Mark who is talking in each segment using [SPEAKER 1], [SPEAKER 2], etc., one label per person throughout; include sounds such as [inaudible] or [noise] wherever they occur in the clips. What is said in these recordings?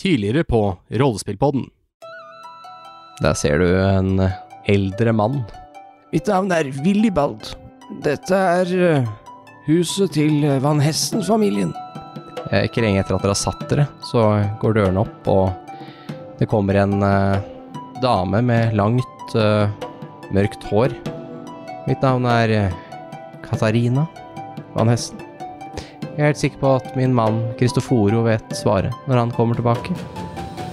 [SPEAKER 1] Tidligere på Rollespillpodden.
[SPEAKER 2] Der ser du en eldre mann.
[SPEAKER 3] Mitt navn er Willibald. Dette er eh, huset til eh, Van Hesten-familien.
[SPEAKER 2] Eh, Ikke lenge etter at dere har satt dere, så går dørene opp, og det kommer en eh, dame med langt, eh, mørkt hår. Mitt navn er eh, Katarina Van Hesten. Jeg er helt sikker på at min mann Kristoforo vet svaret når han kommer tilbake.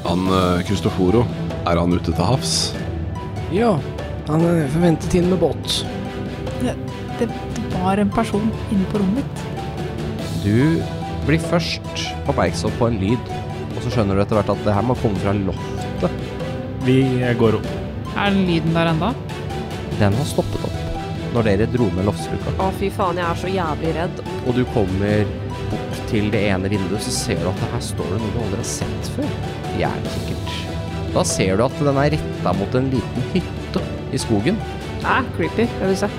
[SPEAKER 4] Han eh, Cristoforo, er han ute til havs?
[SPEAKER 3] Ja, han er forventet inn med båt.
[SPEAKER 5] Det, det var en person inne på rommet mitt.
[SPEAKER 2] Du blir først oppmerksom på en lyd, og så skjønner du etter hvert at det her må komme fra loftet.
[SPEAKER 6] Vi eh, går opp.
[SPEAKER 5] Er den lyden der enda?
[SPEAKER 2] Den har stoppet opp når dere dro ned loftsluka.
[SPEAKER 7] Å, fy faen, jeg er så jævlig redd.
[SPEAKER 2] og du kommer bort til det ene vinduet, så ser du at det her står det noe du aldri har sett før. Jernkikkert. Da ser du at den er retta mot en liten hytte i skogen.
[SPEAKER 7] Æ, creepy. Jeg vil se.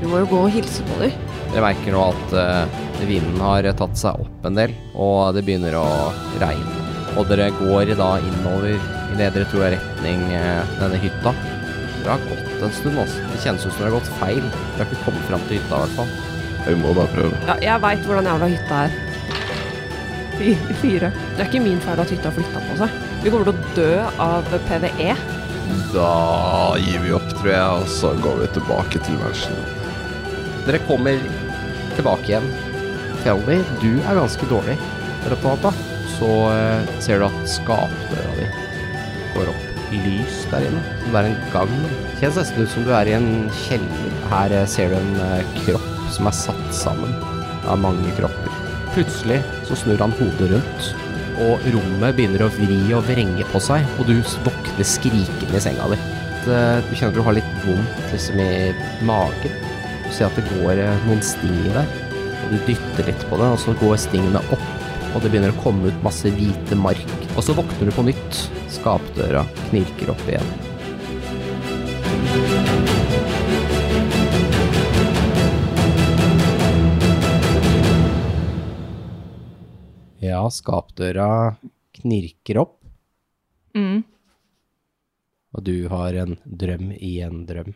[SPEAKER 7] Vi må jo gå og hilse på dem.
[SPEAKER 2] Dere merker nå at eh, vinden har tatt seg opp en del, og det begynner å regne. Og dere går da innover i nedre tror jeg retning eh, denne hytta. Dere har gått en stund også. Det kjennes ut som dere har gått feil. Dere har ikke kommet fram til hytta i hvert fall.
[SPEAKER 4] Vi må bare prøve.
[SPEAKER 7] Ja, jeg veit hvordan jævla hytta er. Fy- Fire. Det er ikke min feil at hytta har flytta på seg. Vi kommer til å dø av E. PVE.
[SPEAKER 4] Da gir vi opp, tror jeg, og så går vi tilbake til mansion.
[SPEAKER 2] Dere kommer tilbake igjen. Feldy, du er ganske dårlig. Rapata. Så eh, ser du at skapdøra di går opp lys der inne. Som det er en gang. Kjennes nesten ut som du er i en kjeller. Her eh, ser du en eh, kropp som er satt sammen av mange kropper. Plutselig så snur han hodet rundt, og rommet begynner å vri og vrenge på seg, og du s- våkner skrikende i senga di. Eh, Du kjenner at du har litt vondt liksom i magen. Du ser at det går eh, noen sting der, og du dytter litt på det, og så går stingene opp, og det begynner å komme ut masse hvite mark. Og så våkner du på nytt. Skapdøra knirker opp igjen. Ja, skapdøra knirker opp,
[SPEAKER 5] Mm.
[SPEAKER 2] og du har en drøm i en drøm.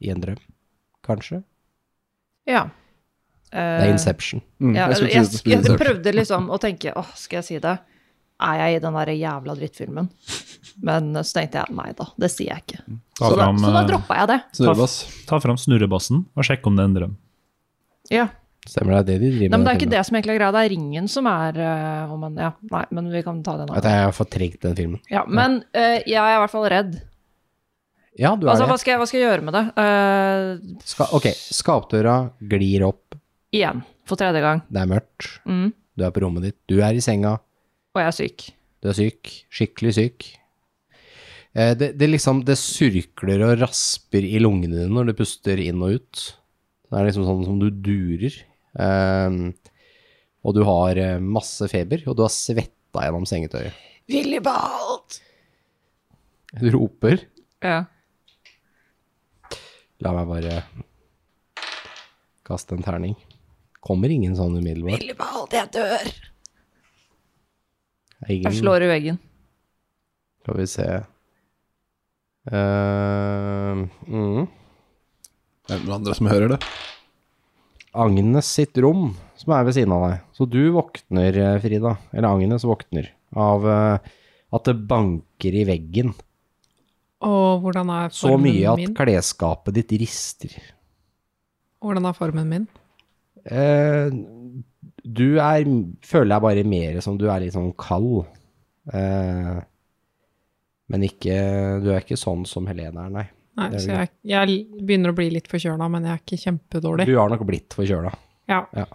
[SPEAKER 2] I en drøm, kanskje?
[SPEAKER 5] Ja.
[SPEAKER 2] Det
[SPEAKER 5] Eh.
[SPEAKER 2] er Inception.
[SPEAKER 5] Ja,
[SPEAKER 4] Mm, jeg skulle
[SPEAKER 5] jeg,
[SPEAKER 4] til å si det
[SPEAKER 5] jeg,
[SPEAKER 4] skulle jeg
[SPEAKER 5] prøvde liksom å tenke åh, skal jeg si det? Er jeg i den der jævla drittfilmen? Men så tenkte jeg nei da, det sier jeg ikke.
[SPEAKER 6] Ta
[SPEAKER 5] Så da,
[SPEAKER 6] fram,
[SPEAKER 5] så da
[SPEAKER 6] eh,
[SPEAKER 5] droppa jeg det.
[SPEAKER 4] Snurrebass.
[SPEAKER 6] ta fram snurrebassen og sjekk om det er en drøm.
[SPEAKER 5] Ja.
[SPEAKER 2] Stemmer det, det er det de driver
[SPEAKER 5] Nei, men det
[SPEAKER 2] med den
[SPEAKER 5] er ikke
[SPEAKER 2] filmen.
[SPEAKER 5] det som egentlig er greia, det er ringen som er eh, om en, Ja, nei, men vi kan ta den
[SPEAKER 2] At
[SPEAKER 5] av.
[SPEAKER 2] jeg har fortrengt den filmen.
[SPEAKER 5] Ja, men eh, jeg er i hvert fall redd.
[SPEAKER 2] Ja, du er
[SPEAKER 5] Altså,
[SPEAKER 2] det.
[SPEAKER 5] hva skal, jeg, hva skal jeg gjøre med det? Eh,
[SPEAKER 2] Ska, ok, skapdøra glir opp,
[SPEAKER 5] igjen, for tredje gang.
[SPEAKER 2] det er mørkt,
[SPEAKER 5] Mm.
[SPEAKER 2] du er på rommet ditt, du er i senga,
[SPEAKER 5] Og jeg er syk.
[SPEAKER 2] du er syk, skikkelig syk. Eh, Det, det liksom, det surkler og rasper i lungene dine når du puster inn og ut. Det er liksom sånn som du durer. Eh, og du har eh, masse feber, og du har svetta gjennom sengetøyet.
[SPEAKER 3] Willibald!
[SPEAKER 2] Du roper.
[SPEAKER 5] Ja.
[SPEAKER 2] La meg bare kaste en terning. Kommer ingen sånn umiddelbart?
[SPEAKER 3] Willibald, jeg dør!
[SPEAKER 2] Det er ingen-
[SPEAKER 5] Jeg slår i veggen.
[SPEAKER 2] Skal vi se Eh, mm.
[SPEAKER 4] Det er noen andre som hører det.
[SPEAKER 2] Agnes sitt rom, som er ved siden av deg. Så du våkner, eh, Frida. Eller Agnes våkner av eh, at det banker i veggen.
[SPEAKER 8] Og hvordan er
[SPEAKER 2] Så
[SPEAKER 8] formen
[SPEAKER 2] mye at
[SPEAKER 8] min?
[SPEAKER 2] klesskapet ditt rister.
[SPEAKER 8] Hvordan er formen min?
[SPEAKER 2] Eh, du er Føler jeg bare mer som du er litt sånn kald. Eh, men ikke Du er ikke sånn som Helene er, nei.
[SPEAKER 8] Nei,
[SPEAKER 2] Det er
[SPEAKER 8] så
[SPEAKER 2] jo-
[SPEAKER 8] jeg, jeg begynner å bli litt forkjøla, men jeg er ikke kjempedårlig.
[SPEAKER 2] Du har nok blitt forkjøla.
[SPEAKER 8] Ja.
[SPEAKER 2] Det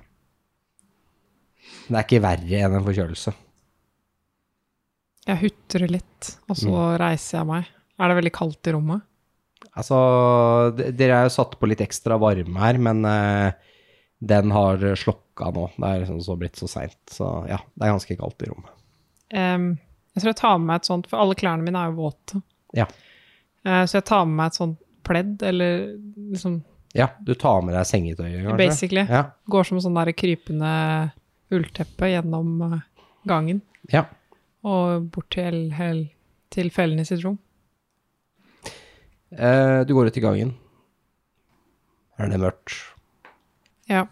[SPEAKER 2] er ikke verre enn en forkjølelse.
[SPEAKER 8] Jeg hutrer litt, og så
[SPEAKER 2] Mm.
[SPEAKER 8] reiser jeg meg. Er det veldig kaldt i rommet?
[SPEAKER 2] Altså, d- dere er jo satt på litt ekstra varme her, men eh, den har slokka nå. Det er sånn så blitt så seint, så ja, det er ganske kaldt i rommet.
[SPEAKER 8] Em, jeg tror jeg tar med meg et sånt, for alle klærne mine er jo våte.
[SPEAKER 2] Ja.
[SPEAKER 8] Eh, så jeg tar med meg et sånt pledd, eller liksom
[SPEAKER 2] Ja, du tar med deg sengetøyet, kanskje?
[SPEAKER 8] Basically.
[SPEAKER 2] Ja,
[SPEAKER 8] går som sånn der krypende ullteppe gjennom eh, gangen.
[SPEAKER 2] ja.
[SPEAKER 8] og bort til, hel, til fellene i sitt rom.
[SPEAKER 2] Eh, du går ut i gangen. Er det mørkt?
[SPEAKER 8] Ja.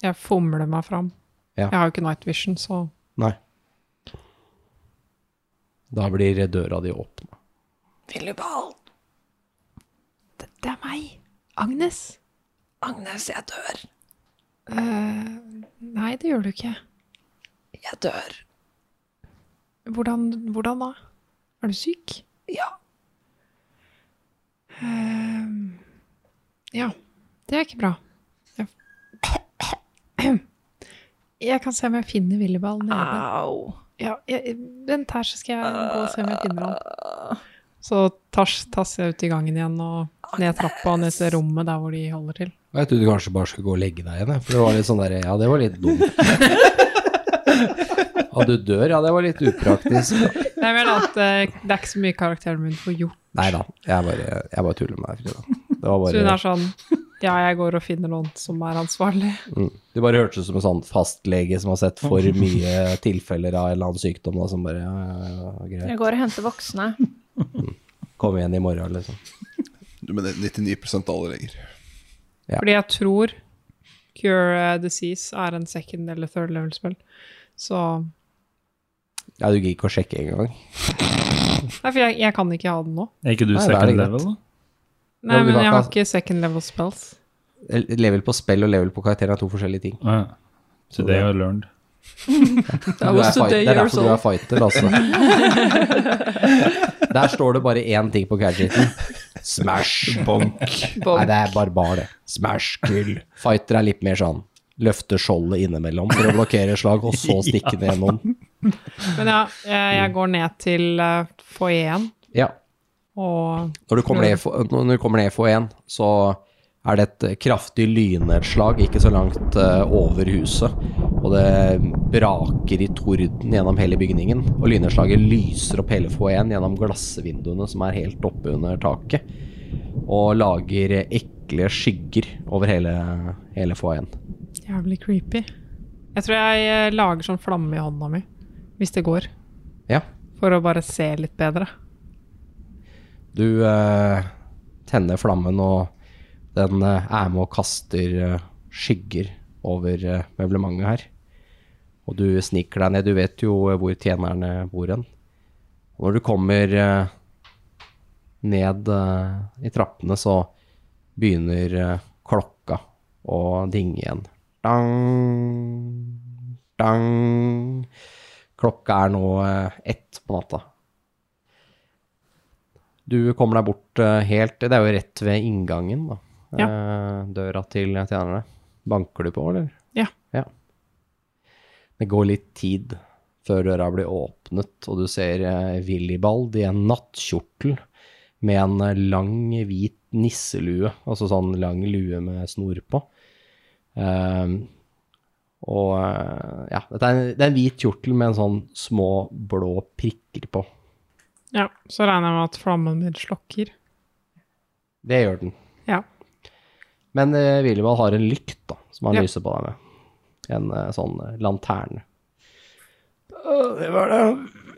[SPEAKER 8] Jeg fomler meg fram.
[SPEAKER 2] Ja.
[SPEAKER 8] Jeg har jo ikke night vision, så
[SPEAKER 2] Nei. Da blir døra di åpna.
[SPEAKER 5] Willibald!
[SPEAKER 8] Det er meg! Agnes!
[SPEAKER 5] Agnes, jeg dør.
[SPEAKER 8] Eh, nei, det gjør du ikke.
[SPEAKER 5] Jeg dør.
[SPEAKER 8] Hvordan, hvordan da? Er du syk?
[SPEAKER 5] Ja.
[SPEAKER 8] Ehm, ja, det er ikke bra. Jeg, jeg kan se om jeg finner Willibald nede.
[SPEAKER 5] Au.
[SPEAKER 8] Ja, jeg, vent her, så skal jeg gå og se om jeg finner han. Så tas- tasser jeg ut i gangen igjen og ned trappa og ned til rommet der hvor de holder til.
[SPEAKER 2] Jeg trodde du kanskje bare skulle gå og legge deg igjen, jeg, for det var litt sånn der Ja, det var litt [laughs] dumt. At du dør, ja, det var litt upraktisk.
[SPEAKER 8] Nei, men at, eh, det er ikke så mye karakteren min får gjort.
[SPEAKER 2] Nei da, jeg bare, jeg bare tuller med deg, Frida. Det var
[SPEAKER 8] Så hun
[SPEAKER 2] bare,
[SPEAKER 8] er sånn Ja, jeg går og finner noen som er ansvarlig.
[SPEAKER 2] mm. Du bare hørtes ut som en sånn fastlege som har sett for mye tilfeller av en eller annen sykdom, da, som bare ja, ja, ja, greit. Mm.
[SPEAKER 5] Jeg går og henter voksne.
[SPEAKER 2] Kom igjen i morgen, liksom.
[SPEAKER 4] Du, men det er 99 alle leger.
[SPEAKER 8] Fordi jeg tror Cure eh, Disease er en second eller third level spill. Så
[SPEAKER 2] Ja, du gidder ikke å sjekke engang.
[SPEAKER 8] Nei, for jeg, jeg kan ikke ha den nå.
[SPEAKER 6] Er ikke du
[SPEAKER 2] Nei, da er det
[SPEAKER 6] second
[SPEAKER 2] greit.
[SPEAKER 6] level, da?
[SPEAKER 8] Nei,
[SPEAKER 2] men du
[SPEAKER 8] men
[SPEAKER 2] kan
[SPEAKER 8] jeg
[SPEAKER 2] ikke
[SPEAKER 8] har
[SPEAKER 2] ha-
[SPEAKER 8] ikke second level spells.
[SPEAKER 2] Level på spill og level på karakter er to forskjellige ting.
[SPEAKER 6] Ah, ja. Today I learned.
[SPEAKER 2] Du er fight, det er derfor du er fighter, altså. [laughs] Der står det bare én ting på gadgeten. Smash. Nei, det er barbar, det. Smash, kull. Fighter er litt mer sånn løfte skjoldet innimellom for å blokkere slag, og så stikke det gjennom.
[SPEAKER 8] Men ja, jeg,
[SPEAKER 2] Mm.
[SPEAKER 8] jeg går ned til eh, foajeen
[SPEAKER 2] Ja.
[SPEAKER 8] og
[SPEAKER 2] Når du kommer ned i F- når du kommer ned i F1, så er det et eh, kraftig lynnedslag ikke så langt eh, over huset. Og det braker i torden gjennom hele bygningen. Og lynnedslaget lyser opp hele F1 gjennom glassvinduene som er helt oppe under taket. Og lager ekle skygger over hele, hele F1.
[SPEAKER 8] Jævlig creepy. Jeg tror jeg eh, lager sånn flamme i hånda mi, hvis det går.
[SPEAKER 2] Ja.
[SPEAKER 8] For å bare se litt bedre.
[SPEAKER 2] Du eh, tenner flammen, og den eh, er med og kaster eh, skygger over eh, møblementet her. Og du sniker deg ned. Du vet jo eh, hvor tjenerne bor hen. Og når du kommer eh, ned eh, i trappene, så begynner eh, klokka å dinge igjen. Dang, dang. Klokka er nå eh, ett på natta. Du kommer deg bort eh, helt Det er jo rett ved inngangen, da. Eh, Døra til tjenerne. Banker du på, eller?
[SPEAKER 8] Ja.
[SPEAKER 2] Det går litt tid før døra blir åpnet, og du ser eh, Willibald i en nattkjortel med en eh, lang, hvit nisselue, altså sånn lang lue med snor på. Eh, og eh, ja, dette er en, det er en hvit kjortel med en sånn små blå prikker på.
[SPEAKER 8] Ja, Så regner jeg med at flammen min slokker.
[SPEAKER 2] Det gjør den.
[SPEAKER 8] Ja.
[SPEAKER 2] Men uh, Willibald har en lykt da, som han
[SPEAKER 8] Ja.
[SPEAKER 2] lyser på deg med. En eh, sånn eh, lanterne.
[SPEAKER 9] Det var da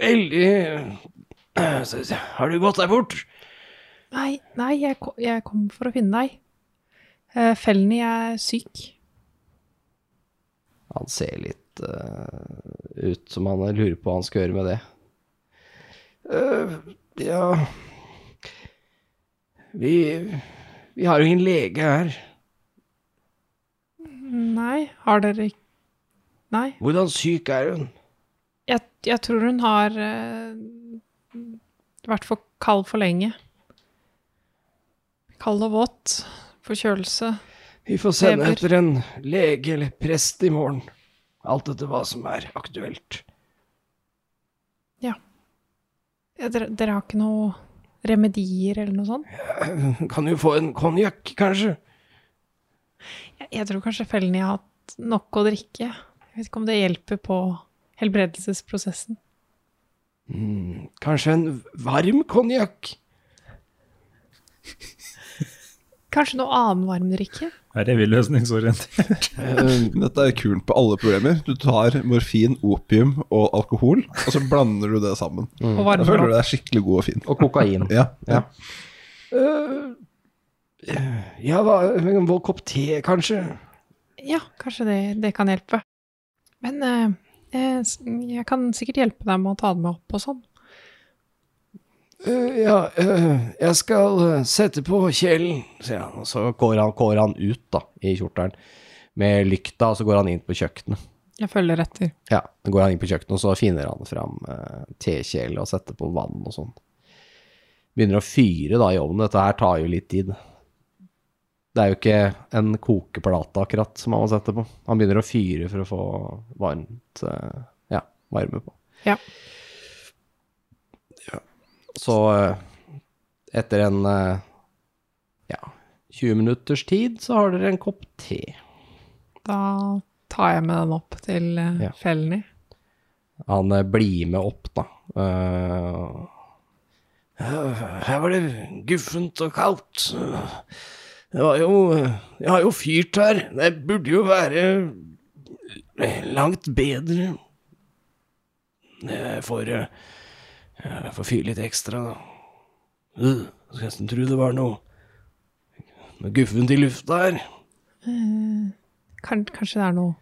[SPEAKER 9] veldig [clears throat] Eh, så- så- Har du gått deg bort?
[SPEAKER 8] Nei, nei, jeg, ko- jeg kom for å finne deg. Eh, Felny er syk.
[SPEAKER 2] Han ser litt eh, ut som han lurer på hva han skal gjøre med det.
[SPEAKER 9] Eh, Ja Vi Vi har jo ingen lege her.
[SPEAKER 8] Nei, har dere ikke Nei.
[SPEAKER 9] Hvordan syk er hun?
[SPEAKER 8] Jeg, jeg tror hun har eh, vært for kald for lenge. Kald og våt. Forkjølelse.
[SPEAKER 9] Vi får sende
[SPEAKER 8] Feber.
[SPEAKER 9] etter en lege eller prest i morgen. Alt etter hva som er aktuelt.
[SPEAKER 8] Ja, Dere, dere har ikke noe remedier eller noe sånt?
[SPEAKER 9] Kan jo få en konjakk, kanskje?
[SPEAKER 8] Jeg, jeg tror kanskje Felny har hatt nok å drikke. Jeg vet ikke om det hjelper på helbredelsesprosessen.
[SPEAKER 9] Mm, kanskje en varm konjakk?
[SPEAKER 8] Kanskje noe annen varmdrikke?
[SPEAKER 6] Her er vi løsningsorientert.
[SPEAKER 10] Dette er kuren på alle problemer. Du tar morfin, opium og alkohol, og så blander du det sammen.
[SPEAKER 8] Og
[SPEAKER 10] Da
[SPEAKER 8] varmer
[SPEAKER 10] føler du
[SPEAKER 8] opp?
[SPEAKER 10] deg skikkelig god og fin.
[SPEAKER 11] Og kokain.
[SPEAKER 9] [laughs]
[SPEAKER 10] Ja, ja.
[SPEAKER 2] Ja, hva, en vår kopp te, kanskje?
[SPEAKER 8] Ja, kanskje det, det kan hjelpe. Men eh, jeg, s- jeg kan sikkert hjelpe deg med å ta det med opp og sånn.
[SPEAKER 2] Eh, ja, eh, jeg skal eh, sette på kjelen, sier han.
[SPEAKER 11] Og så går han, går han ut da, i kjortelen med lykta, og så går han inn på kjøkkenet.
[SPEAKER 8] Jeg følger etter.
[SPEAKER 11] Ja, så går han inn på kjøkkenet, og så finner han fram eh, tekjele og setter på vann og sånn. Begynner å fyre da i ovnen. Dette her tar jo litt tid. Det er jo ikke en kokeplate akkurat som han må sette på. Han begynner å fyre for å få varmt, eh, ja, varme på.
[SPEAKER 8] Ja.
[SPEAKER 11] Ja. Så eh, etter en, eh, ja, 20 minutters tid så har dere en kopp te.
[SPEAKER 8] Da tar jeg med den opp til eh,
[SPEAKER 11] Ja.
[SPEAKER 8] fellen i.
[SPEAKER 11] Han eh, blir med opp, da. Eh,
[SPEAKER 2] Her var det guffent og kaldt. Det var jo Jeg har jo fyrt her. Det burde jo være langt bedre. Jeg får, eh, jeg får fyre litt ekstra, da. Uh, Skulle nesten tro det var noe, noe guffent i lufta her.
[SPEAKER 8] Kan, kanskje det er noe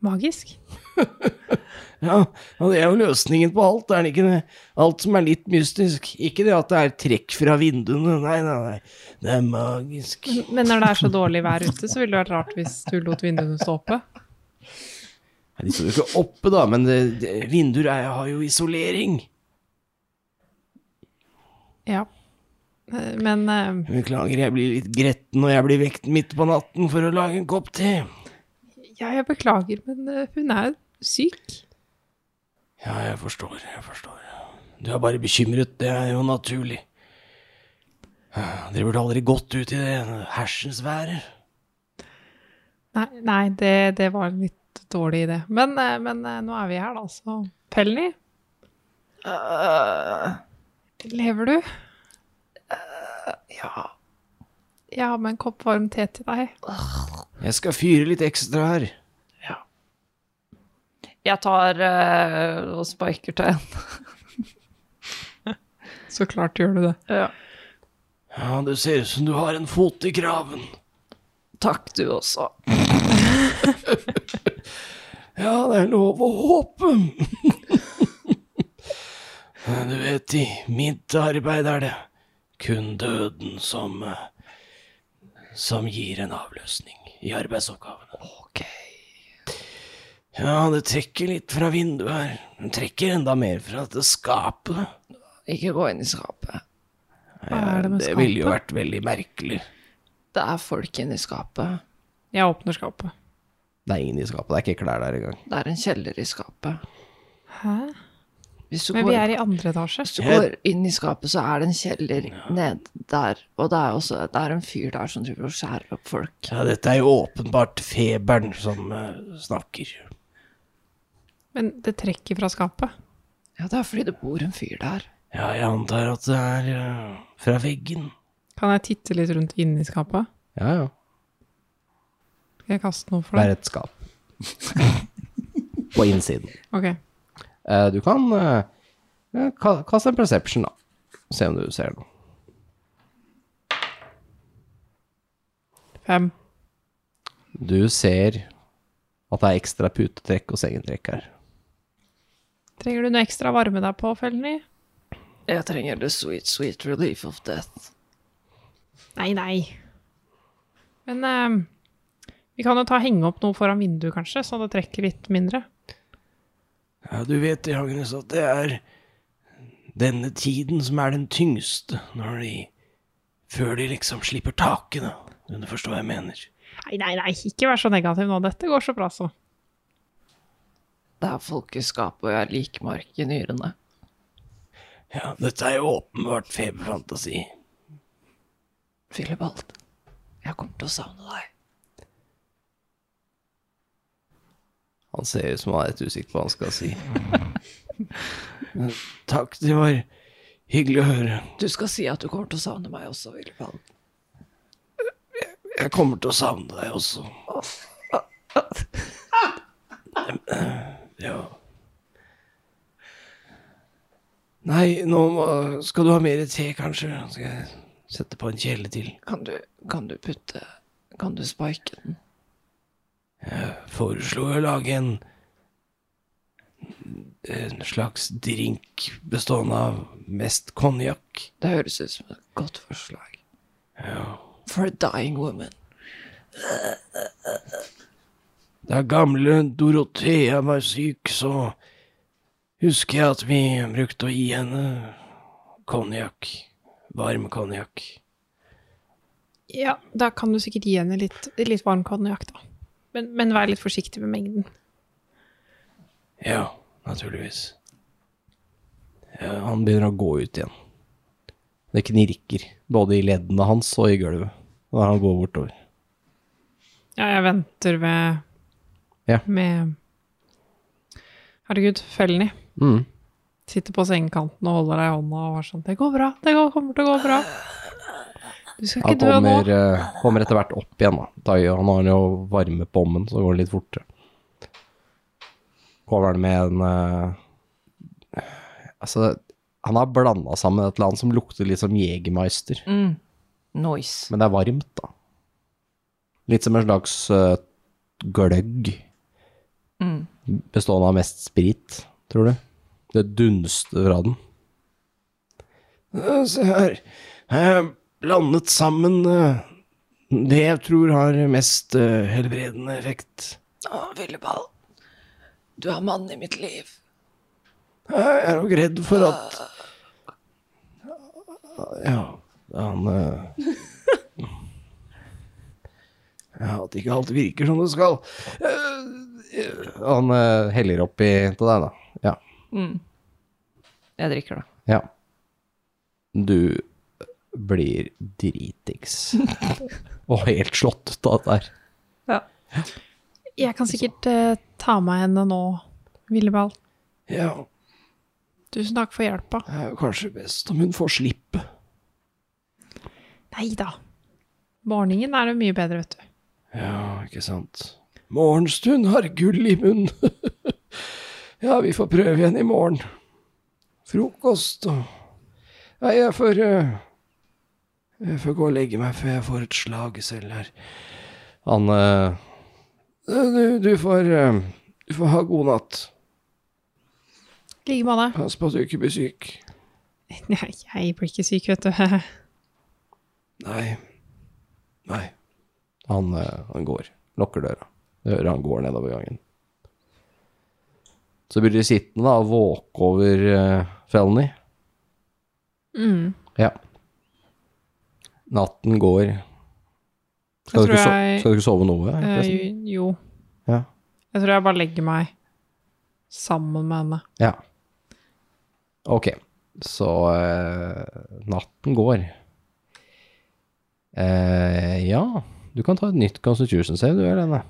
[SPEAKER 8] magisk?
[SPEAKER 2] Ja, og det er jo løsningen på alt, er det ikke det? Alt som er litt mystisk. Ikke det at det er trekk fra vinduene, nei, nei, nei. Det er magisk.
[SPEAKER 8] Men når det [laughs] er så dårlig vær ute, så ville det vært rart hvis du lot vinduene stå oppe.
[SPEAKER 2] Nei, De står jo ikke oppe, da, men det, det, vinduer er, har jo isolering.
[SPEAKER 8] Ja. Eh, Men eh,
[SPEAKER 2] Beklager, jeg blir litt gretten når jeg blir vekt midt på natten for å lage en kopp te.
[SPEAKER 8] ja, jeg beklager, men eh, hun er syk.
[SPEAKER 2] Ja, jeg forstår, jeg forstår. Du er bare bekymret, det er jo naturlig. Dere burde aldri gått ut i det hersens været.
[SPEAKER 8] Nei, nei det, det var en litt dårlig idé. Men, eh, men eh, nå er vi her, da, så Pelny,
[SPEAKER 5] Øh,
[SPEAKER 8] lever du?
[SPEAKER 5] ja.
[SPEAKER 8] Jeg har med en kopp varm te til deg.
[SPEAKER 2] Jeg skal fyre litt ekstra her.
[SPEAKER 5] Jeg tar øh, og spiker til en.
[SPEAKER 8] Så klart gjør du det.
[SPEAKER 2] Ja, det ser ut som du har en fot i kraven.
[SPEAKER 5] Takk, du også.
[SPEAKER 2] Ja, det er lov å håpe. [laughs] Men du vet, i mitt arbeid er det kun døden som eh, som gir en avløsning i arbeidsoppgavene. Ok. Ja, det trekker litt fra vinduet her. Det trekker enda mer fra dette skapet.
[SPEAKER 5] Ikke gå inn i skapet.
[SPEAKER 8] Hva er det med
[SPEAKER 2] Det ville jo
[SPEAKER 8] skapet?
[SPEAKER 2] vært veldig merkelig.
[SPEAKER 5] Det er folk inni skapet.
[SPEAKER 8] Jeg åpner skapet.
[SPEAKER 11] Det er ingen i skapet, det er ikke klær der engang.
[SPEAKER 5] Det er en kjeller i skapet.
[SPEAKER 8] Hæ?
[SPEAKER 5] Hvis du,
[SPEAKER 8] Men
[SPEAKER 5] går,
[SPEAKER 8] vi er i andre etasje.
[SPEAKER 5] hvis du går inn i skapet, så er det en kjeller nede der. Og det er, også, det er en fyr der som driver og skjærer opp folk.
[SPEAKER 2] Ja, dette er jo åpenbart feberen som eh, snakker.
[SPEAKER 8] Men det trekker fra skapet.
[SPEAKER 5] Ja, det er fordi det bor en fyr der.
[SPEAKER 2] Ja, jeg antar at det er eh, fra veggen.
[SPEAKER 8] Kan jeg titte litt rundt inni skapet?
[SPEAKER 11] Ja, ja.
[SPEAKER 8] Skal jeg kaste noe for
[SPEAKER 11] Det
[SPEAKER 8] deg?
[SPEAKER 11] er et skap. På innsiden.
[SPEAKER 8] Ok.
[SPEAKER 11] Eh, Du kan eh, ka- kaste en perception, da. Se om du ser noe.
[SPEAKER 8] Fem.
[SPEAKER 11] Du ser at det er ekstra putetrekk og sengetrekk her.
[SPEAKER 8] Trenger du noe ekstra varme deg på, Felny?
[SPEAKER 5] Jeg trenger the sweet, sweet relief of death.
[SPEAKER 8] Nei, nei. Men eh, vi kan jo ta henge opp noe foran vinduet, kanskje, så det trekker litt mindre.
[SPEAKER 2] Ja, du vet det, Agnes, at det er denne tiden som er den tyngste, når de Før de liksom slipper taket, da. Men Du forstår hva jeg mener.
[SPEAKER 8] Nei, nei, nei, ikke vær så negativ nå. Dette går så bra, så.
[SPEAKER 5] Det er folk i skapet, og jeg liker mark i nyrene.
[SPEAKER 2] Ja, dette er jo åpenbart feberfantasi.
[SPEAKER 5] Filibald, jeg kommer til å savne deg.
[SPEAKER 11] Han ser ut som han er litt usikker på hva han skal
[SPEAKER 2] [laughs]
[SPEAKER 11] si.
[SPEAKER 2] Takk, det var hyggelig å høre.
[SPEAKER 5] Du skal si at du kommer til å savne meg også, Filibald.
[SPEAKER 2] Jeg kommer til å savne deg også. Ja. Nei, nå må, skal du ha mer te, kanskje? Skal jeg sette på en kjele til?
[SPEAKER 5] Kan du, kan du putte Kan du spike den?
[SPEAKER 2] Foreslo å lage en en slags drink bestående av mest konjakk.
[SPEAKER 5] Det høres ut som et godt forslag. For a dying woman.
[SPEAKER 2] Da gamle Dorothea var syk, så husker jeg at vi brukte å gi henne konjakk. Varm konjakk.
[SPEAKER 8] Ja, da kan du sikkert gi henne litt, litt varm konjakk, da. Men, men vær litt forsiktig med mengden.
[SPEAKER 2] Ja, naturligvis. Ja, han begynner å gå ut igjen. Det knirker, både i leddene hans og i gulvet, når han går bortover.
[SPEAKER 8] Ja, jeg venter ved
[SPEAKER 11] Ja.
[SPEAKER 8] Med Herregud, Felny.
[SPEAKER 11] Mm.
[SPEAKER 8] Sitter på sengekanten og holder deg i hånda og er sånn Det går bra. Det går, kommer til å gå bra. Du skal
[SPEAKER 11] Han
[SPEAKER 8] ikke dø nå.
[SPEAKER 11] kommer, eh, kommer etter hvert opp igjen, da. da gjør- han har jo varme på ommen, så det går litt fortere. Kommer han med en eh, Altså, han har blanda sammen et eller annet som lukter litt som Jegermeister,
[SPEAKER 5] Mm. Noise.
[SPEAKER 11] men det er varmt, da. Litt som en slags eh, gløgg.
[SPEAKER 5] Mm.
[SPEAKER 11] Bestående av mest sprit, tror du? Det dunster fra den.
[SPEAKER 2] Ja, Eh, Se her. Jeg har blandet sammen eh, det jeg tror har mest eh, helbredende effekt.
[SPEAKER 5] Å, Willebald. Du er mannen i mitt liv.
[SPEAKER 2] Eh, Jeg er nok redd for at Ja, han eh, [laughs] ja, At ikke alt virker som det skal.
[SPEAKER 11] Han eh, heller oppi til deg, da. Ja.
[SPEAKER 5] Jeg drikker det.
[SPEAKER 11] Ja. Du blir
[SPEAKER 8] [laughs]
[SPEAKER 11] dritings. Og helt slått ut av dette her.
[SPEAKER 8] Jeg kan sikkert eh, ta med henne nå, Willebald.
[SPEAKER 2] Ja,
[SPEAKER 8] Tusen takk for hjelpa.
[SPEAKER 2] det er jo kanskje best om hun får slippe.
[SPEAKER 8] Nei da. Morgenen er det mye bedre, vet du.
[SPEAKER 2] Ja, ikke sant. Morgenstund har gull i munn. [laughs] ja, vi får prøve igjen i morgen. Frokost og Nei, jeg får eh, Jeg får gå og legge meg før jeg får et slag selv her.
[SPEAKER 11] Han eh,
[SPEAKER 2] Eh, Du, du får eh, Du får ha god natt.
[SPEAKER 8] I like måte.
[SPEAKER 2] Pass på at du ikke blir syk.
[SPEAKER 8] Nei, Jeg blir ikke syk, vet du. [laughs]
[SPEAKER 2] Nei. Nei.
[SPEAKER 11] han, eh, han går. Lukker døra. Du hører han går nedover gangen. Så blir du sittende da og våke over eh, Felny.
[SPEAKER 8] Mm.
[SPEAKER 11] Ja. Natten går.
[SPEAKER 8] Jeg
[SPEAKER 11] Skal du, ikke
[SPEAKER 8] tror
[SPEAKER 11] so
[SPEAKER 8] jeg-
[SPEAKER 11] skal du ikke sove noe?
[SPEAKER 8] Eh,
[SPEAKER 11] forresten?
[SPEAKER 8] jo.
[SPEAKER 11] Ja.
[SPEAKER 8] Jeg tror jeg bare legger meg sammen med henne.
[SPEAKER 11] Ja. Ok, så eh, natten går. Eh, ja, du kan ta et nytt Constitution Save, du, Helene.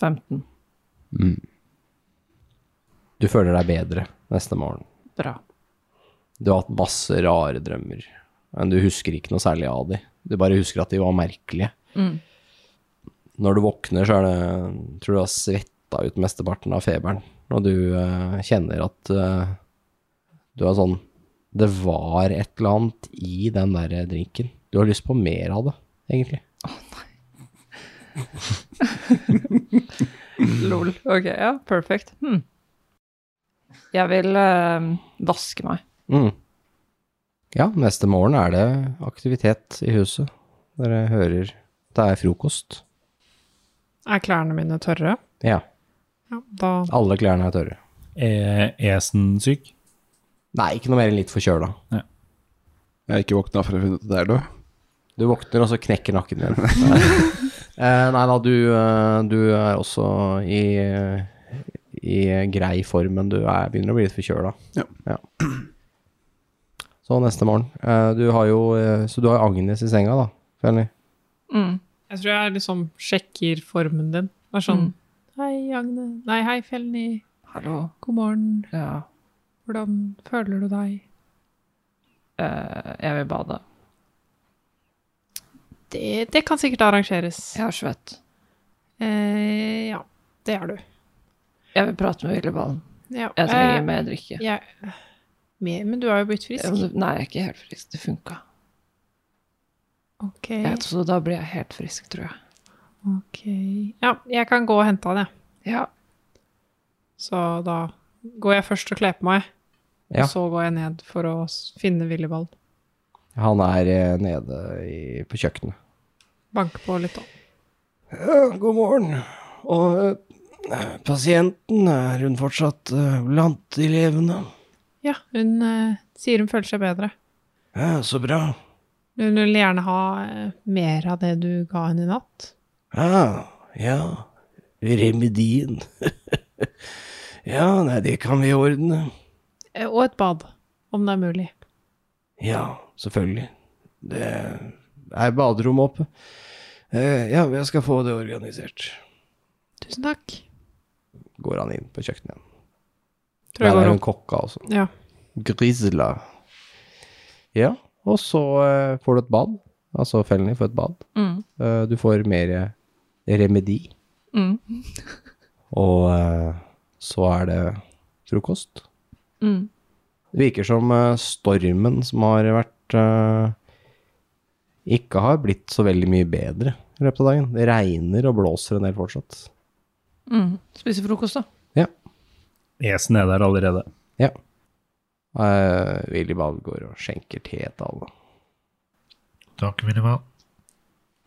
[SPEAKER 5] 15.
[SPEAKER 11] Du føler deg bedre neste morgen.
[SPEAKER 5] Bra.
[SPEAKER 11] Du har hatt masse rare drømmer, men du husker ikke noe særlig av de. Du bare husker at de var merkelige.
[SPEAKER 5] Mm.
[SPEAKER 11] Når du våkner, så er det, tror du du har svetta ut mesteparten av feberen, og du eh, kjenner at eh, du er sånn Det var et eller annet i den der drinken. Du har lyst på mer av det, egentlig.
[SPEAKER 5] Lol. Ok, ja. Perfect. Hmm. Jeg vil eh, vaske meg.
[SPEAKER 11] Mm. Ja, neste morgen er det aktivitet i huset. Dere hører det er frokost.
[SPEAKER 8] Er klærne mine tørre?
[SPEAKER 11] Ja,
[SPEAKER 8] Ja, da
[SPEAKER 11] alle klærne er tørre.
[SPEAKER 6] Er Esen syk?
[SPEAKER 11] Nei, ikke noe mer enn litt forkjøla.
[SPEAKER 10] Jeg har ikke våkna for å finne ut at det er død.
[SPEAKER 11] Du våkner, og så knekker nakken din. eh, nei da, du, eh, du er også i, i grei form, men du er, begynner å bli litt forkjøla.
[SPEAKER 10] Ja.
[SPEAKER 11] Så neste morgen. Eh, du har jo eh, Så du har Agnes i senga, da, Felny?
[SPEAKER 5] Mm.
[SPEAKER 8] Jeg tror jeg liksom sjekker formen din. Det er sånn
[SPEAKER 5] Mm.
[SPEAKER 8] Hei, Agne. Nei, hei, Felny.
[SPEAKER 5] Hallo.
[SPEAKER 8] God morgen.
[SPEAKER 5] Ja.
[SPEAKER 8] Hvordan føler du deg? eh, jeg vil bade. Det, det kan sikkert arrangeres.
[SPEAKER 5] Jeg har svett.
[SPEAKER 8] Eh, ja, det er du.
[SPEAKER 5] Jeg vil prate med Ville Ballen.
[SPEAKER 8] Ja.
[SPEAKER 5] Jeg trenger
[SPEAKER 8] eh,
[SPEAKER 5] mer drikke.
[SPEAKER 8] jeg- mer, men du har jo blitt frisk.
[SPEAKER 5] Nei, jeg er ikke helt frisk. Det funka.
[SPEAKER 8] Ok.
[SPEAKER 5] Jeg- Så da blir jeg helt frisk, tror jeg.
[SPEAKER 8] ok. Ja, jeg kan gå og hente han, jeg.
[SPEAKER 5] Ja.
[SPEAKER 8] Så da går jeg først og kler på meg.
[SPEAKER 11] Ja.
[SPEAKER 8] Og så går jeg ned for å s- finne Willibald.
[SPEAKER 11] Han er eh, nede i, på kjøkkenet.
[SPEAKER 8] Banke på litt, da.
[SPEAKER 2] Ja, god morgen. Og eh, pasienten, er hun fortsatt eh, blant de levende?
[SPEAKER 8] Ja, hun eh, sier hun føler seg bedre.
[SPEAKER 2] Ja, så bra.
[SPEAKER 8] Hun vil gjerne ha eh, mer av det du ga henne i natt.
[SPEAKER 2] Ja, ja. Remedien. [laughs] ja, nei, det kan vi ordne.
[SPEAKER 8] Eh, Og et bad, om det er mulig.
[SPEAKER 2] Ja, selvfølgelig. Det er baderom oppe. Eh, Ja, jeg skal få det organisert.
[SPEAKER 8] Tusen takk.
[SPEAKER 11] Går han inn på kjøkkenet igjen.
[SPEAKER 8] Tror jeg
[SPEAKER 11] Der
[SPEAKER 8] går
[SPEAKER 11] er
[SPEAKER 8] opp.
[SPEAKER 11] hun kokka også.
[SPEAKER 8] Ja.
[SPEAKER 11] altså. Grisla. Ja, og så eh, får du et bad. Altså Felny får et bad.
[SPEAKER 5] Mm.
[SPEAKER 11] Eh, Du får mer eh, remedi.
[SPEAKER 5] Mm.
[SPEAKER 11] Og eh, så er det frokost.
[SPEAKER 5] Mm.
[SPEAKER 11] Det virker som eh, stormen som har vært eh, Ikke har blitt så veldig mye bedre i løpet av dagen. Det regner og blåser en del fortsatt.
[SPEAKER 5] Mm. Spise frokost, da.
[SPEAKER 6] Esen er der allerede.
[SPEAKER 11] Uh, Willy Ball går og skjenker te til alle.
[SPEAKER 12] Takk, Minimal.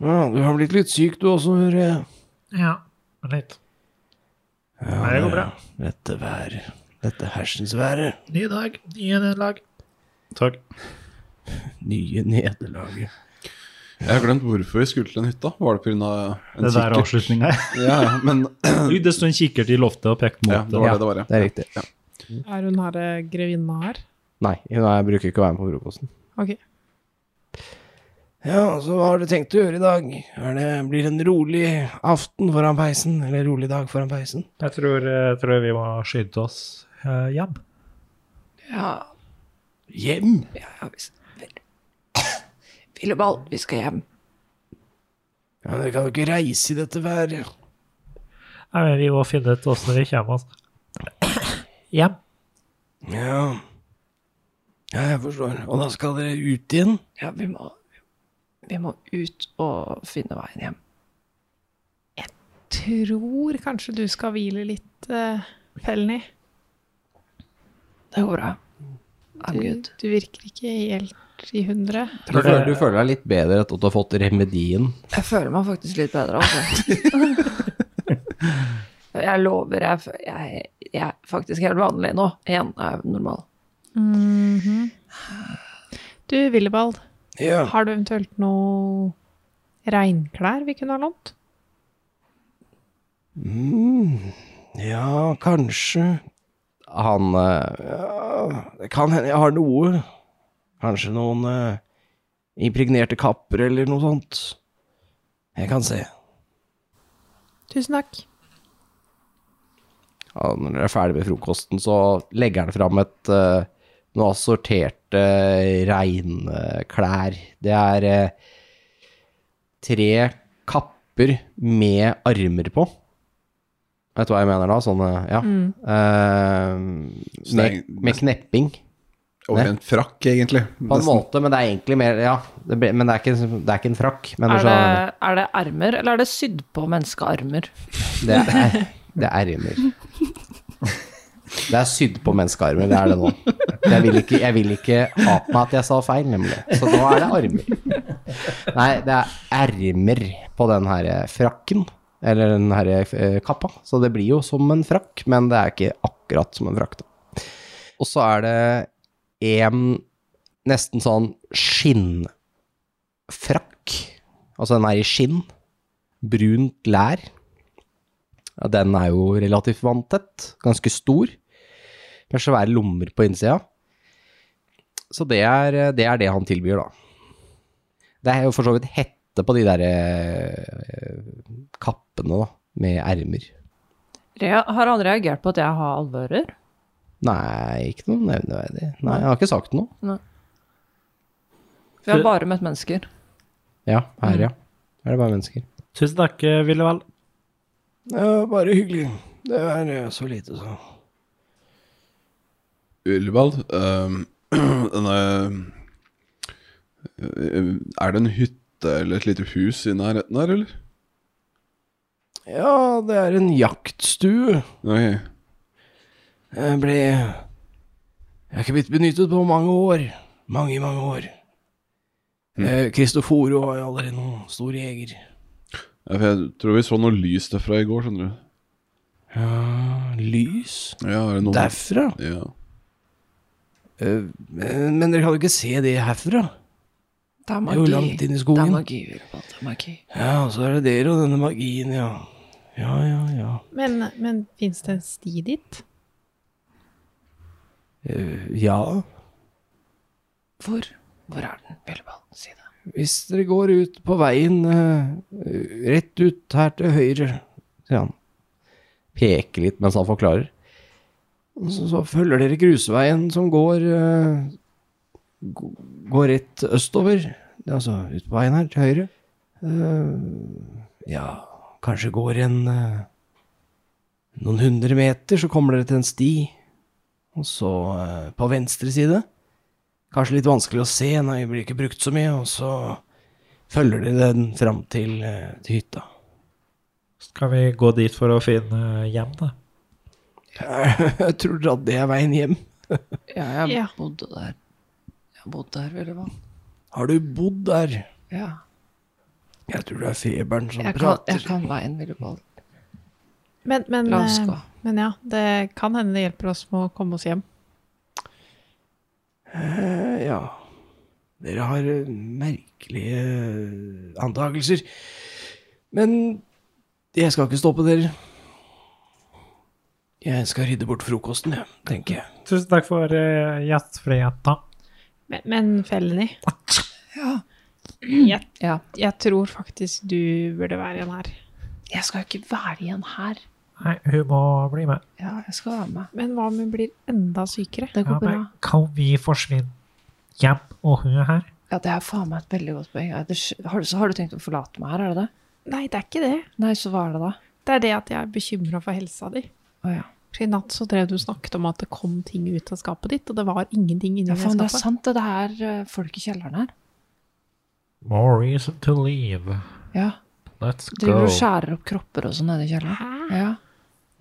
[SPEAKER 2] Ja, du har blitt litt syk du også, hører jeg.
[SPEAKER 12] Ja, litt.
[SPEAKER 2] Ja,
[SPEAKER 12] Nei, det går bra.
[SPEAKER 2] Dette været. Dette hersens været.
[SPEAKER 12] Ny dag, nye nederlag. Takk.
[SPEAKER 2] Nye nederlaget.
[SPEAKER 10] Jeg har glemt hvorfor vi skulle til den hytta. Var det pga. en
[SPEAKER 6] Det der er
[SPEAKER 10] kikkert?
[SPEAKER 6] avslutninga.
[SPEAKER 10] Ja, ja, men
[SPEAKER 6] Oi, Det står en kikkert i loftet og pekte mot
[SPEAKER 10] ja, det var det det var, ja.
[SPEAKER 11] Det er riktig.
[SPEAKER 8] Er hun her eh, grevinna her?
[SPEAKER 11] Nei, hun er- bruker ikke å være med på frokosten.
[SPEAKER 8] Ok.
[SPEAKER 2] Ja, så hva har du tenkt å gjøre i dag? Er det, blir det en rolig aften foran peisen? Eller rolig dag foran peisen?
[SPEAKER 12] Jeg tror, jeg tror vi må skynde oss eh, hjem.
[SPEAKER 5] Ja,
[SPEAKER 2] Hjem?
[SPEAKER 5] ja, ja hvis... Willibald, vi skal hjem.
[SPEAKER 2] Ja, Dere kan jo ikke reise i dette været.
[SPEAKER 12] Nei, men vi må finne ut åssen vi kommer oss hjem.
[SPEAKER 2] Ja. ja, jeg forstår. Og da skal dere ut igjen?
[SPEAKER 5] Ja, vi må, vi må ut og finne veien hjem.
[SPEAKER 8] Tror kanskje du skal hvile litt, uh, Felny.
[SPEAKER 5] Det går bra. I'm
[SPEAKER 8] Du,
[SPEAKER 5] good.
[SPEAKER 8] du virker ikke helt i hundre.
[SPEAKER 11] Du føler, du føler deg litt bedre etter at du har fått remedien.
[SPEAKER 5] Jeg føler meg faktisk litt bedre, [laughs] altså. jeg lover, jeg, fø- jeg, jeg er faktisk helt vanlig nå. Igjen er jeg normal. Mhm.
[SPEAKER 8] Du, Willibald,
[SPEAKER 2] Ja.
[SPEAKER 8] har du eventuelt noe regnklær vi kunne ha lånt?
[SPEAKER 2] Mm. Ja, kanskje.
[SPEAKER 11] Han eh,
[SPEAKER 2] Ja, det kan hende jeg har noe. Kanskje noen eh, impregnerte kapper eller noe sånt. Jeg kan se.
[SPEAKER 8] Tusen takk.
[SPEAKER 11] ja, når dere er ferdig med frokosten, så legger han fram et eh, noen assorterte regnklær. Det er eh, tre kapper med armer på. Vet du hva jeg mener da? Sånne, ja.
[SPEAKER 5] Mm.
[SPEAKER 11] Eh,
[SPEAKER 10] Så det er
[SPEAKER 11] med, med knepping,
[SPEAKER 10] Over en frakk, egentlig.
[SPEAKER 11] på en
[SPEAKER 10] Nesten.
[SPEAKER 11] måte, men det er egentlig mer Ja, det, blir- men det er, ikke, det er sånn- ikke en frakk. Men du
[SPEAKER 5] Er det,
[SPEAKER 11] skjønner,
[SPEAKER 5] er det ermer, eller er det sydd på menneskearmer?
[SPEAKER 11] det er, det er ermer. Det er sydd på menneskearmer, det er det nå. Jeg vil ikke, jeg vil ikke ha på meg at jeg sa feil, nemlig. Så nå er det armer. Nei, det er ermer på den her eh, frakken, eller den her eh, kappa. Så det blir jo som en frakk, men det er ikke akkurat som en frakk, da. Og så er det en nesten sånn skinnfrakk, altså den er i skinn, brunt lær. Ja, Den er jo relativt vanntett, ganske stor, med svære lommer på innsida. Så det er, det er det han tilbyr, da. Det er jo for så vidt hette på de der eh, kappene, da, med ermer.
[SPEAKER 5] Rea, har han reagert på at jeg har alvører?
[SPEAKER 11] Nei, ikke noe nevneverdig. Nei, jeg har ikke sagt noe.
[SPEAKER 5] Nei. Vi har bare møtt mennesker.
[SPEAKER 11] Ja, her, ja. Her er det bare mennesker.
[SPEAKER 12] Tusen takk, eh, Willevald.
[SPEAKER 2] Det var bare hyggelig. Det er eh, så lite, så.
[SPEAKER 4] Ullevald, ehm, [clears throat] denne eh, Er det en hytte eller et lite hus i nærheten her, eller?
[SPEAKER 2] Ja, det er en jaktstue.
[SPEAKER 4] Ok.
[SPEAKER 2] Jeg Eh, ble Jeg er ikke blitt benyttet på mange år. Mange, mange år. Eh, Kristoforo var jo aldri noen stor jeger.
[SPEAKER 4] Ja, for jeg tror vi så noe lys derfra i går, skjønner du.
[SPEAKER 2] Ja, lys
[SPEAKER 4] Ja, er det noen
[SPEAKER 2] derfra?
[SPEAKER 4] Ja.
[SPEAKER 2] Eh, men men dere kan jo ikke se det herfra.
[SPEAKER 5] Det er
[SPEAKER 2] Det er jo langt inn i skogen.
[SPEAKER 5] magi, Willebald. Det er magi.
[SPEAKER 2] Ja, og så er det dere og denne magien, ja. Ja, ja, ja.
[SPEAKER 10] Men, men fins det en sti dit?
[SPEAKER 2] Eh, ja.
[SPEAKER 5] Hvor? Hvor er den, Willebald? Si det.
[SPEAKER 2] Hvis dere går ut på veien eh, rett ut her til høyre, sier han.
[SPEAKER 11] Peker litt mens han forklarer.
[SPEAKER 2] Og Så, så følger dere grusveien som går eh, g- Går rett østover. Det er Altså ut på veien her til høyre. Eh, ja, kanskje går en eh, Noen hundre meter, så kommer dere til en sti. Og så eh, på venstre side. Kanskje litt vanskelig å se, nei, blir ikke brukt så mye. Og så følger dere den fram til, eh, til hytta.
[SPEAKER 12] Skal vi gå dit for å finne eh, hjem, da?
[SPEAKER 2] [laughs] Jeg tror dere at det er veien hjem?
[SPEAKER 5] Ja, jeg
[SPEAKER 10] Ja.
[SPEAKER 5] bodde der. Jeg har bodd der, Willebald.
[SPEAKER 2] Har du bodd der?
[SPEAKER 5] Ja.
[SPEAKER 2] Jeg tror det er feberen som
[SPEAKER 5] Jeg kan,
[SPEAKER 2] prater.
[SPEAKER 5] jeg kan veien, Willebald.
[SPEAKER 10] Men, men,
[SPEAKER 5] La oss
[SPEAKER 10] eh,
[SPEAKER 5] gå.
[SPEAKER 10] men ja, det kan hende det hjelper oss med å komme oss hjem.
[SPEAKER 2] Eh, Ja. Dere har eh, merkelige eh, antakelser. Men jeg skal ikke stoppe dere. Jeg skal rydde bort frokosten, jeg, tenker jeg.
[SPEAKER 12] Tusen takk for uh, gjestfriheten.
[SPEAKER 10] Men, men Felny,
[SPEAKER 5] Ja.
[SPEAKER 10] jeg,
[SPEAKER 5] ja.
[SPEAKER 10] jeg tror faktisk du burde være igjen her.
[SPEAKER 5] Jeg skal jo ikke være igjen her.
[SPEAKER 12] Nei, hun må bli med.
[SPEAKER 5] Ja, jeg skal være med.
[SPEAKER 10] Men hva om hun blir enda sykere?
[SPEAKER 5] Det
[SPEAKER 12] Ja,
[SPEAKER 5] går bra.
[SPEAKER 12] men kan vi forsvinne hjem, og hun er her?
[SPEAKER 5] Ja, det er faen meg et veldig godt poeng. Er det sj- Har du, så har du tenkt å forlate meg her, er det det?
[SPEAKER 10] Nei, det er ikke det.
[SPEAKER 5] Nei, så hva er det da?
[SPEAKER 10] Det er det at jeg er bekymra for helsa di.
[SPEAKER 5] Å ja.
[SPEAKER 10] For I natt så drev du og snakket om at det kom ting ut av skapet ditt, og det var ingenting inni
[SPEAKER 5] Ja,
[SPEAKER 10] det
[SPEAKER 5] faen, det er
[SPEAKER 10] skapet.
[SPEAKER 5] sant det. Det er eh, folk i kjelleren her.
[SPEAKER 12] More reason to leave.
[SPEAKER 5] Ja.
[SPEAKER 12] Let's
[SPEAKER 5] Driver
[SPEAKER 12] go.
[SPEAKER 5] og skjærer opp kropper og sånn nede i kjelleren.
[SPEAKER 10] Hæ?
[SPEAKER 5] Ja.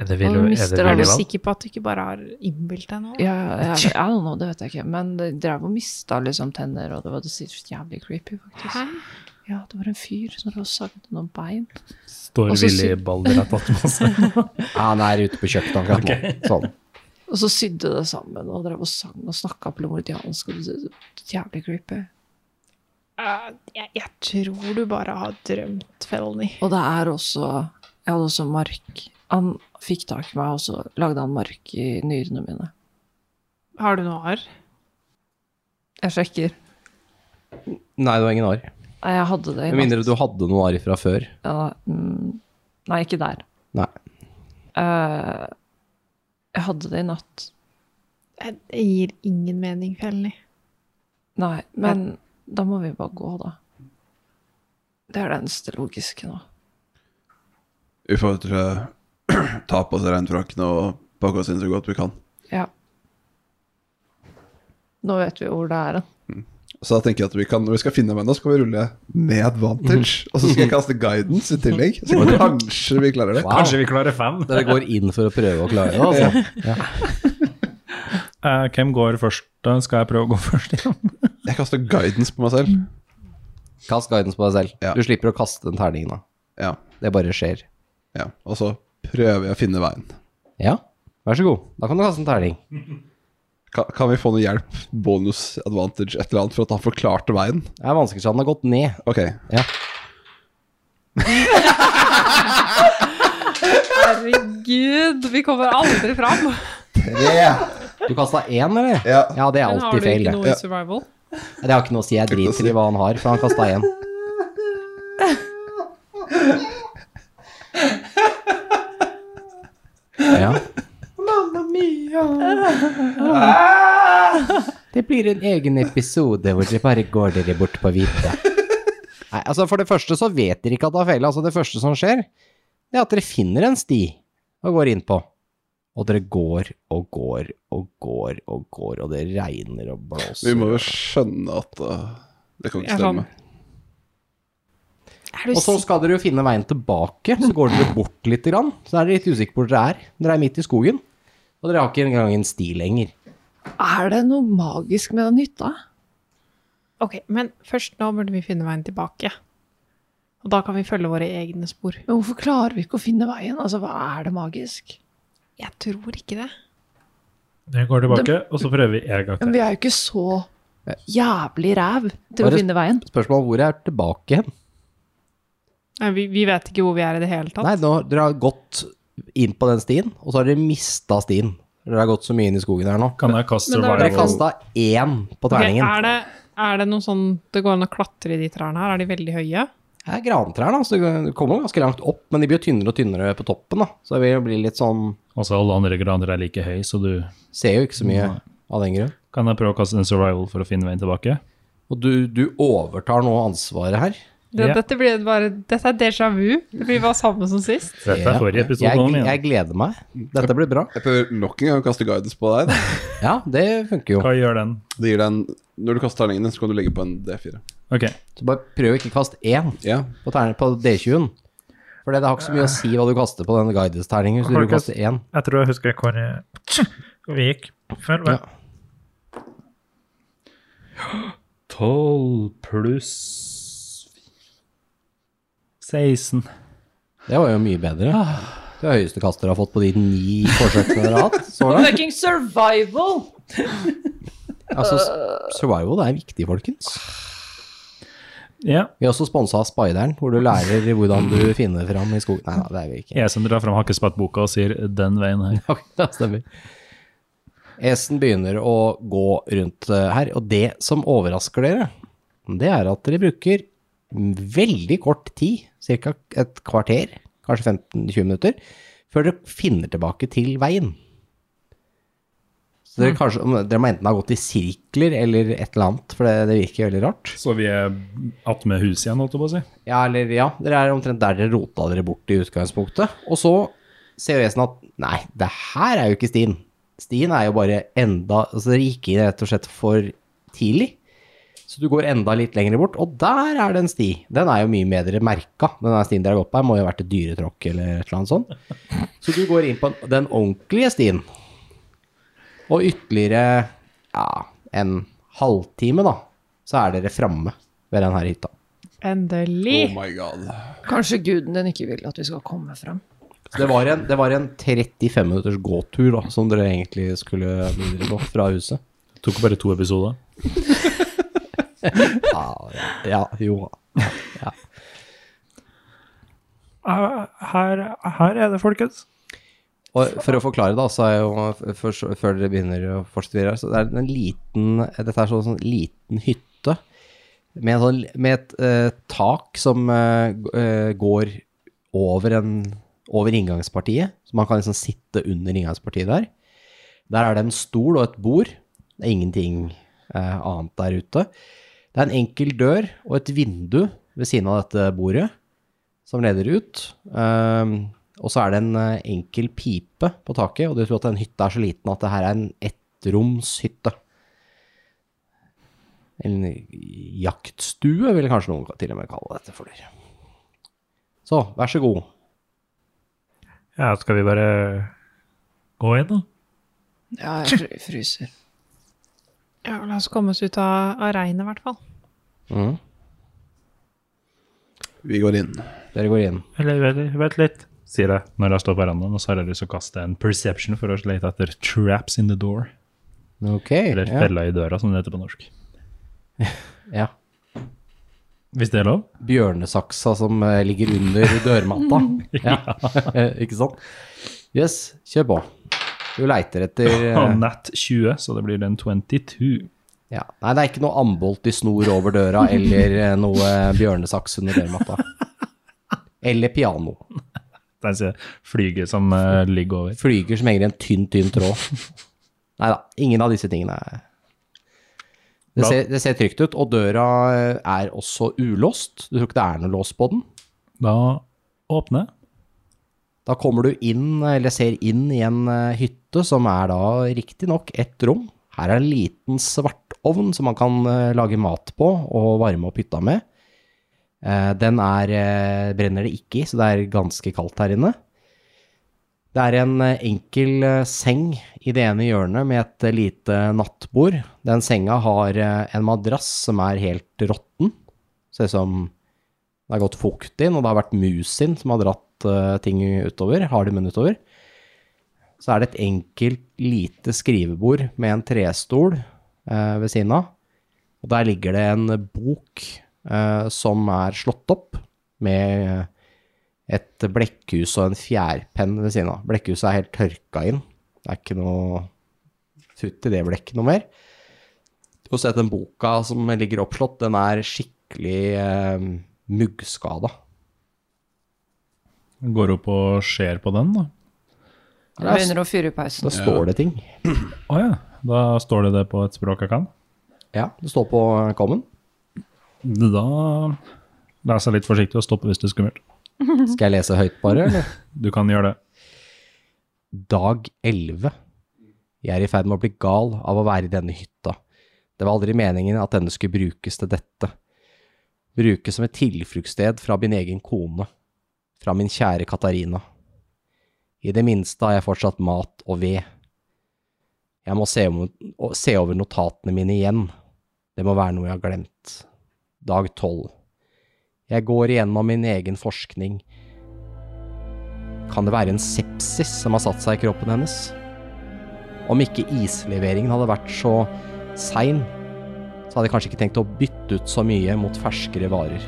[SPEAKER 12] Er det
[SPEAKER 5] Og mister
[SPEAKER 10] Er du
[SPEAKER 5] alle
[SPEAKER 12] Willevald?
[SPEAKER 10] sikker på at du ikke bare har innbilt deg noe?
[SPEAKER 5] Ja, jeg, I don't know, det vet jeg ikke. Men de drev og mista liksom tenner, og det var det sikkert jævlig creepy, faktisk.
[SPEAKER 10] Hæ?
[SPEAKER 5] Ja, det var en fyr som drev og sagde noen bein.
[SPEAKER 6] Står
[SPEAKER 5] Og så sy-
[SPEAKER 6] Willy Balderat Atmos?
[SPEAKER 11] Ja, han er ute på kjøkkenet akkurat nå. Sånn.
[SPEAKER 5] Og så sydde det sammen, og drev og sang og snakka plomordiansk. og det- det- det- Jævlig creepy.
[SPEAKER 10] Eh, Jeg, jeg tror du bare har drømt, Felny.
[SPEAKER 5] Og det er også Jeg hadde også mark. Han fikk tak i meg, og så lagde han mark i nyrene mine.
[SPEAKER 10] Har du noe arr?
[SPEAKER 5] Jeg sjekker.
[SPEAKER 11] Nei, det var ingen arr.
[SPEAKER 5] Nei, jeg hadde det i
[SPEAKER 11] Med mindre du hadde noe arr fra før.
[SPEAKER 5] Ja, mm, nei, ikke der.
[SPEAKER 11] Nei.
[SPEAKER 5] Eh, jeg hadde det i natt.
[SPEAKER 10] Eh, Det gir ingen mening, Felny.
[SPEAKER 5] Nei, men da må vi bare gå, da. Det er det eneste logiske nå.
[SPEAKER 4] Vi får tror jeg, eh, [clears throat] ta på oss regnfrakkene og pakke oss inn så godt vi kan.
[SPEAKER 5] Ja. Nå vet vi hvor det er hen.
[SPEAKER 4] Så da tenker jeg at vi kan, når vi skal finne dem ennå, skal vi rulle med advantage. Og så skal jeg kaste guidance i tillegg, så kanskje vi klarer det.
[SPEAKER 11] Wow.
[SPEAKER 6] Kanskje vi klarer fem?
[SPEAKER 11] Dere går inn for å prøve å klare det, altså.
[SPEAKER 6] Eh, hvem går først? da? Skal jeg prøve å gå først?
[SPEAKER 4] Jeg kaster guidance på meg selv.
[SPEAKER 11] Kast guidance på deg selv.
[SPEAKER 4] Ja.
[SPEAKER 11] Du slipper å kaste den terningen, da.
[SPEAKER 4] Ja,
[SPEAKER 11] Det bare skjer.
[SPEAKER 4] ja. Og så prøver jeg å finne veien.
[SPEAKER 11] Ja, vær så god. Da kan du kaste en terning.
[SPEAKER 4] Kan, kan vi få noe hjelp, bonus, advantage, et eller annet, for at han forklarte veien?
[SPEAKER 11] Det er vanskelig, så han har gått ned.
[SPEAKER 4] Ok.
[SPEAKER 11] Ja.
[SPEAKER 8] Herregud, vi kommer aldri fram. [laughs]
[SPEAKER 11] Du kasta én, eller?
[SPEAKER 4] Ja.
[SPEAKER 11] Ja, det er
[SPEAKER 10] Men har
[SPEAKER 11] alltid
[SPEAKER 10] du
[SPEAKER 11] feil.
[SPEAKER 10] ikke
[SPEAKER 11] det.
[SPEAKER 10] noe i survival?
[SPEAKER 11] Det har ikke noe å si. Jeg driter i hva han har, for han kasta én. Ja. Mamma mia. Det blir en egen episode hvor dere bare går dere bort på vidda. Nei, altså for det første så vet dere ikke at det har feila. Altså det første som skjer, det er at dere finner en sti og går inn på. Og dere går og går og går og går, og det regner og blåser.
[SPEAKER 10] Vi må jo skjønne at
[SPEAKER 4] eh,
[SPEAKER 10] uh, det kan
[SPEAKER 8] Jeg
[SPEAKER 10] ikke
[SPEAKER 8] er
[SPEAKER 10] stemme.
[SPEAKER 8] sånn- Er du
[SPEAKER 11] Og så
[SPEAKER 8] sikker?
[SPEAKER 11] skal dere jo finne veien tilbake, så går dere bort litt, grann. så er dere litt usikre på hvor dere er. Dere er midt i skogen, og dere har ikke engang en sti lenger.
[SPEAKER 7] Er det noe magisk med den hytta?
[SPEAKER 8] Ok, men først nå burde vi finne veien tilbake. Og da kan vi følge våre egne spor.
[SPEAKER 7] Men hvorfor klarer vi ikke å finne veien? Altså, hva er det magisk?
[SPEAKER 8] Jeg tror ikke det.
[SPEAKER 12] Jeg går tilbake, og så prøver vi en gang
[SPEAKER 7] Men
[SPEAKER 12] til.
[SPEAKER 7] vi er jo ikke så jævlig ræv til
[SPEAKER 11] Bare-
[SPEAKER 7] å finne veien.
[SPEAKER 11] Spørsmålet hvor er tilbake hen?
[SPEAKER 8] Nei, vi, vi vet ikke hvor vi er i det hele tatt.
[SPEAKER 11] Nei, nå, dere har gått inn på den stien, og så har dere mista stien. Dere har gått så mye inn i skogen her nå.
[SPEAKER 6] Kan jeg kaste
[SPEAKER 7] Men da er
[SPEAKER 11] Dere
[SPEAKER 6] survival?
[SPEAKER 11] kasta én på
[SPEAKER 8] Ok,
[SPEAKER 11] terningen.
[SPEAKER 8] er, det, er det noe sånn det går an å klatre i de trærne her? Er de veldig høye?
[SPEAKER 11] Det er grantrær, da, så du kommer ganske langt opp, men de blir jo tynnere og tynnere på toppen. da. Så det vil jo bli litt sånn
[SPEAKER 6] Altså, alle andre grader er like høy, så du
[SPEAKER 11] Ser jo ikke så mye av den grunn.
[SPEAKER 6] Kan jeg prøve å kaste en survival for å finne veien tilbake?
[SPEAKER 11] Og du, du overtar nå ansvaret her.
[SPEAKER 8] Det,
[SPEAKER 6] Ja.
[SPEAKER 8] Dette blir bare Dette er déjà vu. Det blir bare samme som sist.
[SPEAKER 6] Dette er forrige episode nå,
[SPEAKER 11] Jeg,
[SPEAKER 6] men
[SPEAKER 11] jeg gleder meg. Dette blir bra.
[SPEAKER 10] Jeg prøver nok en gang å kaste guidance på deg.
[SPEAKER 11] Ja, det funker jo.
[SPEAKER 6] hva gjør den?
[SPEAKER 10] Det gir deg en, når du kaster terningen din, så kan du legge på en D4.
[SPEAKER 6] Ok,
[SPEAKER 11] Så bare prøv å ikke kaste én
[SPEAKER 10] Ja.
[SPEAKER 11] på, terning- på D20-en. For det har ikke så mye å si hva du kaster på den guides-terningen. Hvis du
[SPEAKER 12] Har
[SPEAKER 11] driver
[SPEAKER 12] du
[SPEAKER 11] og kaster én.
[SPEAKER 12] Jeg tror jeg husker hvor jeg- hvor vi gikk før. Men
[SPEAKER 11] Ja.
[SPEAKER 6] 12 pluss 16.
[SPEAKER 11] Det var jo mye bedre.
[SPEAKER 12] Ah.
[SPEAKER 11] Det høyeste kastet dere har fått på de ni forsøkene dere har hatt så langt.
[SPEAKER 5] Fucking survival!
[SPEAKER 11] Altså,
[SPEAKER 12] Ah.
[SPEAKER 11] s- survival det er viktig, folkens.
[SPEAKER 6] Ja,
[SPEAKER 11] Vi har også sponsa Spideren, hvor du lærer hvordan du finner fram i skogen. Nei da, det er vi ikke.
[SPEAKER 6] jeg som drar fram hakkespettboka og sier 'den veien her'.
[SPEAKER 11] [laughs] Ok, det stemmer. Esen begynner å gå rundt eh, her, og det som overrasker dere, det er at dere bruker veldig kort tid, ca. et kvarter, kanskje 15-20 minutter, før dere finner tilbake til veien. Så dere, kanskje, om- dere må enten ha gått i sirkler eller et eller annet, for det, det virker veldig rart.
[SPEAKER 6] [laughs] Så vi er attmed huset igjen, holdt jeg på å si.
[SPEAKER 11] Ja, eller ja, dere er omtrent der dere rota dere bort i utgangspunktet. Og så ser jo Esen at nei, det her er jo ikke stien. Stien er jo bare enda Altså dere gikk inn rett og slett for tidlig. Så du går enda litt lenger bort, og der er det en sti. Den er jo mye bedre merka. Den her stien dere har gått på her, må jo ha vært et dyretråkk eller et eller annet sånt. Så du går inn på den ordentlige stien. Og ytterligere ja, en halvtime, da, så er dere framme ved den her hytta.
[SPEAKER 10] Oh
[SPEAKER 8] Endelig.
[SPEAKER 10] my god.
[SPEAKER 7] Kanskje guden din ikke vil at vi skal komme frem.
[SPEAKER 11] Så det var en, det var en 35 minutters gåtur da, som dere egentlig skulle videre på fra huset.
[SPEAKER 6] Tok bare to episoder.
[SPEAKER 11] Ja, ja jo.
[SPEAKER 12] her, Ah, her- her er det, folkens.
[SPEAKER 11] Og for å forklare da, så er jo, for, før dere begynner å fortsette videre, så det er en liten, dette er sånn, sånn liten hytte med, en sånn, med et eh, tak som eh, g- eh, går over, en, over inngangspartiet, så man kan liksom sitte under inngangspartiet der. Der er det en stol og et bord. Det er ingenting eh, annet der ute. Det er en enkel dør og et vindu ved siden av dette bordet som leder ut. Ehm, og så er det en eh, enkel pipe på taket, og du tror at den hytta er så liten at det her er en ettromshytte. En jaktstue vil kanskje noen til og med kalle dette for dere. Så, vær så god.
[SPEAKER 12] Ja, skal vi bare gå inn, da?
[SPEAKER 7] Ja, jeg fry- fryser.
[SPEAKER 8] Ja, la oss komme oss ut av, av regnet, i hvert fall.
[SPEAKER 11] Mhm.
[SPEAKER 10] Vi går inn.
[SPEAKER 11] Dere går inn.
[SPEAKER 12] Eller vent- vent litt.
[SPEAKER 6] Sier jeg når jeg står på verandaen, og så har jeg lyst til å kaste en perception for å lete etter 'traps in the door'.
[SPEAKER 11] Ok.
[SPEAKER 6] Eller
[SPEAKER 11] Ja.
[SPEAKER 6] fella i døra, som det heter på norsk.
[SPEAKER 11] ja.
[SPEAKER 6] Hvis det er lov?
[SPEAKER 11] Bjørnesaksa som eh, ligger under dørmatta. ja. Eh, Ikke sant? Yes, kjør på. Du leiter etter eh,
[SPEAKER 6] Og nett 20, så det blir en 22.
[SPEAKER 11] Ja. Nei, det er ikke noe ambolt i snor over døra, eller eh, noe bjørnesaks under dørmatta. Eller piano.
[SPEAKER 6] Den sier flyget som eh, ligger over.
[SPEAKER 11] Flyger som henger i en tynn, tynn tråd. Nei da, ingen av disse tingene er Det ser, det ser trygt ut, og døra eh, er også ulåst. Du tror ikke det er noe lås på den.
[SPEAKER 6] Da åpner jeg.
[SPEAKER 11] Da kommer du inn, eller ser inn i en eh, hytte som er da riktignok ett rom. Her er en liten svartovn som man kan eh, lage mat på og varme opp hytta med. Eh, Den er, eh, brenner det ikke i, så det er ganske kaldt her inne. Det er en eh, enkel eh, seng i det ene hjørnet med et eh, lite nattbord. Den senga har eh, en madrass som er helt råtten. Ser ut som det har gått fukt inn, og det har vært mus inn som har dratt eh, ting utover, hardimen utover. Så er det et enkelt, lite skrivebord med en trestol eh, ved siden av. Og der ligger det en bok eh, som er slått opp med eh, et blekkhus og en fjærpenn ved siden av. Blekkhuset er helt tørka inn. Det er ikke noe futt i det blekket noe mer. Og så er den boka som ligger oppslått, den er skikkelig eh, muggskada.
[SPEAKER 6] Går opp og ser på den, da.
[SPEAKER 5] Det begynner å fyre i pausen.
[SPEAKER 11] Da står det ting.
[SPEAKER 6] Å ja. Da står det det på et språk jeg kan.
[SPEAKER 11] Ja, det står på common.
[SPEAKER 6] Da leser jeg litt forsiktig og stopper hvis det er skummelt.
[SPEAKER 11] Skal jeg lese høyt bare, eller?
[SPEAKER 6] Du kan gjøre det.
[SPEAKER 11] Dag 11. Jeg er i ferd med å bli gal av å være i denne hytta. Det var aldri meningen at denne skulle brukes til dette. Brukes som et tilfluktssted fra min egen kone. Fra min kjære Katarina. I det minste har jeg fortsatt mat og ved. Jeg må se, om, å- se over notatene mine igjen. Det må være noe jeg har glemt. Dag 12. Jeg går igjennom min egen forskning. Kan det være en sepsis som har satt seg i kroppen hennes? Om ikke isleveringen hadde vært så sein, så hadde jeg kanskje ikke tenkt å bytte ut så mye mot ferskere varer.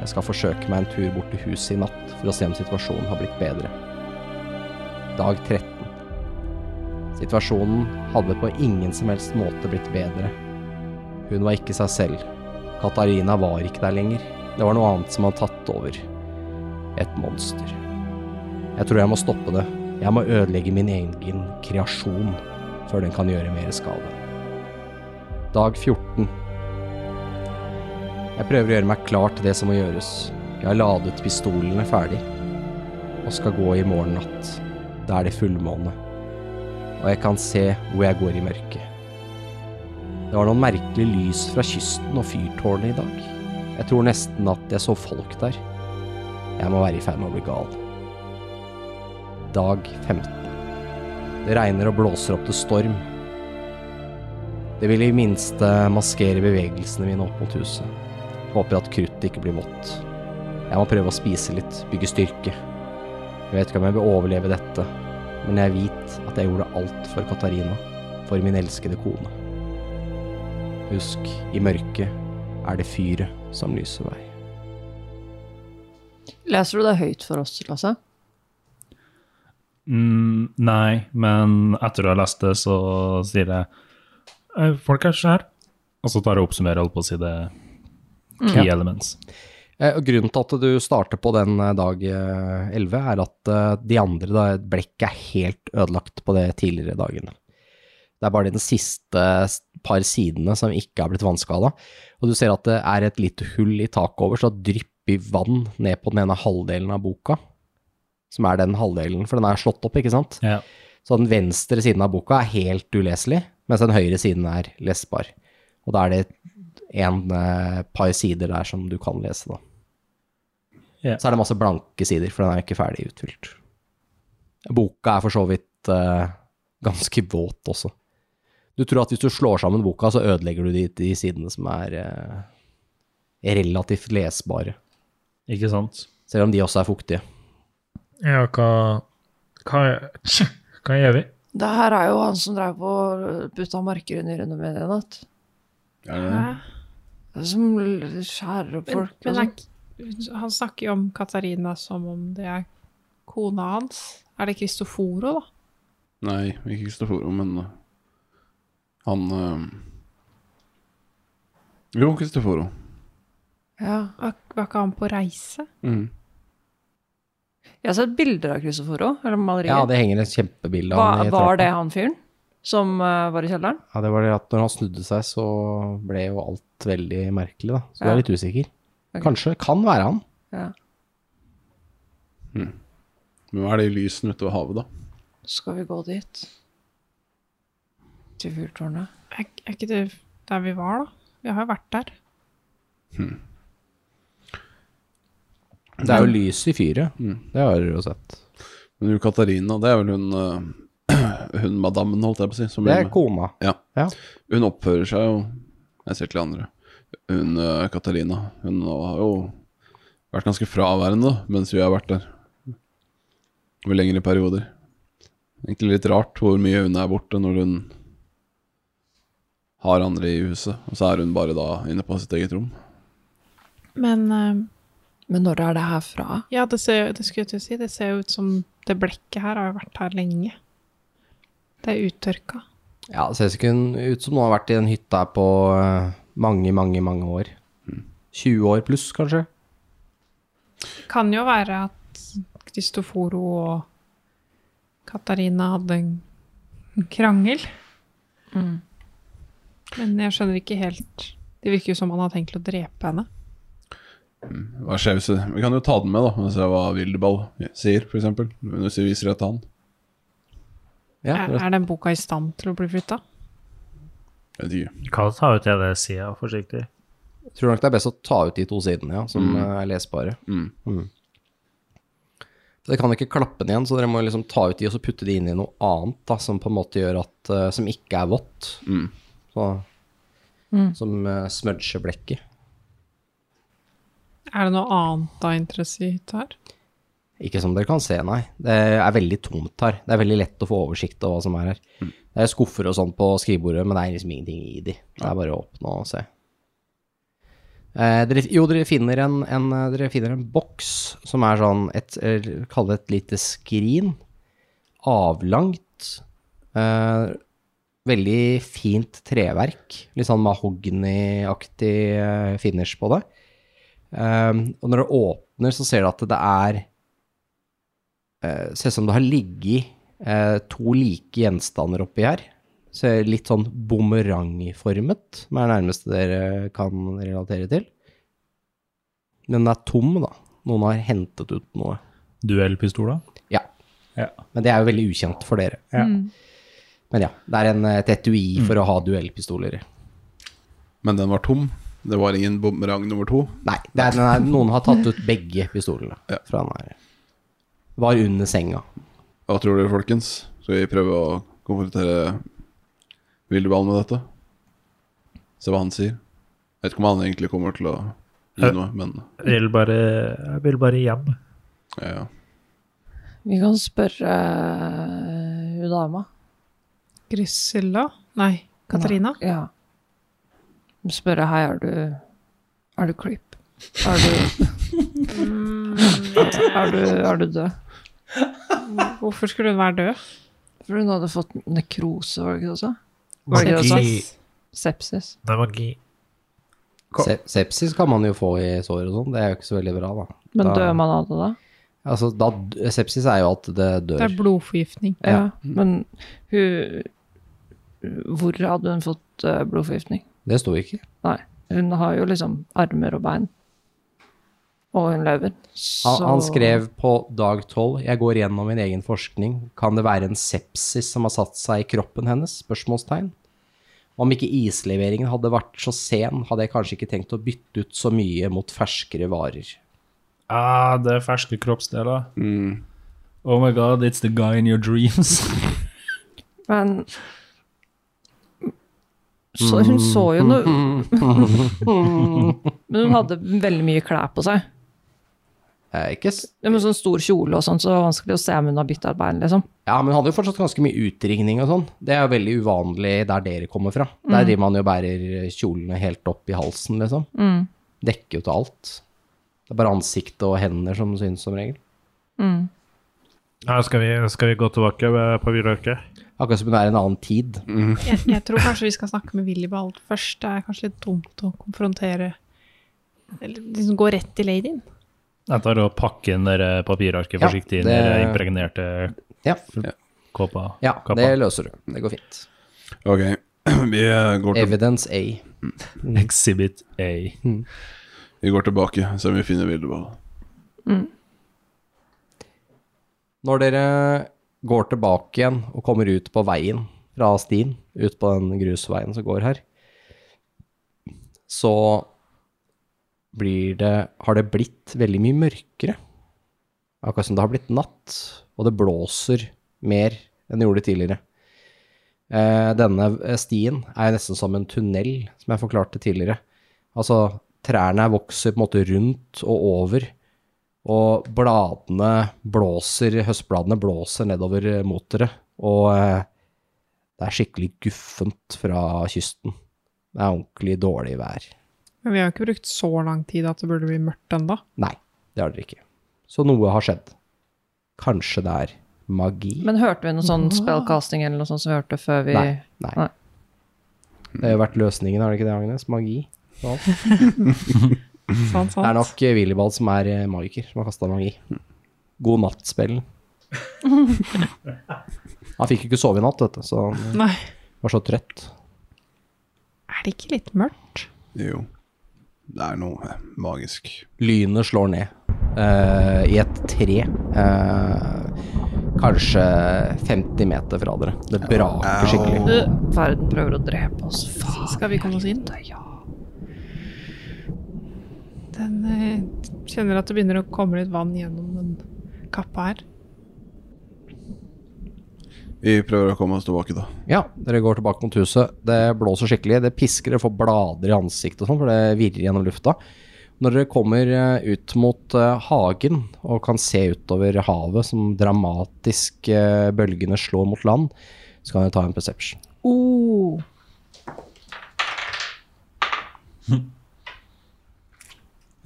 [SPEAKER 11] Jeg skal forsøke meg en tur bort til huset i natt for å se om situasjonen har blitt bedre. Dag 13. Situasjonen hadde på ingen som helst måte blitt bedre. Hun var ikke seg selv. Katarina var ikke der lenger. Det var noe annet som hadde tatt over. Et monster. Jeg tror jeg må stoppe det. Jeg må ødelegge min egen kreasjon før den kan gjøre mer skade. Dag 14. Jeg prøver å gjøre meg klar til det som må gjøres. Jeg har ladet pistolene ferdig og skal gå i morgen natt. Da er det fullmåne, og jeg kan se hvor jeg går i mørket. Det var noen merkelige lys fra kysten og fyrtårnet i dag. Jeg tror nesten at jeg så folk der. Jeg må være i ferd med å bli gal. Dag 15. Det regner og blåser opp til storm. Det vil i minste maskere bevegelsene mine opp mot huset. Håper at kruttet ikke blir vått. Jeg må prøve å spise litt, bygge styrke. Jeg vet ikke om jeg vil overleve dette, men jeg vet at jeg gjorde alt for Katarina, for min elskede kone. Husk, i mørket er det fyret som lyser vei.
[SPEAKER 5] Leser du det høyt for oss, Lasse?
[SPEAKER 6] Mm, nei, men etter å ha lest det, så sier jeg «Eh, Folk er skjær. Og så tar jeg og oppsummerer, holdt på å si det,
[SPEAKER 12] Mm.
[SPEAKER 6] key elements.
[SPEAKER 11] Eh, og Grunnen til at du starter på den eh, dag eh, 11, er at eh, de andre, da, blekket er helt ødelagt på det tidligere dagene. Det er bare den siste s- par sidene som ikke er blitt vannskada. Og du ser at det er et lite hull i taket over, så det drypper vann ned på den ene halvdelen av boka. Som er den halvdelen, for den er slått opp, ikke sant?
[SPEAKER 6] Ja.
[SPEAKER 11] Så den venstre siden av boka er helt uleselig, mens den høyre siden er lesbar. Og da er det en eh, par sider der som du kan lese, da.
[SPEAKER 6] Ja.
[SPEAKER 11] Så er det masse blanke sider, for den er ikke ferdig utfylt. Boka er for så vidt eh, ganske våt også. Du tror at hvis du slår sammen boka, så ødelegger du de, de sidene som er eh, relativt lesbare.
[SPEAKER 6] Ikke sant?
[SPEAKER 11] Selv om de også er fuktige.
[SPEAKER 12] Ja, hva Hva, er- [laughs] hva gjør vi?
[SPEAKER 5] Det her er jo han som drev på og putta marker i nyrene mine i natt. Som l- skjærer opp
[SPEAKER 8] Men,
[SPEAKER 5] folk.
[SPEAKER 8] men er,
[SPEAKER 5] og sånn.
[SPEAKER 8] ikke- han snakker jo om Katarina som om det er kona hans. Er det Kristoforo, da?
[SPEAKER 4] Nei, ikke Kristoforo, men uh, han eh, Jo, Kristoforo.
[SPEAKER 5] ja.
[SPEAKER 8] Var, var ikke han på reise?
[SPEAKER 4] Mm.
[SPEAKER 5] Jeg har sett bilder av Kristoforo, eller malerier.
[SPEAKER 11] Ja, det henger et kjempebilde av
[SPEAKER 5] Hva,
[SPEAKER 11] den i
[SPEAKER 5] var
[SPEAKER 11] trappa.
[SPEAKER 5] det han fyren? som eh, var i kjelleren.
[SPEAKER 11] Ja, det var det at når han snudde seg, så ble jo alt veldig merkelig, da. Så du
[SPEAKER 5] Ja.
[SPEAKER 11] er litt usikker.
[SPEAKER 5] Ok.
[SPEAKER 11] Kanskje. Kan være han.
[SPEAKER 5] Ja.
[SPEAKER 4] Men hva er det i lysene utover havet, da?
[SPEAKER 5] Skal vi gå dit? Til fyrtårnet?
[SPEAKER 8] Er, er ikke det der vi var, da? Vi har jo vært der.
[SPEAKER 11] Det er jo lys i fyret. Det har du jo sett.
[SPEAKER 4] Men hun Katarina, det er vel hun eh, [clears throat] Hun madammen, holdt jeg på å si. som
[SPEAKER 11] Det
[SPEAKER 4] blir
[SPEAKER 11] er
[SPEAKER 4] med.
[SPEAKER 11] kona.
[SPEAKER 4] Ja.
[SPEAKER 11] Ja.
[SPEAKER 4] Hun oppfører seg jo Jeg ser til de andre. Hun eh, Katarina, hun har jo vært ganske fraværende da, mens vi har vært der. Over lengre perioder. Egentlig litt rart hvor mye hun er borte når hun har andre i huset, og så er hun bare da inne på sitt eget rom.
[SPEAKER 8] Men eh,
[SPEAKER 5] Men når er det her fra?
[SPEAKER 8] ja, det, ser, det skulle jeg til å si. Det ser jo ut som det blekket her har jo vært her lenge. Det er uttørka.
[SPEAKER 11] Ja, det ser ikke ut som noen har vært i den hytta her på eh, mange, mange, mange år.
[SPEAKER 4] Mm.
[SPEAKER 11] 20 år pluss, kanskje.
[SPEAKER 8] Kan jo være at Kristoforo og Katarina hadde en krangel.
[SPEAKER 5] Mm.
[SPEAKER 8] Men jeg skjønner ikke helt Det virker jo som han har tenkt å drepe henne.
[SPEAKER 4] Hva skjer hvis Vi kan jo ta den med, da, og se hva Vildeball sier, f.eks. Hvis vi viser det til han.
[SPEAKER 8] er, er den boka i stand til å bli flytta?
[SPEAKER 4] Jeg vet ikke.
[SPEAKER 12] Kan ta ut ene sida forsiktig.
[SPEAKER 11] Jeg tror nok det er best å ta ut de to sidene, ja, som eh, er lesbare.
[SPEAKER 4] Mm.
[SPEAKER 11] Mm. Så Dere kan ikke klappe den igjen, så dere må liksom ta ut de og så putte de inn i noe annet da, som på en måte gjør at eh, Som ikke er vått.
[SPEAKER 4] Mm.
[SPEAKER 11] Så,
[SPEAKER 8] Mm.
[SPEAKER 11] Som eh, smudger blekket.
[SPEAKER 8] Er det noe annet av interesse i hytta her?
[SPEAKER 11] Ikke som dere kan se, nei. Det er veldig tomt her. Det er veldig lett å få oversikt over hva som er her. Det er skuffer og sånn på skrivebordet, men det er liksom ingenting i de. Det er bare å åpne og se. Eh, dere, jo, dere finner en, en, eh, dere finner en boks som er sånn et, eh, Kall det et lite skrin. Avlangt. Eh, veldig fint treverk. Litt sånn mahogniaktig eh, finish på det. Eh, og når det åpner, så ser du at det er eh, Ser ut som det har ligget eh, to like gjenstander oppi her. Ser litt sånn bumerangformet, som er det nærmeste dere kan relatere til. Men den er tom, da. Noen har hentet ut noe.
[SPEAKER 6] Duellpistola?
[SPEAKER 11] Ja.
[SPEAKER 6] Ja.
[SPEAKER 11] Men det er jo veldig ukjent for dere.
[SPEAKER 8] Mm.
[SPEAKER 11] Men ja, det er en, eh, et etui for å ha duellpistoler i.
[SPEAKER 4] Men den var tom. Det var ingen bumerang nummer to.
[SPEAKER 11] Nei, det er, den er, noen har tatt ut begge pistolene
[SPEAKER 4] Ja.
[SPEAKER 11] fra den her. Var under senga.
[SPEAKER 4] Hva tror dere, folkens? Skal vi prøve å konfrontere Vildeball med dette? Se hva han sier. Jeg vet ikke om han egentlig kommer til å gi
[SPEAKER 12] Ja.
[SPEAKER 4] noe, men
[SPEAKER 12] Jeg vil bare, jeg vil bare hjem.
[SPEAKER 4] ja, ja.
[SPEAKER 5] Vi kan spørre eh, hun dama.
[SPEAKER 8] Grisilla? Nei, Katarina?
[SPEAKER 5] Ja. Spørre hei, er du Er du creep? Er du Mm, Er du, er du død?
[SPEAKER 8] Hvorfor skulle hun være død?
[SPEAKER 5] For hun hadde fått nekrose, var det ikke det også? Var det ikke det
[SPEAKER 12] Magi.
[SPEAKER 5] også? Sepsis.
[SPEAKER 12] Det er magi. Kom.
[SPEAKER 11] Se sepsis kan man jo få i sår og sånn, det er jo ikke så veldig bra, da.
[SPEAKER 5] Men
[SPEAKER 11] Da-
[SPEAKER 5] dør man av det da?
[SPEAKER 11] Altså, da, d- sepsis er jo at det
[SPEAKER 8] Det
[SPEAKER 11] dør.
[SPEAKER 8] er blodforgiftning.
[SPEAKER 5] Ja. Men hun Hvor hadde hun fått eh, blodforgiftning?
[SPEAKER 11] Det sto ikke.
[SPEAKER 5] Nei. Hun har jo liksom armer og bein. Og hun lever. Så
[SPEAKER 11] Han, han skrev på dag tolv Jeg går gjennom min egen forskning. Kan det være en sepsis som har satt seg i kroppen hennes? Spørsmålstegn. Om ikke isleveringen hadde vært så sen, hadde jeg kanskje ikke tenkt å bytte ut så mye mot ferskere varer.
[SPEAKER 6] Ah, det er ferske kroppsdeler.
[SPEAKER 4] Mm.
[SPEAKER 6] Oh my god, it's the guy in your dreams.
[SPEAKER 5] Men så, Hun så jo
[SPEAKER 11] [laughs]
[SPEAKER 5] noe Men hun hadde veldig mye klær på seg.
[SPEAKER 11] Eh, ikke s
[SPEAKER 5] Ja, Med sånn stor kjole og sånn, så det var vanskelig å se om hun har bytta bein, liksom.
[SPEAKER 11] Ja, men han hadde jo fortsatt ganske mye utringning og sånn. Det er jo veldig uvanlig der dere kommer fra. Der driver man jo og bærer kjolene helt opp i halsen, liksom. Dekker jo til alt. Det er bare ansiktet og hender som synes som regel.
[SPEAKER 12] [laughs] Ja, skal, vi, skal vi gå tilbake ved- på Villorket?
[SPEAKER 11] Akkurat som hun er i en annen tid.
[SPEAKER 8] Jeg, jeg tror kanskje vi skal snakke med Willy Ball først. Det er kanskje litt dumt å konfrontere Eller liksom gå rett til ladyen.
[SPEAKER 6] Jeg tar og pakker inn det papirarket
[SPEAKER 11] Ja,
[SPEAKER 6] forsiktig inn i
[SPEAKER 11] det-
[SPEAKER 6] den impregnerte
[SPEAKER 11] Ja,
[SPEAKER 6] kåpa.
[SPEAKER 11] ja
[SPEAKER 6] kappa.
[SPEAKER 11] det løser du. Det går fint.
[SPEAKER 4] Ok, [clears throat] vi eh, går til
[SPEAKER 11] Evidence A.
[SPEAKER 6] Exhibit A.
[SPEAKER 4] Vi går tilbake, så vi finner Vildevold.
[SPEAKER 11] Når dere går tilbake igjen og kommer ut på veien fra stien, ut på den grusveien som går her, så blir det, har det blitt veldig mye mørkere. Akkurat som det har blitt natt, og det blåser mer enn det gjorde tidligere. Eh, denne stien er nesten som en tunnel, som jeg forklarte tidligere. Altså, trærne vokser på en måte rundt og over, og bladene blåser, høstbladene blåser nedover mot dere, og eh, det er skikkelig guffent fra kysten. Det er ordentlig dårlig vær.
[SPEAKER 8] Men vi har jo ikke brukt så lang tid at det burde bli mørkt ennå.
[SPEAKER 11] Nei, det har dere ikke. Så noe har skjedd. Kanskje det er magi?
[SPEAKER 5] Men hørte vi noe sånn spellcasting eller noe sånt som vi hørte før vi
[SPEAKER 11] Nei, nei.
[SPEAKER 5] Nei.
[SPEAKER 11] Det har jo vært løsningen, har det ikke det, Agnes? Magi? og alt.
[SPEAKER 8] Sant, sant?
[SPEAKER 11] Det er nok eh, Willibald som er eh, magiker, som har kasta magi. God natt-spillen. Han fikk jo ikke sove i natt, vet du, så han
[SPEAKER 8] Nei.
[SPEAKER 11] var så trøtt.
[SPEAKER 8] Er det ikke litt mørkt?
[SPEAKER 4] Jo, det er noe eh, magisk.
[SPEAKER 11] Lynet slår ned eh, i et tre. eh, kanskje 50 meter fra dere. Det braker skikkelig.
[SPEAKER 5] Øh, Verden prøver å drepe oss. Faen.
[SPEAKER 8] Skal vi komme oss inn? Ja. Den eh, kjenner at det begynner å komme litt vann gjennom den kappa her.
[SPEAKER 4] Vi prøver å komme oss tilbake, da.
[SPEAKER 11] Ja, dere går tilbake mot huset. Det blåser skikkelig. Det pisker, dere får blader i ansiktet og sånn, for det virrer gjennom lufta. Når dere kommer eh, ut mot eh, hagen og kan se utover havet som dramatisk eh, bølgene slår mot land, så kan dere ta en perception.
[SPEAKER 8] Oh.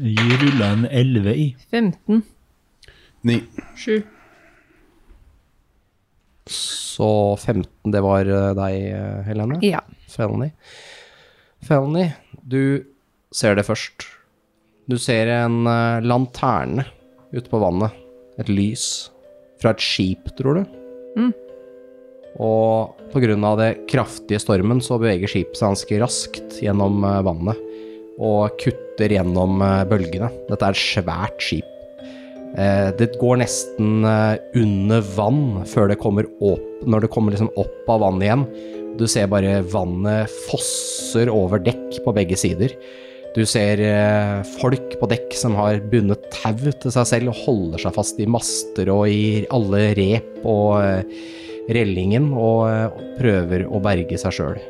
[SPEAKER 6] Jeg rulla en 11 i.
[SPEAKER 5] 15.
[SPEAKER 4] Ni.
[SPEAKER 8] Sju.
[SPEAKER 11] Så 15, det var eh, deg, eh, Helene?
[SPEAKER 5] Ja.
[SPEAKER 11] Felony. Felony, du ser det først. Du ser en eh, lanterne ute på vannet. Et lys fra et skip, tror du.
[SPEAKER 5] Mm.
[SPEAKER 11] Og på grunn av det kraftige stormen så beveger skipet seg ganske raskt gjennom eh, vannet og kutter gjennom eh, bølgene. Dette er et svært skip. Eh, Det går nesten eh, under vann før det kommer opp, når det kommer liksom opp av vannet igjen. Du ser bare vannet fosser over dekk på begge sider. Du ser eh, folk på dekk som har bundet tau til seg selv og holder seg fast i master og i alle rep og eh, rellingen og eh, prøver å berge seg sjøl.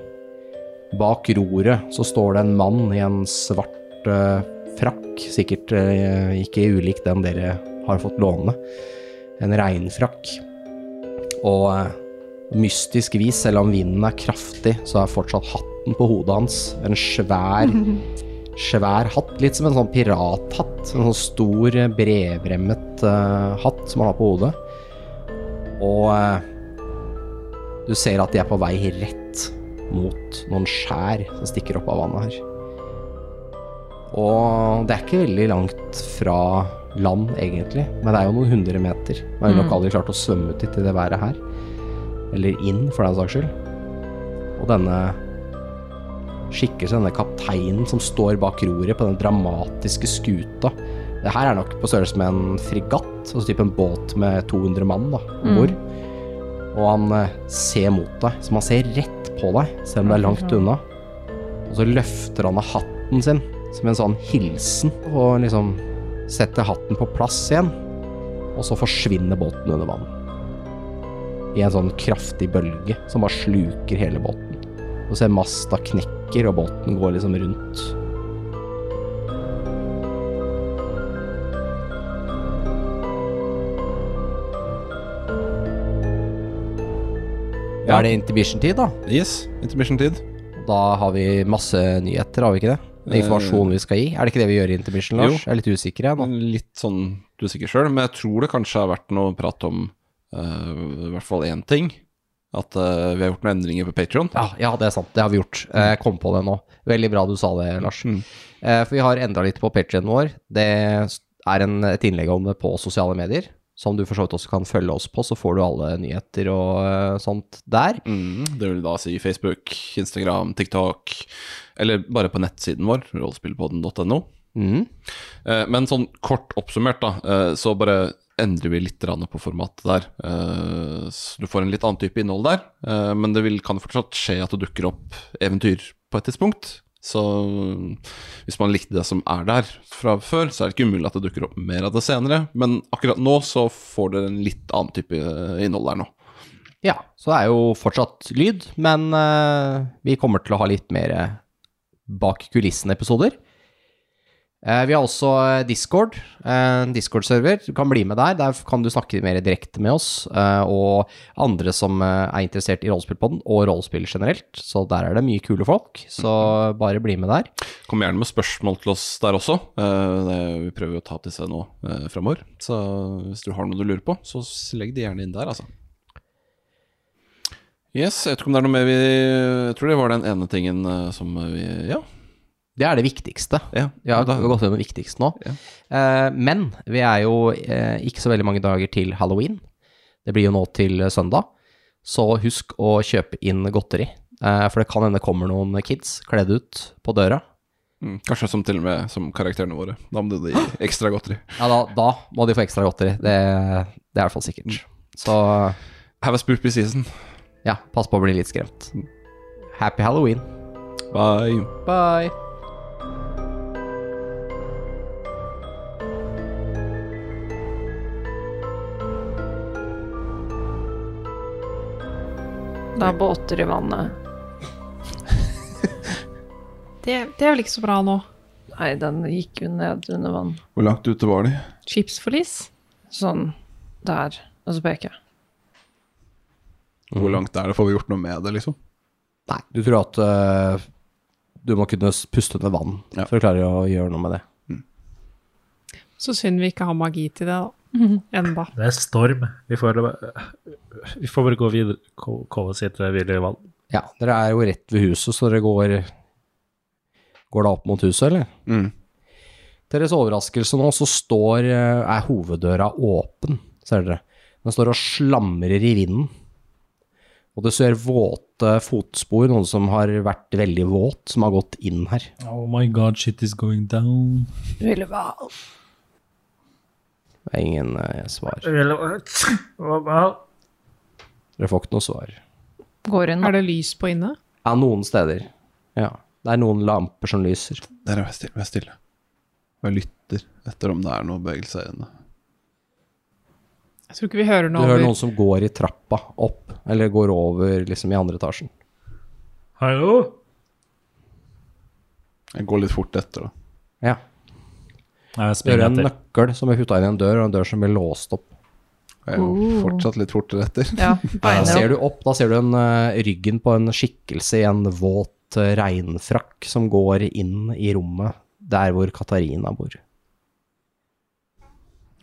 [SPEAKER 11] Bak roret så står det en mann i en svart eh, frakk, sikkert eh, ikke ulik den dere har fått låne. En regnfrakk. Og eh, mystisk vis, selv om vinden er kraftig, så er fortsatt hatten på hodet hans en svær svær hatt, litt som en sånn pirathatt. En sånn stor, eh, bredbremmet eh, hatt som han har på hodet. Og eh, du ser at de er på vei rett mot noen skjær som stikker opp av vannet her. Og det er ikke veldig langt fra land, egentlig, men det er jo noen hundre meter. Man har jo nok aldri klart å svømme ut dit i det været her. Eller inn, for den saks skyld. Og denne skikkelsen, denne kapteinen som står bak roret på den dramatiske skuta. Det her er nok på størrelse med en fregatt, altså type en båt med 200 mann da, om bord. Og han eh, ser mot deg, som han ser rett på deg, selv om det er langt unna. Og så løfter han av hatten sin, som en sånn hilsen, og liksom setter hatten på plass igjen. Og så forsvinner båten under vann. I en sånn kraftig bølge som bare sluker hele båten. Og ser masta knekker, og båten går liksom rundt. Ja, er det intermission-tid, da?
[SPEAKER 4] Yes, intermission-tid.
[SPEAKER 11] Da har vi masse nyheter, har vi ikke det? Det er Informasjon vi skal gi. Er det ikke det vi gjør i intermission, Lars?
[SPEAKER 4] Jo.
[SPEAKER 11] Jeg er litt usikker, jeg nå.
[SPEAKER 4] Litt sånn du er sikker sjøl, men jeg tror det kanskje har vært noe prat om eh, i hvert fall én ting. At eh, vi har gjort noen endringer på Patron.
[SPEAKER 11] Ja, ja, det er sant. Det har vi gjort. Eh, Jeg kom på det nå. Veldig bra du sa det, Lars. Eh, For vi har endra litt på patrionen vår. Det er en, et innlegg om det på sosiale medier. som du for så vidt også kan følge oss på, så får du alle nyheter og eh, sånt der.
[SPEAKER 4] Mm, det vil da si Facebook, Instagram, TikTok, eller bare på nettsiden vår, rollespillpodden.no.
[SPEAKER 11] Mm.
[SPEAKER 4] Eh, Men sånn kort oppsummert, da, eh, så bare endrer vi litt grann på formatet der. Eh, så Du får en litt annen type innhold der, eh, men det vil, kan fortsatt skje at det dukker opp eventyr på et tidspunkt. Så mm, hvis man likte det som er der fra før, så er det ikke umulig at det dukker opp mer av det senere. Men akkurat nå så får dere en litt annen type eh, innhold der nå.
[SPEAKER 11] Ja, så det er jo fortsatt lyd, men eh, vi kommer til å ha litt mer eh, bak kulissene-episoder. Eh, vi har også eh, Discord, eh, en Discord-server. Du kan bli med der. Der kan du snakke mer direkte med oss eh, og andre som eh, er interessert i rollespillpodden og rollespill generelt. Så der er det mye kule folk, så bare bli med der.
[SPEAKER 4] Kom gjerne med spørsmål til oss der også. Eh, det, vi prøver jo å ta opp disse nå uh, framover. Så hvis du har noe du lurer på, så s- legg det gjerne inn der, altså. Yes, jeg vet ikke om det er noe mer vi Jeg tror det var den ene tingen eh, som vi Ja.
[SPEAKER 11] Det er det viktigste.
[SPEAKER 4] Ja,
[SPEAKER 11] Vi har gått gjennom det viktigste nå. Eh, men vi er jo eh, ikke så veldig mange dager til halloween. Det blir jo nå til søndag. Så husk å kjøpe inn godteri. eh, for det kan hende det kommer noen kids kledd ut på døra.
[SPEAKER 4] Mm, kanskje som til og med som karakterene våre. Da må du gi ekstra godteri.
[SPEAKER 11] Ja, da, da må de få ekstra godteri. Det, det er i hvert fall sikkert. Så
[SPEAKER 4] Have a spoopy season.
[SPEAKER 11] ja, pass på å bli litt skremt. Happy halloween.
[SPEAKER 4] Bye.
[SPEAKER 11] Bye.
[SPEAKER 5] Det er båter i vannet.
[SPEAKER 8] Det, det er vel ikke så bra nå.
[SPEAKER 5] Nei, den gikk jo ned under vann.
[SPEAKER 4] Hvor langt ute var de?
[SPEAKER 8] Skipsforlis?
[SPEAKER 5] Sånn. Der. Og så peker jeg.
[SPEAKER 4] Hvor langt er det? Får vi gjort noe med det, liksom?
[SPEAKER 11] Nei, du tror at eh, du må kunne s- puste under vann
[SPEAKER 4] Ja.
[SPEAKER 11] for å klare å gjøre noe med det.
[SPEAKER 8] Så synd vi ikke har magi til det, da. Enda.
[SPEAKER 12] Det er storm. Vi får, vi får bare gå videre. ko- Komme oss hit videre i vann.
[SPEAKER 11] Ja, dere er jo rett ved huset, så dere går Går da opp mot huset, eller?
[SPEAKER 4] Mm.
[SPEAKER 11] Deres overraskelse nå, så står eh, Er hoveddøra åpen, ser dere. Den står og slamrer i vinden. Og du ser våte fotspor, noen som har vært veldig våt, som har gått inn her.
[SPEAKER 6] Oh my god, shit is going down.
[SPEAKER 5] Villeval.
[SPEAKER 11] Det er ingen eh, svar.
[SPEAKER 12] Hva
[SPEAKER 11] Dere får ikke noe svar.
[SPEAKER 5] Går inn.
[SPEAKER 8] Er det lys på inne?
[SPEAKER 11] Ja, noen steder. Ja. Det er noen lamper som lyser.
[SPEAKER 4] Der er jeg stille. Vær stille. Og jeg lytter etter om det er noe bevegelse her inne.
[SPEAKER 8] Jeg tror ikke vi hører
[SPEAKER 11] Du
[SPEAKER 8] noe
[SPEAKER 11] hører
[SPEAKER 8] over.
[SPEAKER 11] noen som går i trappa opp, eller går over liksom i andre etasjen.
[SPEAKER 12] Hallo?
[SPEAKER 4] Jeg går litt fort etter, da.
[SPEAKER 11] Ja.
[SPEAKER 6] Jeg
[SPEAKER 11] Det er
[SPEAKER 6] springer
[SPEAKER 11] en
[SPEAKER 6] etter.
[SPEAKER 11] nøkkel som er putta inn i en dør, og en dør som blir låst opp.
[SPEAKER 4] Jeg er jo fortsatt litt fortere etter.
[SPEAKER 5] Ja,
[SPEAKER 11] Da
[SPEAKER 5] beiner opp.
[SPEAKER 11] ser du opp, da ser du en, eh, ryggen på en skikkelse i en våt eh, regnfrakk som går inn i rommet der hvor Katarina bor.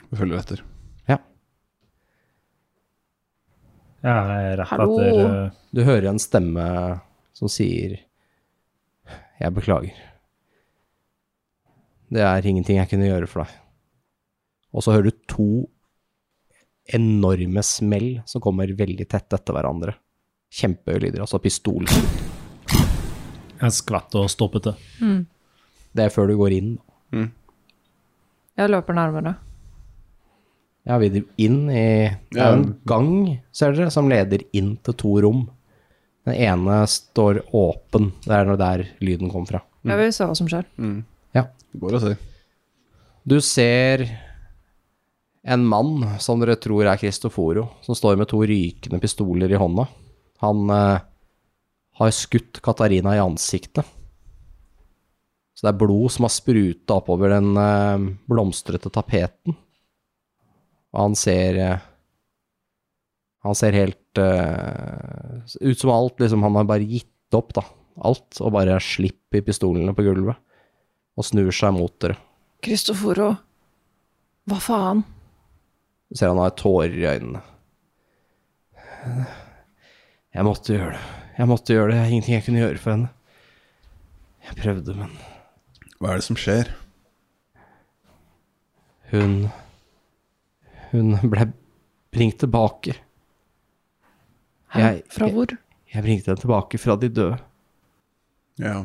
[SPEAKER 4] Jeg følger etter.
[SPEAKER 6] Ja, jeg er rett
[SPEAKER 5] Hallo?
[SPEAKER 6] etter eh,
[SPEAKER 11] Du hører en stemme som sier Jeg beklager. Det er ingenting jeg kunne gjøre for deg. Og så hører du to enorme smell som kommer veldig tett etter hverandre. Kjempehøye lyder, altså pistol.
[SPEAKER 6] Jeg skvetter og stopper til.
[SPEAKER 11] Det er før du går inn.
[SPEAKER 5] Jeg løper nærmere.
[SPEAKER 11] Ja, vi driver inn i Det er en gang, ser dere, som leder inn til to rom. Den ene står åpen. Det er når der lyden kom fra.
[SPEAKER 5] Jeg vil se hva som skjer.
[SPEAKER 4] Går og ser.
[SPEAKER 11] Du ser en mann som dere tror er Cristoforo, som står med to rykende pistoler i hånda. Han eh, har skutt Katarina i ansiktet. Så det er blod som har spruta oppover den eh, blomstrete tapeten. Og han ser eh, Han ser helt eh, ut som alt, liksom. Han har bare gitt opp, da. Alt. Og bare slipper pistolene på gulvet. Og snur seg mot dere.
[SPEAKER 5] Kristoforo. Hva faen?
[SPEAKER 11] Du ser han har tårer i øynene. Jeg måtte gjøre det. Jeg måtte gjøre det. Det er ingenting jeg kunne gjøre for henne. Jeg prøvde, men
[SPEAKER 4] Hva er det som skjer?
[SPEAKER 11] hun
[SPEAKER 1] Hun ble bringt tilbake.
[SPEAKER 7] Hæ? Fra hvor?
[SPEAKER 1] Jeg, jeg bringte henne tilbake fra de døde.
[SPEAKER 4] Ja.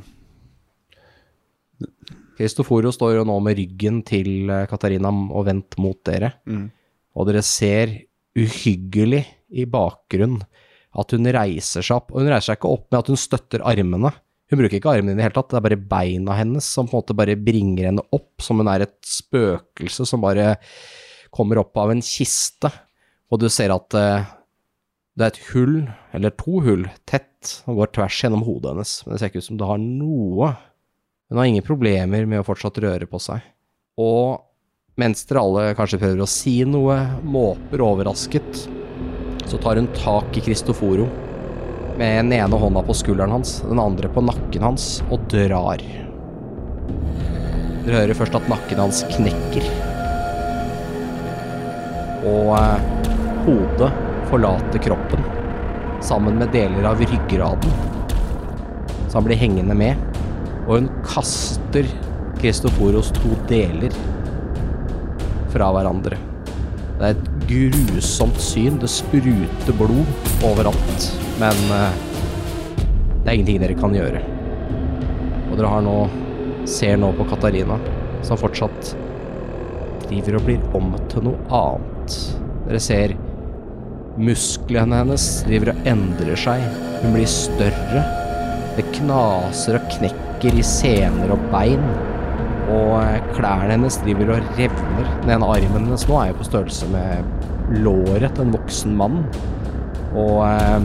[SPEAKER 11] Kristoforo står jo nå med ryggen til eh, Katarina og vendt mot dere.
[SPEAKER 4] Mm.
[SPEAKER 11] Og dere ser uhyggelig i bakgrunnen at hun reiser seg opp. Og hun reiser seg ikke opp med at hun støtter armene. Hun bruker ikke armene i det hele tatt, det er bare beina hennes som på en måte bare bringer henne opp, som hun er et spøkelse som bare kommer opp av en kiste. Og du ser at eh, det er et hull, eller to hull, tett, som går tvers gjennom hodet hennes. Men det ser ikke ut som det har noe hun har ingen problemer med å fortsatt røre på seg. Og mens dere alle kanskje prøver å si noe, måper overrasket, så tar hun tak i Kristoforo med den ene hånda på skulderen hans, den andre på nakken hans, og drar. Dere hører først at nakken hans knekker. Og eh, hodet forlater kroppen, sammen med deler av ryggraden. Så han blir hengende med og hun kaster Kristoforos to deler fra hverandre. Det er et grusomt syn. Det spruter blod overalt. Men eh, det er ingenting dere kan gjøre. Og dere har nå ser nå på Katarina, som fortsatt driver og blir om til noe annet. Dere ser musklene hennes driver og endrer seg. Hun blir større. Det knaser og knekker i sener og bein. Og eh, klærne hennes driver og revner. Den ene armen hennes nå er jo på størrelse med låret til en voksen mann. Og eh,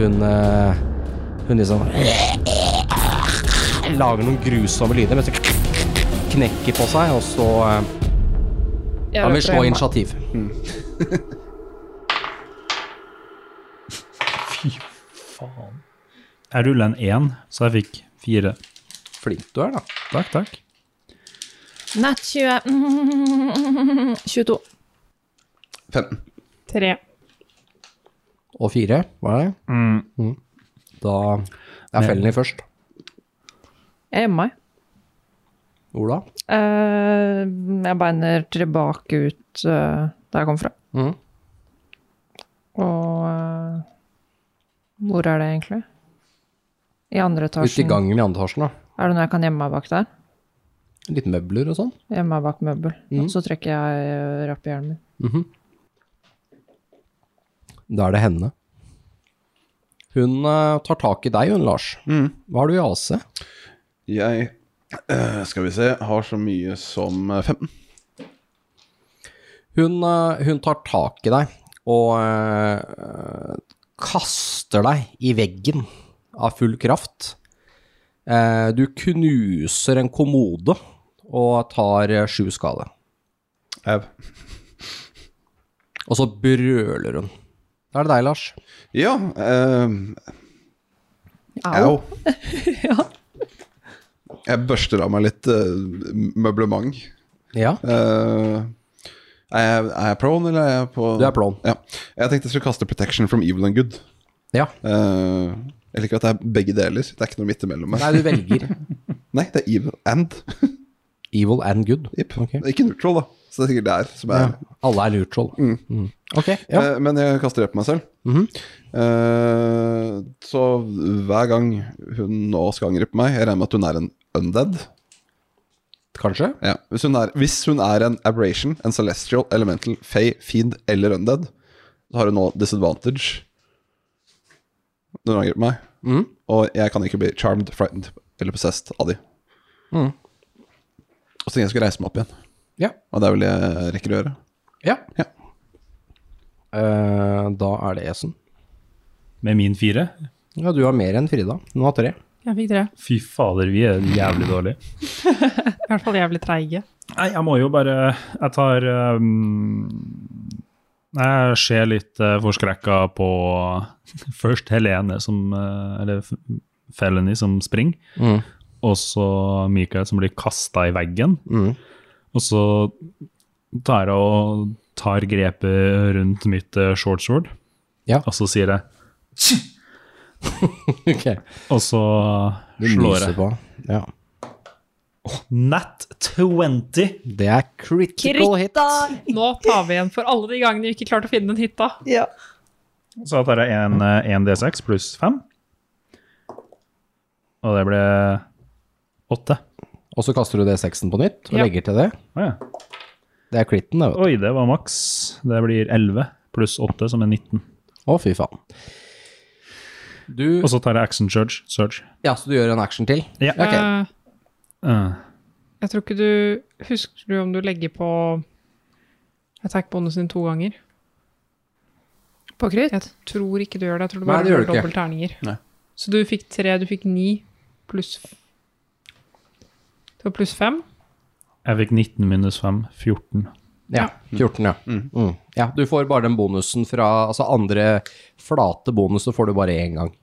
[SPEAKER 11] hun eh, Hun liksom [clears throat] Lager noen grusomme lyder mens hun knekker på seg, og så eh,
[SPEAKER 5] Jeg
[SPEAKER 11] Han vil
[SPEAKER 5] roper
[SPEAKER 11] slå
[SPEAKER 5] hjemme.
[SPEAKER 11] initiativ.
[SPEAKER 6] Faen. Jeg ruller en én, så jeg fikk fire.
[SPEAKER 11] Flink du er, da.
[SPEAKER 6] Takk, takk.
[SPEAKER 5] Nat [laughs] 20. Mm, 22.
[SPEAKER 4] 15.
[SPEAKER 8] Tre.
[SPEAKER 11] Og fire, var det? Mm. Da er fellen i først.
[SPEAKER 5] Jeg gjemmer meg.
[SPEAKER 11] Ola?
[SPEAKER 5] Eh, jeg beiner tilbake ut eh, der jeg kom fra.
[SPEAKER 11] Mhm.
[SPEAKER 5] Og eh, hvor er det egentlig? I andre
[SPEAKER 11] Ute i
[SPEAKER 5] etasjen.
[SPEAKER 11] gangen i andre etasjen, da.
[SPEAKER 5] Er det noe jeg kan gjemme meg bak der?
[SPEAKER 11] Litt møbler og sånn.
[SPEAKER 5] Gjemme meg bak møbel. Og så trekker jeg eh, rappehjelmen min.
[SPEAKER 11] Da er det henne. Hun eh, tar tak i deg, hun, Lars. Hva har du i AC?
[SPEAKER 4] Jeg eh, Skal vi se Har så mye som eh, 15.
[SPEAKER 11] Hun, eh, hun tar tak i deg og eh, kaster deg i veggen av full kraft. Eh, du knuser en kommode og tar eh, sju skade.
[SPEAKER 4] Au.
[SPEAKER 11] Og så brøler hun. Da er det deg, Lars.
[SPEAKER 4] Ja eh, Au. Jeg børster av meg litt eh, møblement.
[SPEAKER 11] Ja.
[SPEAKER 4] Eh, er, jeg, er jeg prone, eller er jeg på
[SPEAKER 11] Du er prone.
[SPEAKER 4] Ja. Jeg tenkte jeg skulle kaste protection from evil and good.
[SPEAKER 11] Ja.
[SPEAKER 4] Eh, jeg liker at det er begge deler. Det er ikke noe midt imellom. her.
[SPEAKER 11] Nei, du velger [laughs]
[SPEAKER 4] Nei, det er evil and.
[SPEAKER 11] evil and good.
[SPEAKER 4] Jipp.
[SPEAKER 11] Ok.
[SPEAKER 4] Det er Ikke neutral, da. Så det er sikkert der som er
[SPEAKER 11] Alle er neutral. Mm. Ok, ja. Mhm.
[SPEAKER 4] Eh, Men jeg kaster det på meg selv. Eh, så hver gang hun nå skal angripe meg, jeg regner med at hun er en undead.
[SPEAKER 11] Kanskje?
[SPEAKER 4] Ja. Hvis, hun er, hvis hun er en aberration, en celestial, elemental, fey, fiend eller undead, så har hun nå disadvantage når hun angriper meg.
[SPEAKER 10] Mm.
[SPEAKER 4] Og jeg kan ikke bli charmed, frightened eller possessed av de.
[SPEAKER 11] Mhm.
[SPEAKER 10] Mm.
[SPEAKER 4] Og så tenkte jeg skulle reise meg opp igjen.
[SPEAKER 11] Ja.
[SPEAKER 4] Og det er vel det jeg rekker å gjøre.
[SPEAKER 11] Ja.
[SPEAKER 4] Ja.
[SPEAKER 11] Eh, da er det Esen.
[SPEAKER 6] Med min fire.
[SPEAKER 11] Ja, du har mer enn Frida. Hun
[SPEAKER 6] [laughs]
[SPEAKER 11] har tre.
[SPEAKER 8] Jeg fikk tre.
[SPEAKER 6] Fy fader, vi er jævlig dårlige.
[SPEAKER 8] I hvert fall jævlig treige.
[SPEAKER 6] Nei, jeg må jo bare Jeg tar um, Jeg ser litt uh, forskrekka på [laughs] først Helene som eh, Eller F- Felony som springer,
[SPEAKER 11] Mm.
[SPEAKER 6] og så Mikael som blir kasta i veggen.
[SPEAKER 11] Mm.
[SPEAKER 6] Og så tar jeg og tar grepet rundt mitt eh, short sword,
[SPEAKER 11] Ja.
[SPEAKER 6] og så sier jeg
[SPEAKER 11] ok.
[SPEAKER 6] Og så
[SPEAKER 11] Du
[SPEAKER 6] slår
[SPEAKER 11] lyser
[SPEAKER 6] jeg.
[SPEAKER 11] på. Ja.
[SPEAKER 6] Nat 20.
[SPEAKER 11] Det er critical hit.
[SPEAKER 8] Nå tar vi igjen for alle de gangene vi ikke klarte å finne en hytta.
[SPEAKER 5] Ja.
[SPEAKER 6] Så da tar jeg en, eh, en D6 pluss 5. Og det ble 8.
[SPEAKER 11] Og så kaster du det 6-en på nytt og
[SPEAKER 6] Ja.
[SPEAKER 11] legger til det.
[SPEAKER 6] Å ja.
[SPEAKER 11] Det er critten, det. vet du.
[SPEAKER 6] Oi, det var maks. Det blir 11 pluss 8, som er 19.
[SPEAKER 11] Å, fy faen. Du
[SPEAKER 6] Og så tar jeg action surge. surge.
[SPEAKER 11] Ja, så du gjør en action til?
[SPEAKER 6] Ja.
[SPEAKER 11] Ok.
[SPEAKER 8] Eh, Jeg tror ikke du Husker du om du legger på attack-bonusen din to ganger? På krutt? Jeg tror ikke du gjør det. Jeg tror du
[SPEAKER 11] Nei,
[SPEAKER 8] bare
[SPEAKER 11] det gjør
[SPEAKER 8] gjør
[SPEAKER 11] du ikke.
[SPEAKER 8] dobbelt terninger.
[SPEAKER 4] Nei.
[SPEAKER 8] Så du fikk tre, du fikk ni pluss f- Det var pluss fem.
[SPEAKER 6] Jeg fikk 19 minus 5, 14.
[SPEAKER 11] Ja, 14, ja. Mm. ja. Du får bare den bonusen fra Altså andre flate bonus, så får du bare én gang.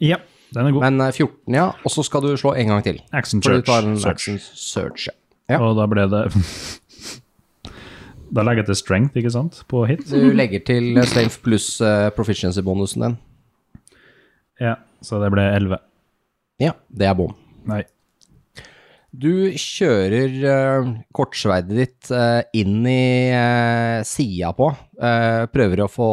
[SPEAKER 6] Ja, den er god.
[SPEAKER 11] Men eh, 14, ja. Og så skal du slå en gang til.
[SPEAKER 6] Action
[SPEAKER 11] For du
[SPEAKER 6] surge.
[SPEAKER 11] tar en
[SPEAKER 6] surge.
[SPEAKER 11] action surge. ja.
[SPEAKER 6] Og da ble det [laughs] Da legger jeg til strength, ikke sant, på hit.
[SPEAKER 11] Du legger til eh, strength pluss eh, proficiency-bonusen din.
[SPEAKER 6] Ja, så det ble 11.
[SPEAKER 11] Ja, det er bom.
[SPEAKER 6] Nei.
[SPEAKER 11] Du kjører eh, kortsverdet ditt eh, inn i uh, sida på. eh, prøver å få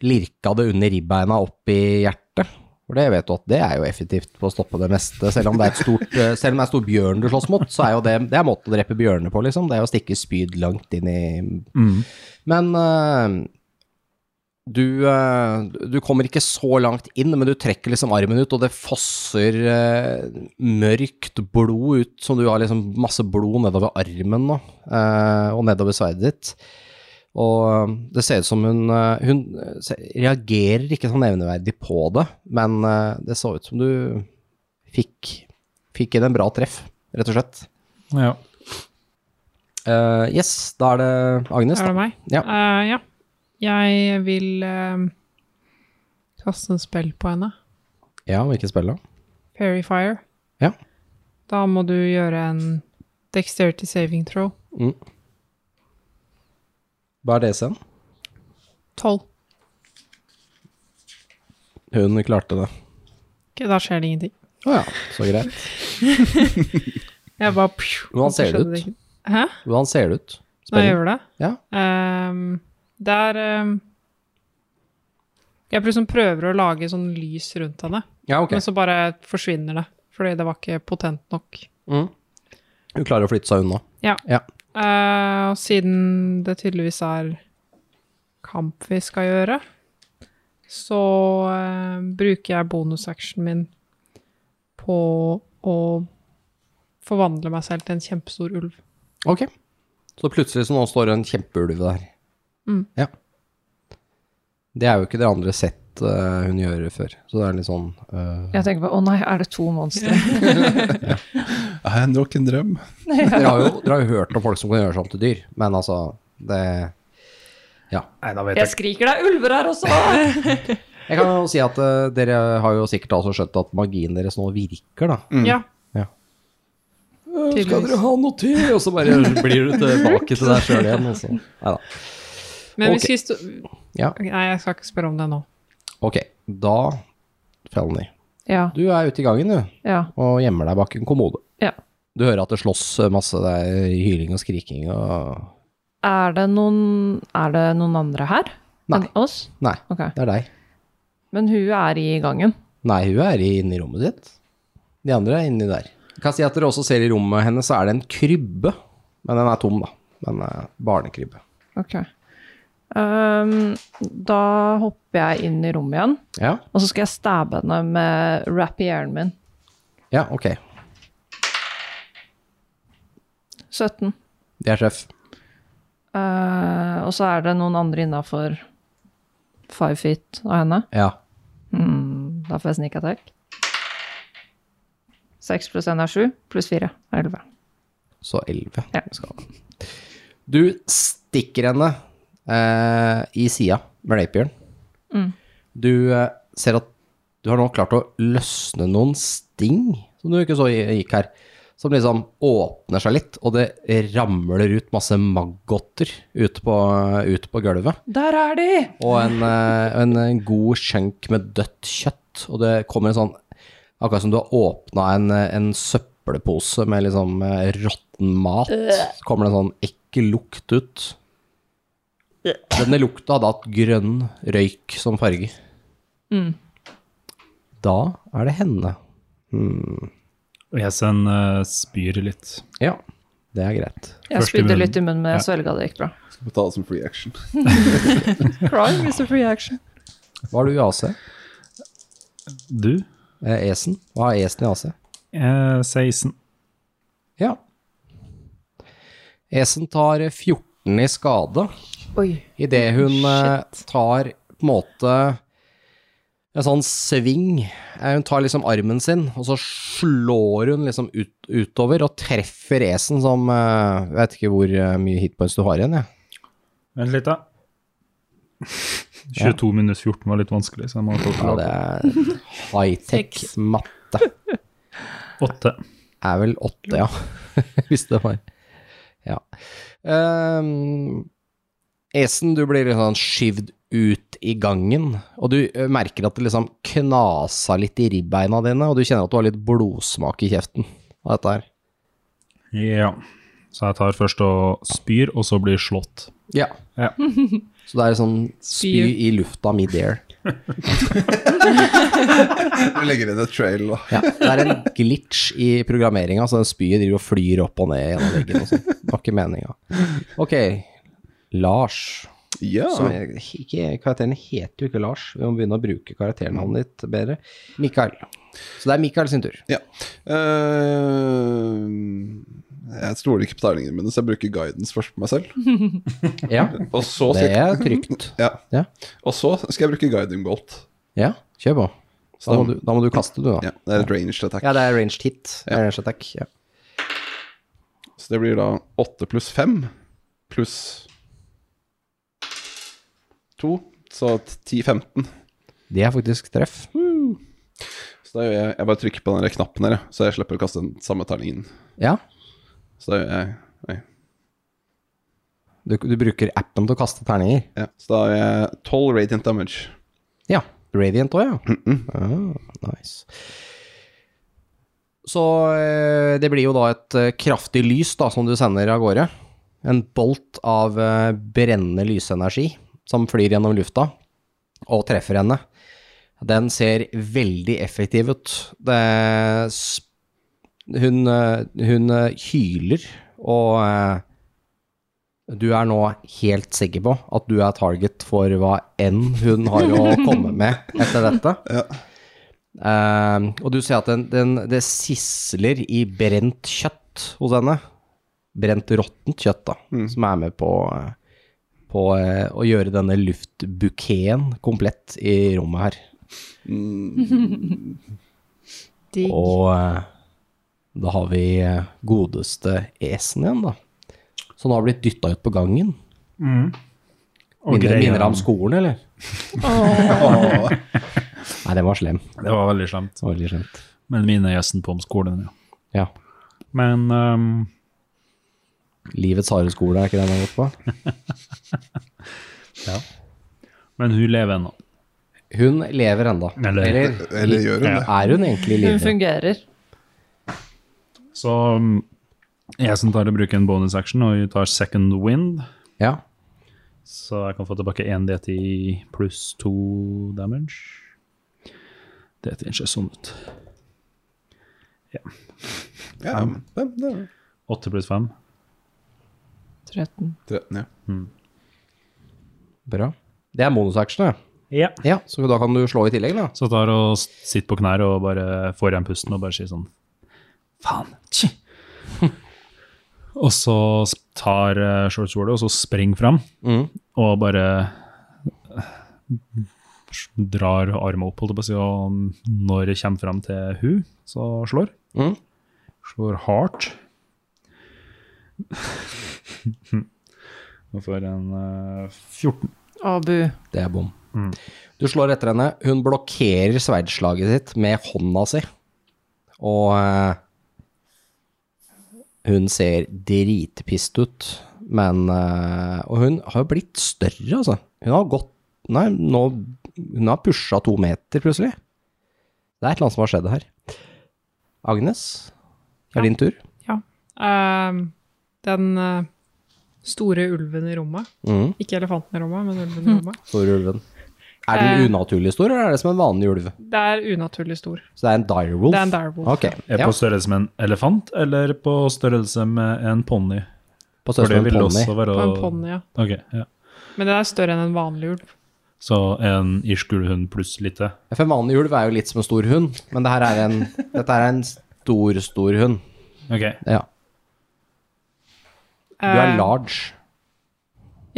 [SPEAKER 11] lirka det under ribbeina opp i hjertet. For det vet du at det er jo effektivt på å stoppe det meste. Selv om det er, et stort, eh, selv om det er en stor bjørn du slåss mot, så er jo det, det er måten å drepe bjørner på, liksom. Det er å stikke spyd langt inn i
[SPEAKER 6] Mm.
[SPEAKER 11] Men eh, du, eh, du kommer ikke så langt inn, men du trekker liksom armen ut, og det fosser eh, mørkt blod ut, som du har liksom masse blod nedover armen nå, eh, og nedover sverdet ditt. Og eh, det ser ut som hun, eh, hun se- reagerer ikke sånn nevneverdig på det, men eh, det så ut som du fikk, fikk inn en bra treff, rett og slett.
[SPEAKER 6] Ja.
[SPEAKER 11] Eh, yes, da er det Agnes.
[SPEAKER 8] Er det
[SPEAKER 11] da.
[SPEAKER 8] meg?
[SPEAKER 11] Ja.
[SPEAKER 8] Eh, ja. Jeg vil eh, kaste en spill på henne.
[SPEAKER 11] Ja, hvilket spill da?
[SPEAKER 8] Fairy Fire.
[SPEAKER 11] Ja.
[SPEAKER 8] Da må du gjøre en dexterity saving throw.
[SPEAKER 11] Mm. Hva er DC-en?
[SPEAKER 8] Tolv.
[SPEAKER 11] Hun klarte det.
[SPEAKER 8] Ok, da skjer det ingenting.
[SPEAKER 11] Å ja, så greit.
[SPEAKER 8] Jeg bare pju,
[SPEAKER 11] Hvordan
[SPEAKER 8] og så
[SPEAKER 11] ser det
[SPEAKER 8] skjedde
[SPEAKER 11] ut?
[SPEAKER 8] ikke. Hæ?
[SPEAKER 11] Hvordan ser det ut?
[SPEAKER 8] Når jeg gjør det?
[SPEAKER 11] Ja.
[SPEAKER 8] Ehm, det er ehm, Jeg liksom prøver å lage sånn lys rundt henne,
[SPEAKER 11] Ja, ok.
[SPEAKER 8] men så bare forsvinner det. Fordi det var ikke potent nok.
[SPEAKER 11] Mm. Hun klarer å flytte seg unna.
[SPEAKER 8] Ja.
[SPEAKER 11] Ja.
[SPEAKER 8] Eh, og siden det tydeligvis er kamp vi skal gjøre, så eh, bruker jeg bonusactionen min på å forvandle meg selv til en kjempestor ulv.
[SPEAKER 11] Ok. Så plutselig så nå står det en kjempeulv der.
[SPEAKER 8] Mm.
[SPEAKER 11] Ja. Det er jo ikke det andre sett eh, hun gjør før. Så det er litt sånn
[SPEAKER 8] [laughs]
[SPEAKER 11] eh,
[SPEAKER 5] Jeg tenker på å nei, er det to monstre?
[SPEAKER 10] Er det nok en drøm?
[SPEAKER 11] dere, har jo, dere har jo hørt om folk som kan gjøre seg om til dyr, men altså Det Ja.
[SPEAKER 6] Nei, da
[SPEAKER 5] Jeg skriker det er ulver her også!
[SPEAKER 11] Jeg kan jo si at eh, dere har jo sikkert altså skjønt at magien deres nå virker, da.
[SPEAKER 8] Ja.
[SPEAKER 11] Ja.
[SPEAKER 8] Skal dere
[SPEAKER 11] ha noe til? Og så bare blir du tilbake til deg sjøl igjen. Altså. Nei da.
[SPEAKER 8] Men
[SPEAKER 11] Ok.
[SPEAKER 8] hvis vi sto...
[SPEAKER 11] Ja.
[SPEAKER 8] Nei, jeg skal ikke spørre om det nå.
[SPEAKER 11] Ok, da Felny.
[SPEAKER 5] [laughs] Ja.
[SPEAKER 11] Du er ute i gangen, du,
[SPEAKER 5] Ja.
[SPEAKER 11] og gjemmer deg bak en kommode.
[SPEAKER 5] ja.
[SPEAKER 11] Du hører at det slåss masse det er hyling og skriking og
[SPEAKER 5] Er det noen, er det noen andre her?
[SPEAKER 11] Nei.
[SPEAKER 5] Enn oss?
[SPEAKER 11] Nei,
[SPEAKER 5] Ok.
[SPEAKER 11] det er deg.
[SPEAKER 5] Men hun er i gangen.
[SPEAKER 11] Nei, hun er inne i rommet ditt. De andre er inni der. Jeg kan si at dere også ser i rommet hennes, så er det en krybbe. Men den er tom, da. Men eh, barnekrybbe.
[SPEAKER 5] Ok. Ehm, da hopper jeg inn i rommet igjen,
[SPEAKER 11] Ja,
[SPEAKER 5] og så skal jeg stabbe henne med rapieren min.
[SPEAKER 11] ja ok.
[SPEAKER 5] 17.
[SPEAKER 11] Det er treff.
[SPEAKER 5] Eh, og så er det noen andre innafor five feet av henne.
[SPEAKER 11] Ja.
[SPEAKER 5] Hmm, da får jeg sneak attack. 6 pluss 1 er 7, pluss 4 er 11.
[SPEAKER 11] Så 11
[SPEAKER 5] Ja.
[SPEAKER 11] skal han. Du stikker henne eh, i sida med rapieren.
[SPEAKER 5] Mm.
[SPEAKER 11] Du eh, ser at du har nå klart å løsne noen sting, som du ikke så i- gikk her, som liksom åpner seg litt, og det ramler ut masse maggoter ut på, ut på gulvet.
[SPEAKER 5] Der er de!
[SPEAKER 11] Og en, eh, en, en god skjenk med dødt kjøtt. Og det kommer en sånn Akkurat som du har åpna en, eh, en søppel søppelpose med liksom eh, råtten mat. Så kommer det en sånn ekkel lukt ut. Denne lukta hadde hatt grønn røyk som farge.
[SPEAKER 5] Mm.
[SPEAKER 11] Da er det henne. Hmm.
[SPEAKER 6] Esen uh, spyr litt.
[SPEAKER 11] Ja, det er greit.
[SPEAKER 5] Jeg spydde litt i munnen, men jeg svelga det gikk bra.
[SPEAKER 4] Skal få ta det som free action.
[SPEAKER 5] Crying is a free action.
[SPEAKER 11] Hva har du i AC?
[SPEAKER 6] Du?
[SPEAKER 11] Eh, Esen. Hva har Esen i AC?
[SPEAKER 6] Eh, 16.
[SPEAKER 11] Ja. Esen tar 14 i skade.
[SPEAKER 5] Oi.
[SPEAKER 11] Idet hun eh, tar på en måte en sånn sving. Eh, Hun tar liksom armen sin, og så slår hun liksom ut, utover og treffer Esen som eh, Jeg vet ikke hvor eh, mye hitpoints du har igjen, jeg.
[SPEAKER 6] Vent litt, [laughs] da. 22 minus 14 var litt vanskelig, så jeg må ha
[SPEAKER 11] Ja, det er high-tech matte.
[SPEAKER 6] Åtte.
[SPEAKER 11] Er vel åtte, ja. [laughs] Hvis det var Ja. Ehm, Esen, du blir litt sånn skyvd ut i gangen, og du eh, merker at det liksom knasa litt i ribbeina dine, og du kjenner at du har litt blodsmak i kjeften av dette her.
[SPEAKER 6] Ja. Så jeg tar først og spyr, og så blir slått.
[SPEAKER 11] Ja.
[SPEAKER 6] Ja.
[SPEAKER 11] [laughs] Så det er sånn spy
[SPEAKER 6] Spyr.
[SPEAKER 11] i lufta midair.
[SPEAKER 10] Vi legger inn et trail, da.
[SPEAKER 11] Ja, det er en glitch i programmeringa, så den spyet driver og flyr opp og ned gjennom veggen. og sånn. Det var ikke meninga. Ok, Lars.
[SPEAKER 10] Ja.
[SPEAKER 11] Som jeg, ikke, karakteren heter jo ikke Lars. Vi må begynne å bruke karakternavnet ditt bedre. Mikael. Så det er Mikael sin tur.
[SPEAKER 10] Ja. Eh, jeg stoler ikke på terningene mine, så jeg bruker guidance først på meg selv.
[SPEAKER 11] Ja.
[SPEAKER 10] Og så
[SPEAKER 11] Det
[SPEAKER 10] skal-
[SPEAKER 11] er trygt.
[SPEAKER 10] ja.
[SPEAKER 11] Ja.
[SPEAKER 10] Og så skal jeg bruke guiding bolt.
[SPEAKER 11] Ja, kjør på.
[SPEAKER 10] Så
[SPEAKER 11] Da må
[SPEAKER 10] da-
[SPEAKER 11] du, da må du kaste, du, da.
[SPEAKER 10] Ja, det er et ranged attack.
[SPEAKER 11] Ja, det er ranged hit. Det er Ranged attack. Ja.
[SPEAKER 10] Så det blir da 8 pluss 5 pluss 2, så 10-15.
[SPEAKER 11] Det er faktisk treff.
[SPEAKER 10] Så da gjør jeg, jeg bare trykker på den der knappen her, jeg, så jeg slipper å kaste den samme terningen.
[SPEAKER 11] Ja.
[SPEAKER 10] Så da gjør jeg nei.
[SPEAKER 11] Du, du bruker appen til å kaste terninger.
[SPEAKER 10] Ja. Så da gjør jeg 12 radiant damage.
[SPEAKER 11] Ja. Radiant òg, ja. ah, nice. Så eh, det blir jo da et eh, kraftig lys da, som du sender av gårde. En bolt av eh, brennende lysenergi som flyr gjennom lufta og treffer henne. Den ser veldig effektiv ut. Det, s- hun, eh, hun eh, hyler, og eh, du er nå helt sikker på at du er target for hva enn hun har å komme med etter dette. Eh, og du ser at den, den, det sisler i brent kjøtt hos henne. Brent råttent kjøtt, da, som er med på, eh, på eh, å gjøre denne luftbukeen komplett i rommet her.
[SPEAKER 5] Digg.
[SPEAKER 11] Og eh, da har vi eh, godeste Esen igjen, da. Så han har blitt dytta ut på gangen.
[SPEAKER 6] Og
[SPEAKER 11] minner,
[SPEAKER 6] greier
[SPEAKER 11] minner
[SPEAKER 6] han.
[SPEAKER 11] han om skolen, eller?
[SPEAKER 6] Åh.
[SPEAKER 11] [laughs] Nei, den var slem.
[SPEAKER 6] Det var veldig slemt.
[SPEAKER 11] Veldig slemt.
[SPEAKER 6] Men minner gjesten på om skolen, ja.
[SPEAKER 11] Ja.
[SPEAKER 6] Men ehm,
[SPEAKER 11] Livets harde skole, er ikke den han har gått på?
[SPEAKER 6] Men hun lever ennå.
[SPEAKER 11] Hun lever ennå.
[SPEAKER 6] Eller-
[SPEAKER 10] Eller gjør hun det?
[SPEAKER 11] Er hun egentlig i
[SPEAKER 5] Hun
[SPEAKER 11] live?
[SPEAKER 5] fungerer.
[SPEAKER 6] Så um, jeg som tar og bruker en bonus action, og hun tar second wind.
[SPEAKER 11] Ja.
[SPEAKER 6] Så jeg kan få tilbake 1 D10 pluss 2 damage. D10 ser sånn ut. Ja.
[SPEAKER 10] Ja,
[SPEAKER 6] Fem.
[SPEAKER 10] men det er
[SPEAKER 6] 8 pluss 5.
[SPEAKER 5] 13.
[SPEAKER 10] 13, ja.
[SPEAKER 11] Bra. Det er monosaksjene.
[SPEAKER 6] Ja.
[SPEAKER 11] Ja, så da kan du slå i tillegg, da.
[SPEAKER 6] Så jeg tar og s- sitter på knær og bare får igjen pusten og bare sier sånn Faen. Tji. [laughs] og så s- tar eh, shortswordet og så springer fram
[SPEAKER 11] Mhm.
[SPEAKER 6] og bare eh, drar armen opp, holdt jeg på å si, og når jeg kommer fram til hun, så slår.
[SPEAKER 11] Mhm.
[SPEAKER 6] Slår hardt. [laughs] Og får en eh, 14.
[SPEAKER 5] Å, bu.
[SPEAKER 11] Det er bom.
[SPEAKER 6] Mm.
[SPEAKER 11] Du slår etter henne. Hun blokkerer sverdslaget sitt med hånda si. Og eh, hun ser dritpist ut, men eh, Og hun har jo blitt større, altså. Hun har gått Nei, nå Hun har pusha to meter, plutselig. Det er et eller annet som har skjedd her. Agnes, Det er din tur.
[SPEAKER 8] Ja. Ehm, den eh, store ulven i rommet.
[SPEAKER 11] Mhm.
[SPEAKER 8] Ikke elefanten i rommet, men ulven i rommet.
[SPEAKER 11] Store ulven. Er den
[SPEAKER 8] Eh.
[SPEAKER 11] unaturlig stor, eller er det som en vanlig ulv?
[SPEAKER 8] Det er unaturlig stor.
[SPEAKER 11] Så det er en direwolf?
[SPEAKER 8] Det er en direwolf,
[SPEAKER 11] Ok,
[SPEAKER 6] Er
[SPEAKER 11] ja.
[SPEAKER 6] på størrelse med en elefant, eller på størrelse med en ponni?
[SPEAKER 11] På størrelse med en ponni.
[SPEAKER 8] På en ponni, ja.
[SPEAKER 6] Ok, ja.
[SPEAKER 8] Men den er større enn en vanlig ulv.
[SPEAKER 6] Så en irsk ulvhund pluss litt det.
[SPEAKER 11] Ja, For en vanlig ulv er jo litt som en stor hund, men det her er en, dette her er en stor, stor hund.
[SPEAKER 6] Ok.
[SPEAKER 11] Ja. Du
[SPEAKER 8] Eh,
[SPEAKER 11] er large.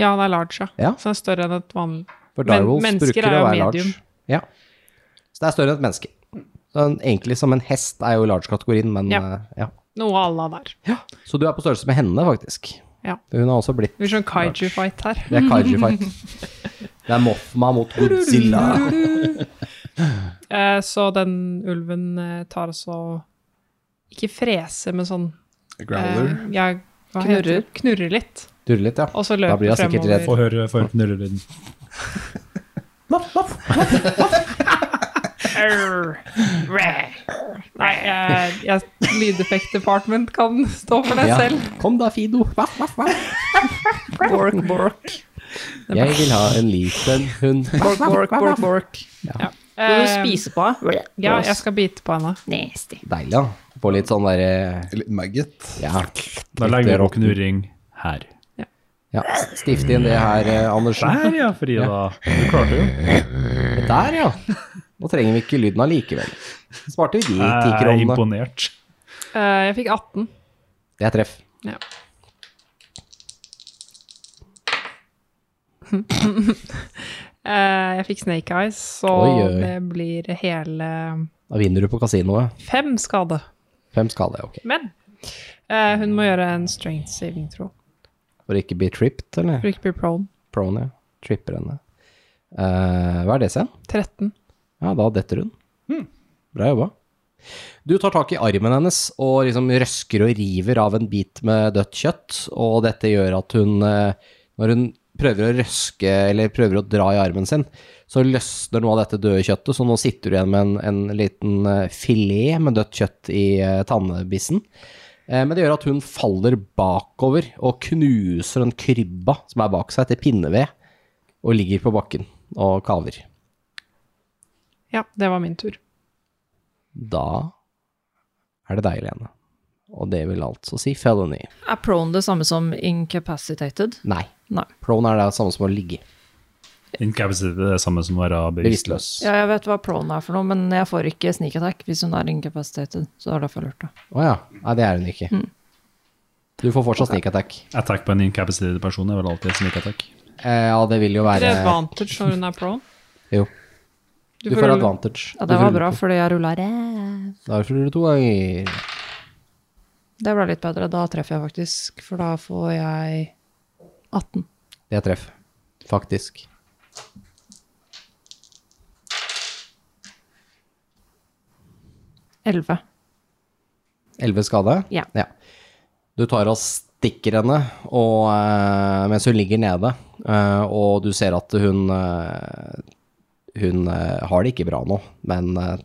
[SPEAKER 8] Ja, den er large, ja.
[SPEAKER 11] Ja.
[SPEAKER 8] Så den er større enn et vanlig
[SPEAKER 11] For direwolves
[SPEAKER 8] mennesker
[SPEAKER 11] bruker
[SPEAKER 8] er
[SPEAKER 11] å
[SPEAKER 8] jo
[SPEAKER 11] være
[SPEAKER 8] medium.
[SPEAKER 11] large. Ja. Så det er større enn et menneske. Så en- egentlig som en hest er jo large-kategorien, men
[SPEAKER 8] Ja.
[SPEAKER 11] eh, ja.
[SPEAKER 8] Noe à la der.
[SPEAKER 11] Så du er på størrelse med henne, faktisk.
[SPEAKER 8] Ja.
[SPEAKER 11] Hun har også blitt
[SPEAKER 8] Det blir sånn kaiju-fight her.
[SPEAKER 11] Det er
[SPEAKER 8] [laughs]
[SPEAKER 11] kaiju-fight. Det er Mothma mot Godzilla.
[SPEAKER 8] [laughs] Eh, Så den ulven eh, tar altså Ikke frese, men sånn
[SPEAKER 6] Growler?
[SPEAKER 8] eh, Ja, hva heter det? Knurrer litt.
[SPEAKER 11] Durre litt, ja.
[SPEAKER 8] Og så løper
[SPEAKER 11] da blir hun sikkert
[SPEAKER 8] fremover.
[SPEAKER 11] redd.
[SPEAKER 6] Få høre, få høre knullelyden.
[SPEAKER 8] [laughs] Arr. Rah. Nei, jeg, jeg Lydeffekt department kan stå for det
[SPEAKER 11] Ja.
[SPEAKER 8] selv.
[SPEAKER 11] Kom da, Fido. Vaff, vaff, vaff. Bork, bork. Jeg vil ha en liten hund.
[SPEAKER 5] Bork, bork, bork, bork.
[SPEAKER 11] Ja.
[SPEAKER 5] Vil du
[SPEAKER 8] Eh,
[SPEAKER 5] spise på?
[SPEAKER 8] Ja, jeg skal bite på henne.
[SPEAKER 5] Nasty.
[SPEAKER 11] Deilig, da. Få litt sånn derre
[SPEAKER 13] Litt maggot.
[SPEAKER 11] Ja.
[SPEAKER 6] Da legger vi på knurring her.
[SPEAKER 11] Ja, Stift inn det her, eh, Andersen.
[SPEAKER 6] Der ja, Frida. Du klarte jo.
[SPEAKER 11] Der, ja. Nå trenger vi ikke lyden allikevel. Svarte vi de ti
[SPEAKER 6] Jeg er
[SPEAKER 11] kronene?
[SPEAKER 6] imponert.
[SPEAKER 8] Eh, Jeg fikk 18.
[SPEAKER 11] Det er treff.
[SPEAKER 8] Ja. Eh, jeg fikk Snake Eyes, så
[SPEAKER 11] Oi, oi.
[SPEAKER 8] det blir hele
[SPEAKER 11] Da vinner du på kasinoet.
[SPEAKER 8] fem skade.
[SPEAKER 11] Fem skade, ok.
[SPEAKER 8] Men eh, hun må gjøre en strength saving throw
[SPEAKER 11] For å ikke bli tripped, eller?
[SPEAKER 8] for ikke å bli prone.
[SPEAKER 11] Prone, ja. Tripper henne. Eh, hva er det, Sen?
[SPEAKER 8] 13.
[SPEAKER 11] Ja, da detter hun. Bra jobba. Du tar tak i armen hennes og liksom røsker og river av en bit med dødt kjøtt, og dette gjør at hun, eh, når hun prøver å røske eller prøver å dra i armen sin, så løsner noe av dette døde kjøttet, så nå sitter du igjen med en, en liten eh, filet med dødt kjøtt i eh, tannbissen. Eh, Men det gjør at hun faller bakover og knuser den krybba som er bak seg til pinneved, og ligger på bakken og kaver.
[SPEAKER 8] Ja, det var min tur.
[SPEAKER 11] Da er det deg, Lene. Og det vil altså si felony.
[SPEAKER 5] Er prone det samme som incapacitated?
[SPEAKER 11] Nei.
[SPEAKER 5] Nei.
[SPEAKER 11] Prone er det samme som å ligge.
[SPEAKER 6] Incapacity det er det samme som å være bevisstløs.
[SPEAKER 5] Ja, jeg vet hva prone er for noe, men jeg får ikke sneak attack hvis hun er incapacitated. Så det er derfor jeg lurte.
[SPEAKER 11] Å ja. Nei, det er hun ikke.
[SPEAKER 5] Mm.
[SPEAKER 11] Du får fortsatt sneak attack.
[SPEAKER 6] Attack på en incapacitated person er vel alltid et sneak attack.
[SPEAKER 11] Eh, ja, det vil jo
[SPEAKER 8] Er det
[SPEAKER 11] være
[SPEAKER 8] advantage når hun er prone?
[SPEAKER 11] Jo. Du får advantage.
[SPEAKER 5] Ja,
[SPEAKER 11] Du
[SPEAKER 5] det var
[SPEAKER 11] ruller
[SPEAKER 5] bra,
[SPEAKER 11] to.
[SPEAKER 5] fordi jeg rulla ræv.
[SPEAKER 11] Da ruller du to ganger.
[SPEAKER 5] Det ble litt bedre. Da treffer jeg faktisk, for da får jeg 18.
[SPEAKER 11] Det er treff. Faktisk.
[SPEAKER 5] Elleve.
[SPEAKER 11] Elleve skade?
[SPEAKER 5] Ja.
[SPEAKER 11] Du tar og stikker henne og, eh, mens hun ligger nede, eh, og du ser at hun eh, Hun eh, har det ikke bra nå, men eh,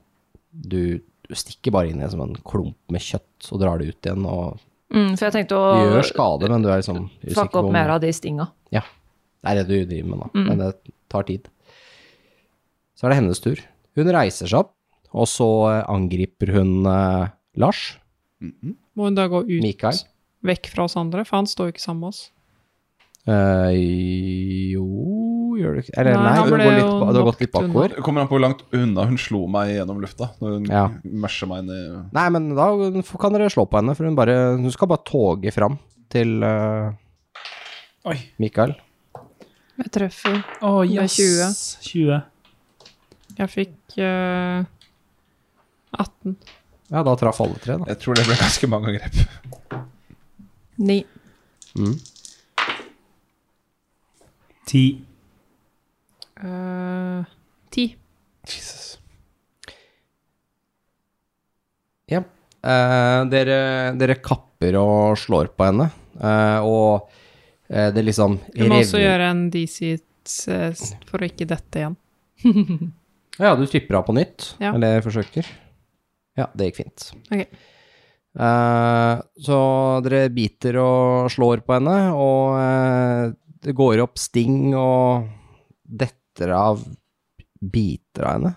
[SPEAKER 11] du, du stikker bare inn i som en sånn klump med kjøtt og drar det ut igjen. og
[SPEAKER 5] Mm, for jeg tenkte å
[SPEAKER 11] Du gjør skade, men du er liksom usikker
[SPEAKER 5] fucke
[SPEAKER 11] på
[SPEAKER 5] eh, opp
[SPEAKER 11] om-
[SPEAKER 5] mer av de stinga.
[SPEAKER 11] Ja. Det er det du driver med nå,
[SPEAKER 5] Mm.
[SPEAKER 11] men det tar tid. Så er det hennes tur. Hun reiser seg opp, og så eh, angriper hun eh, Lars.
[SPEAKER 8] Må hun da gå ut
[SPEAKER 11] Mikael.
[SPEAKER 8] vekk fra oss andre? For han står jo ikke sammen med oss.
[SPEAKER 11] Eh, jo gjør du ikke Eller
[SPEAKER 8] Nei,
[SPEAKER 11] nei,
[SPEAKER 8] han
[SPEAKER 11] du,
[SPEAKER 8] ble
[SPEAKER 11] går litt,
[SPEAKER 8] jo
[SPEAKER 11] ba- du har gått litt
[SPEAKER 8] knocked unna.
[SPEAKER 11] bakover.
[SPEAKER 4] Det kommer an på hvor langt unna hun slo meg gjennom lufta. Når hun
[SPEAKER 11] Ja.
[SPEAKER 4] masher meg ned
[SPEAKER 11] Nei, men da kan dere slå på henne, for hun, bare, hun skal bare toge fram til eh,
[SPEAKER 6] Oi.
[SPEAKER 11] Mikael.
[SPEAKER 8] Jeg treffer
[SPEAKER 6] Å,
[SPEAKER 8] med 20.
[SPEAKER 6] 20.
[SPEAKER 8] Jeg fikk eh, 18.
[SPEAKER 11] Ja, da traff alle tre, da.
[SPEAKER 4] Jeg tror det ble ganske mange angrep.
[SPEAKER 5] Ni.
[SPEAKER 11] Mm.
[SPEAKER 6] 10.
[SPEAKER 8] Eh, 10.
[SPEAKER 4] Jesus.
[SPEAKER 11] Ja. Eh, dere, dere kapper og slår på henne, eh, og eh, det liksom
[SPEAKER 8] Du må også
[SPEAKER 11] revner-
[SPEAKER 8] gjøre en DC s- for å ikke dette igjen.
[SPEAKER 11] Ja, du tripper av på nytt,
[SPEAKER 8] Ja.
[SPEAKER 11] eller forsøker. Ja, det gikk fint.
[SPEAKER 8] Ok.
[SPEAKER 11] Eh, så dere biter og slår på henne, og eh, det går opp sting og detter av biter av henne.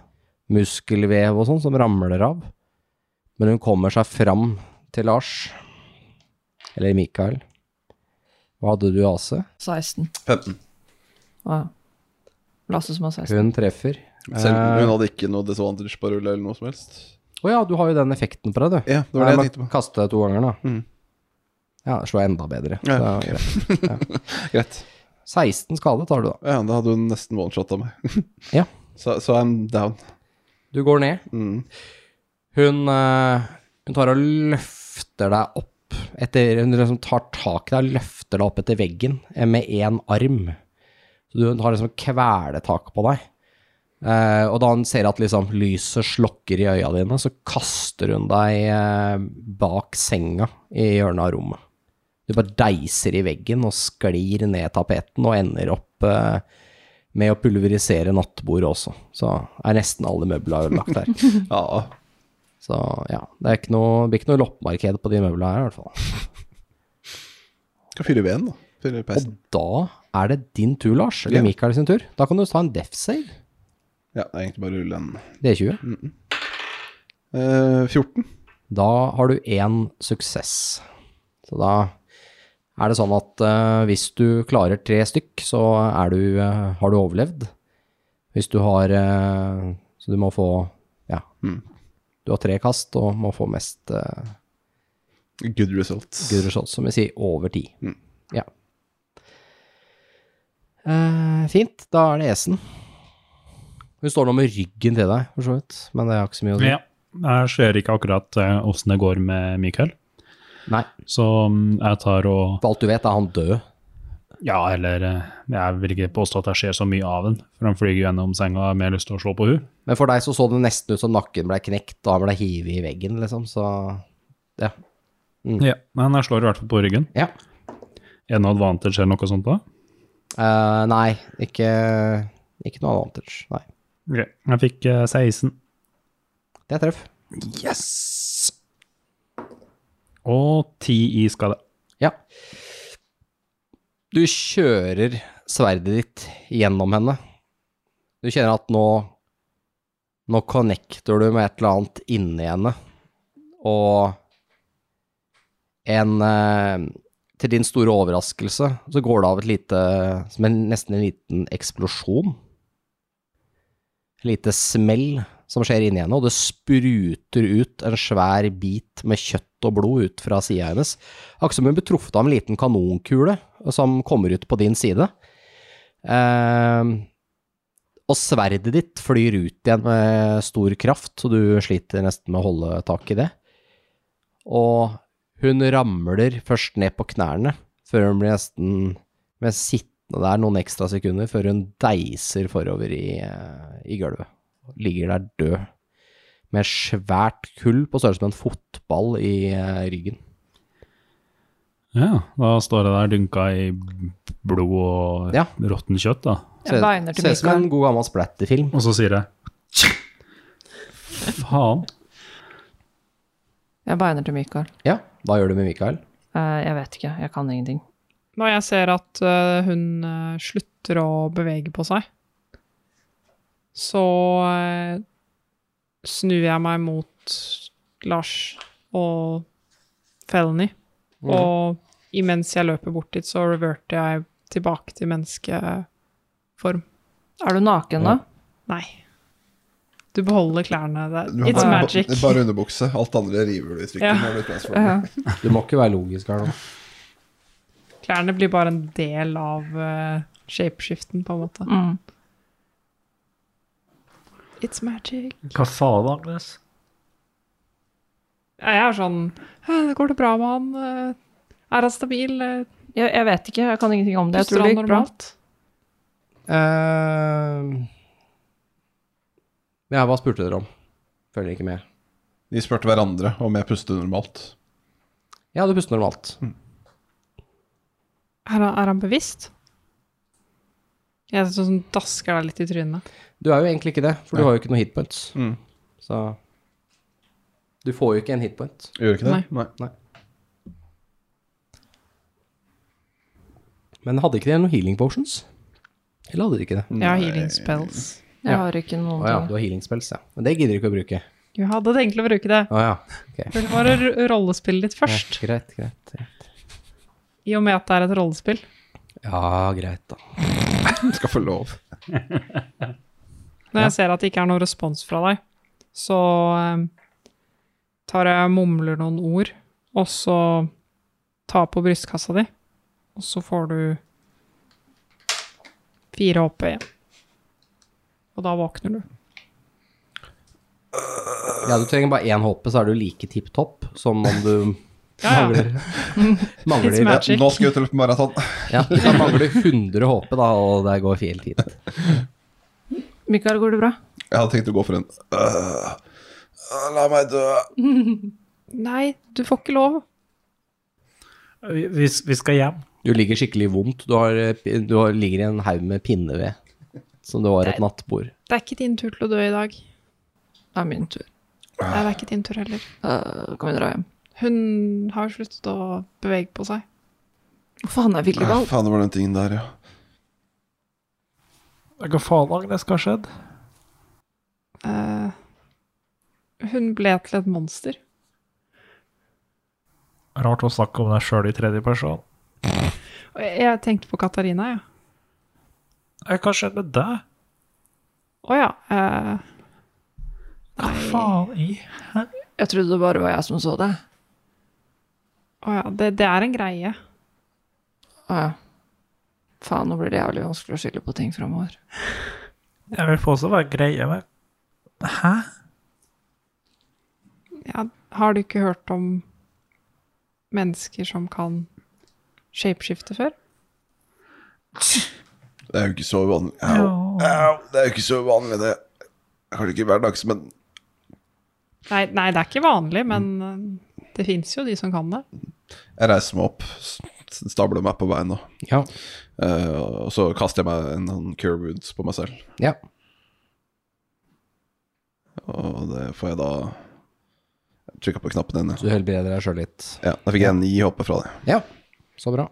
[SPEAKER 11] Muskelvev og sånn som ramler av. Men hun kommer seg fram til Lars. Eller Mikael. Hva hadde du, AC?
[SPEAKER 5] 16.
[SPEAKER 4] 15.
[SPEAKER 5] Å ja. Lasse som har 16.
[SPEAKER 11] Hun treffer.
[SPEAKER 4] Selv
[SPEAKER 11] Eh,
[SPEAKER 4] hun hadde ikke noe disadvantage på rulle eller noe som helst.
[SPEAKER 11] Å ja, du har jo den effekten på deg, du.
[SPEAKER 4] Ja, det var det jeg
[SPEAKER 11] må
[SPEAKER 4] tenkte på.
[SPEAKER 11] Kaste to ganger, da.
[SPEAKER 4] Mm.
[SPEAKER 11] Ja, slå enda bedre.
[SPEAKER 4] Ja,
[SPEAKER 11] Så,
[SPEAKER 4] ok.
[SPEAKER 11] greit. ja.
[SPEAKER 4] Greit.
[SPEAKER 11] 16 skade tar du, da.
[SPEAKER 4] Ja, da hadde hun nesten one-shotta [laughs] meg.
[SPEAKER 11] Ja.
[SPEAKER 4] Så så I'm down.
[SPEAKER 11] Du går ned.
[SPEAKER 4] Mm.
[SPEAKER 11] Hun, eh, hun tar og løfter deg opp etter Hun liksom tar tak i deg og løfter deg opp etter veggen eh, med én arm. Så du- hun har liksom kveletak på deg. Eh, og da hun ser at liksom lyset slokker i øya dine, så kaster hun deg eh, bak senga i hjørnet av rommet. Du bare deiser i veggen og sklir ned tapeten og ender opp eh, med å pulverisere nattbordet også. Så er nesten alle møbler ødelagt her.
[SPEAKER 4] Ja.
[SPEAKER 11] Så ja, det er ikke noe, det blir ikke noe loppemarked på de møblene her i hvert fall.
[SPEAKER 4] Skal fyre veden, da. Fyre peisen.
[SPEAKER 11] Da er det din tur, Lars, eller
[SPEAKER 4] Ja.
[SPEAKER 11] Mikael sin tur. Da kan du ta en death save.
[SPEAKER 4] Ja, det er egentlig bare å rulle en
[SPEAKER 11] Det er 20.
[SPEAKER 4] Eh, 14.
[SPEAKER 11] Da har du én suksess. Så da er det sånn at eh, hvis du klarer tre stykk, så er du, eh, har du overlevd. Hvis du har eh, Så du må få Ja. Du har tre kast og må få mest eh,
[SPEAKER 4] Good results.
[SPEAKER 11] good results, som vi sier, over ti.
[SPEAKER 4] Mm.
[SPEAKER 11] Ja. Eh, fint. Da er det Esen. Hun står nå med ryggen til deg, for så vidt, men det har ikke så mye å si.
[SPEAKER 6] Ja. Jeg ser ikke akkurat eh, åssen det går med Mikael.
[SPEAKER 11] Nei.
[SPEAKER 6] Så mm, jeg tar og
[SPEAKER 11] For alt du vet, er han død.
[SPEAKER 6] Ja, eller eh, Jeg vil ikke påstå at jeg ser så mye av den, for han flyr gjennom senga og har mer lyst til å slå på hun.
[SPEAKER 11] Men for deg så så det nesten ut som nakken ble knekt, og han ble hivet i veggen, liksom, så ja. Mm.
[SPEAKER 6] Ja, men jeg slår i hvert fall på ryggen.
[SPEAKER 11] Ja.
[SPEAKER 6] Er det noe advantage eller noe sånt da?
[SPEAKER 11] Eh, nei, ikke, ikke noe advantage. Nei.
[SPEAKER 6] Ok, jeg fikk eh, 16.
[SPEAKER 11] Det er treff.
[SPEAKER 6] Yes! Og 10 i skade.
[SPEAKER 11] Ja. Du kjører sverdet ditt gjennom henne. Du kjenner at nå Nå connecter du med et eller annet inni henne. Og en eh, Til din store overraskelse så går det av et lite Som en, nesten en liten eksplosjon. Et lite smell som skjer inni henne, og det spruter ut en svær bit med kjøtt og blod ut fra sida hennes. Akkurat som hun ble truffet av en liten kanonkule eh, som kommer ut på din side. Eh, og sverdet ditt flyr ut igjen med stor kraft, så du sliter nesten med å holde tak i det. Og hun ramler først ned på knærne, før hun blir nesten med sittende der noen ekstra sekunder, før hun deiser forover i, eh, i gulvet. Ligger der død, med svært kull på størrelse med en fotball i eh, ryggen.
[SPEAKER 6] Ja, da står jeg der dynka i blod og
[SPEAKER 11] Ja.
[SPEAKER 6] råttent kjøtt, da.
[SPEAKER 5] Jeg beiner til
[SPEAKER 11] Ser ut som
[SPEAKER 5] Mikael.
[SPEAKER 11] en god gammel splatterfilm.
[SPEAKER 6] Og så sier jeg Faen.
[SPEAKER 5] Jeg beiner til Mikael.
[SPEAKER 11] Ja, hva gjør du med Mikael?
[SPEAKER 5] Eh, jeg vet ikke, jeg kan ingenting.
[SPEAKER 8] Når jeg ser at eh, hun eh, slutter å bevege på seg, så eh, snur jeg meg mot Lars og Felny.
[SPEAKER 10] Mhm.
[SPEAKER 8] Og imens jeg løper bort dit, så reverter jeg tilbake til menneskeform.
[SPEAKER 5] Er du naken, da?
[SPEAKER 8] Nei. Du beholder klærne. Det-
[SPEAKER 10] Du har
[SPEAKER 8] It's
[SPEAKER 10] bare-
[SPEAKER 8] magic.
[SPEAKER 10] Bare underbukse. Alt andre river du i stykker.
[SPEAKER 8] Ja.
[SPEAKER 10] når du transformer.
[SPEAKER 8] Ja.
[SPEAKER 11] Du må ikke være logisk her nå.
[SPEAKER 8] Klærne blir bare en del av eh, shapeskiften, på en måte.
[SPEAKER 5] Mm.
[SPEAKER 8] It's magic.
[SPEAKER 14] Hva sa du, Agnes?
[SPEAKER 8] Ja, Jeg er sånn «Hæ, Går det bra med han? Eh, Er han stabil? Eh,
[SPEAKER 5] Jeg, jeg vet ikke, jeg kan ingenting om det. Jeg
[SPEAKER 8] Puster
[SPEAKER 5] tror det
[SPEAKER 8] han
[SPEAKER 5] gikk bra.
[SPEAKER 8] normalt?
[SPEAKER 4] Eh,
[SPEAKER 11] ja, hva spurte dere om? Følger ikke med.
[SPEAKER 4] De spurte hverandre om jeg puster normalt.
[SPEAKER 11] Ja, du puster normalt.
[SPEAKER 8] Er han, er han bevisst? Jeg er sånn som dasker deg litt i trynet.
[SPEAKER 11] Du er jo egentlig ikke det, for du har jo ikke noe hitpoints.
[SPEAKER 4] Mm.
[SPEAKER 11] Så Du får jo ikke en hitpoint.
[SPEAKER 4] Gjør ikke det?
[SPEAKER 11] Nei. Men hadde ikke dere noen healing potions? Eller hadde dere ikke det?
[SPEAKER 8] Jeg har healing spells.
[SPEAKER 5] Jeg har ikke noe
[SPEAKER 11] Å ja, du har healing spells, ja. Men det gidder du ikke å bruke.
[SPEAKER 8] Jeg hadde tenkt å bruke det.
[SPEAKER 11] Å ja. ok.
[SPEAKER 8] For det var å ro- rollespille litt først,
[SPEAKER 11] Ja, greit, greit, greit.
[SPEAKER 8] i og med at det er et rollespill.
[SPEAKER 11] Ja, greit, da.
[SPEAKER 4] [laughs] Skal få lov.
[SPEAKER 8] Når jeg ser at det ikke er noen respons fra deg, så eh, tar jeg mumler noen ord, og så tar på brystkassa di, og så får du fire oppe igjen. Og da våkner du.
[SPEAKER 11] Ja, du trenger bare én håpe, så er du like tipp topp som om du
[SPEAKER 8] Ja, ja.
[SPEAKER 11] mangler Mangler [laughs]
[SPEAKER 8] It's magic.
[SPEAKER 15] Nå skal jeg ut på maraton.
[SPEAKER 11] Ja, da mangler du 100 HP, da, og det går helt hit.
[SPEAKER 16] Mikael, går det bra?
[SPEAKER 15] Jeg hadde tenkt å gå for en øh, øh, La meg dø.
[SPEAKER 8] Nei, du får ikke lov.
[SPEAKER 12] Vi, vi, vi skal hjem.
[SPEAKER 11] Du ligger skikkelig vondt. Du, har, eh, pi- du har, ligger i en haug med pinneved, som det var et nattbord.
[SPEAKER 8] Det er ikke din tur til å dø i dag.
[SPEAKER 5] Det er min tur.
[SPEAKER 8] Nei, det er ikke din tur heller.
[SPEAKER 5] Eh, kan vi dra hjem?
[SPEAKER 8] Hun har sluttet å bevege på seg.
[SPEAKER 5] Hvorfor han er
[SPEAKER 4] Ah,
[SPEAKER 5] Willibald?
[SPEAKER 4] faen, det var den tingen der, ja.
[SPEAKER 12] Hva faen, Agnes, hva har skjedd?
[SPEAKER 8] Eh, hun ble til et monster.
[SPEAKER 12] Rart å snakke om deg sjøl i tredje person.
[SPEAKER 8] Og jeg, jeg tenkte på Katarina, jeg. Ja.
[SPEAKER 12] Eh, Hva skjedde med deg?
[SPEAKER 8] Å ja. eh,
[SPEAKER 12] Hva faen i
[SPEAKER 5] Jeg trodde det bare var jeg som så det.
[SPEAKER 8] å ja. Det, det er en greie.
[SPEAKER 5] Å ja. Faen, nå blir det jævlig vanskelig å skylde på ting framover.
[SPEAKER 12] Jeg vil påstå det var greie, men Hæ?
[SPEAKER 8] Ja, har du ikke hørt om mennesker som kan shapeskifte før?
[SPEAKER 4] Det er jo ikke så uvanlig. Au.
[SPEAKER 12] Ja.
[SPEAKER 4] Au. Det er jo ikke så uvanlig, det. Kanskje ikke hverdags, men
[SPEAKER 8] Nei, nei, det er ikke vanlig, men eh, det fins jo de som kan det.
[SPEAKER 4] jeg reiser meg opp, s- stabler meg på beina,
[SPEAKER 11] Ja.
[SPEAKER 4] eh, og så kaster jeg meg en sånn cure woods på meg selv.
[SPEAKER 11] ja.
[SPEAKER 4] Og det får jeg da trykka på knappen din.
[SPEAKER 11] Så du helbreder deg sjøl litt.
[SPEAKER 4] Ja, da fikk jeg ni hoppe fra det.
[SPEAKER 11] Ja, så bra.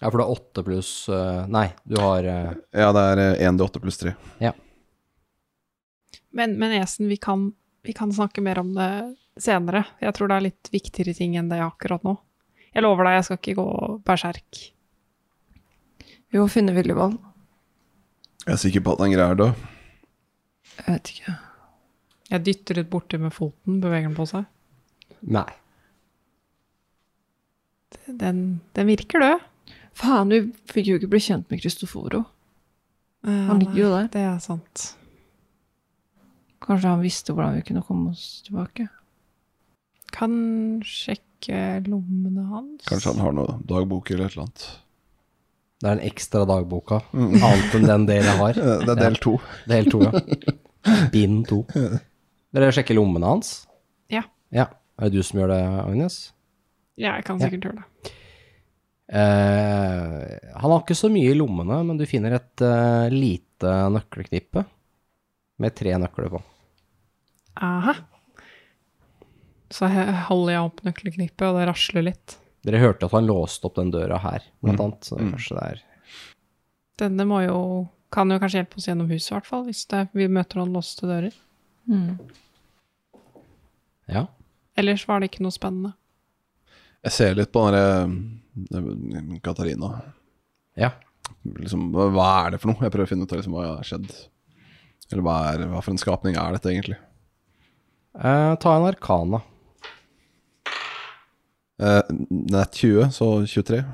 [SPEAKER 11] Ja, for du har åtte pluss eh, Nei, du har eh,
[SPEAKER 4] Ja, det er eh, 1 til 8 pluss 3.
[SPEAKER 8] Men, men Esen, vi kan, vi kan snakke mer om det senere. Jeg tror det er litt viktigere ting enn det akkurat nå. Jeg lover deg, jeg skal ikke gå berserk.
[SPEAKER 5] Vi må finne Willibald.
[SPEAKER 4] Jeg er sikker på at den greier det.
[SPEAKER 5] Jeg vet ikke.
[SPEAKER 8] Jeg dytter litt borti med foten, beveger den på seg.
[SPEAKER 11] Nei.
[SPEAKER 8] Den, den virker død.
[SPEAKER 5] Faen, vi fikk jo ikke bli kjent med Kristoforo.
[SPEAKER 8] Eh,
[SPEAKER 5] Han ligger jo
[SPEAKER 8] nei,
[SPEAKER 5] der.
[SPEAKER 8] Det er sant.
[SPEAKER 5] Kanskje han visste hvordan vi kunne komme oss tilbake.
[SPEAKER 8] Kan sjekke lommene hans.
[SPEAKER 4] Kanskje han har noe dagbok eller et eller annet.
[SPEAKER 11] Det er den ekstra dagboka, annet enn den dere har.
[SPEAKER 4] Eh, Det er del to.
[SPEAKER 11] Del to, ja. Bind [laughs] to. Dere sjekker lommene hans?
[SPEAKER 8] Ja.
[SPEAKER 11] ja. Er det du som gjør det, Agnes?
[SPEAKER 8] Ja, jeg kan sikkert gjøre det.
[SPEAKER 11] Eh, han har ikke så mye i lommene, men du finner et eh, lite nøkkelknippe med tre nøkler på.
[SPEAKER 8] Aha. Så he- holder jeg opp nøkkelknippet, og det rasler litt.
[SPEAKER 11] Dere hørte at han låste opp den døra her, blant annet. Så kanskje det er
[SPEAKER 8] Denne må jo, kan jo kanskje hjelpe oss gjennom huset, i hvert fall, hvis det, vi møter noen låste dører.
[SPEAKER 11] Ja.
[SPEAKER 8] Ellers var det ikke noe spennende.
[SPEAKER 4] Jeg ser litt på den eh, derre Katarina.
[SPEAKER 11] ja.
[SPEAKER 4] Liksom, hva hva er det for noe? Jeg prøver å finne ut av liksom, hva har skjedd. Eller hva, er, hva for en skapning er dette egentlig?
[SPEAKER 11] Eh, ta en arkana.
[SPEAKER 4] Eh, det er 20, så 23.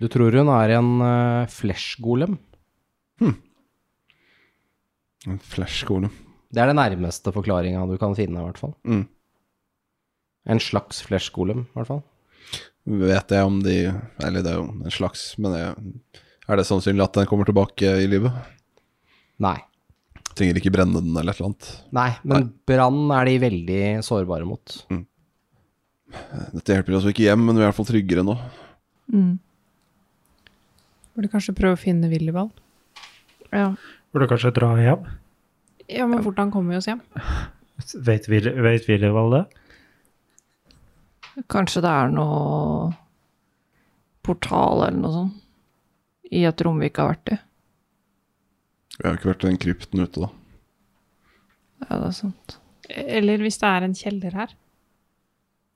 [SPEAKER 11] Du tror hun er en uh, flesh-golem?
[SPEAKER 4] En Flash-golem.
[SPEAKER 11] Det er det nærmeste forklaringa du kan finne, i hvert fall.
[SPEAKER 4] Mm.
[SPEAKER 11] En slags flesh-golem, i hvert fall.
[SPEAKER 4] Vet jeg om de Eller det er jo en slags, men det, er det sannsynlig at den kommer tilbake i livet?
[SPEAKER 11] Nei.
[SPEAKER 4] Trenger ikke brenne den eller et eller annet.
[SPEAKER 11] Nei, men brann er de veldig sårbare mot.
[SPEAKER 4] Dette hjelper oss jo ikke hjem, men vi er i hvert fall tryggere nå.
[SPEAKER 8] Burde kanskje prøve å finne Willibald.
[SPEAKER 5] Ja.
[SPEAKER 12] Burde kanskje dra hjem?
[SPEAKER 8] Ja, men hvordan kommer vi oss hjem?
[SPEAKER 12] Vet vi, vet vi det, Valde?
[SPEAKER 5] Kanskje det er noe portal eller noe sånt i et rom vi ikke har vært i.
[SPEAKER 4] Vi har jo ikke vært i den krypten ute, da.
[SPEAKER 5] Ja, det er sant.
[SPEAKER 8] Eller hvis det er en kjeller her.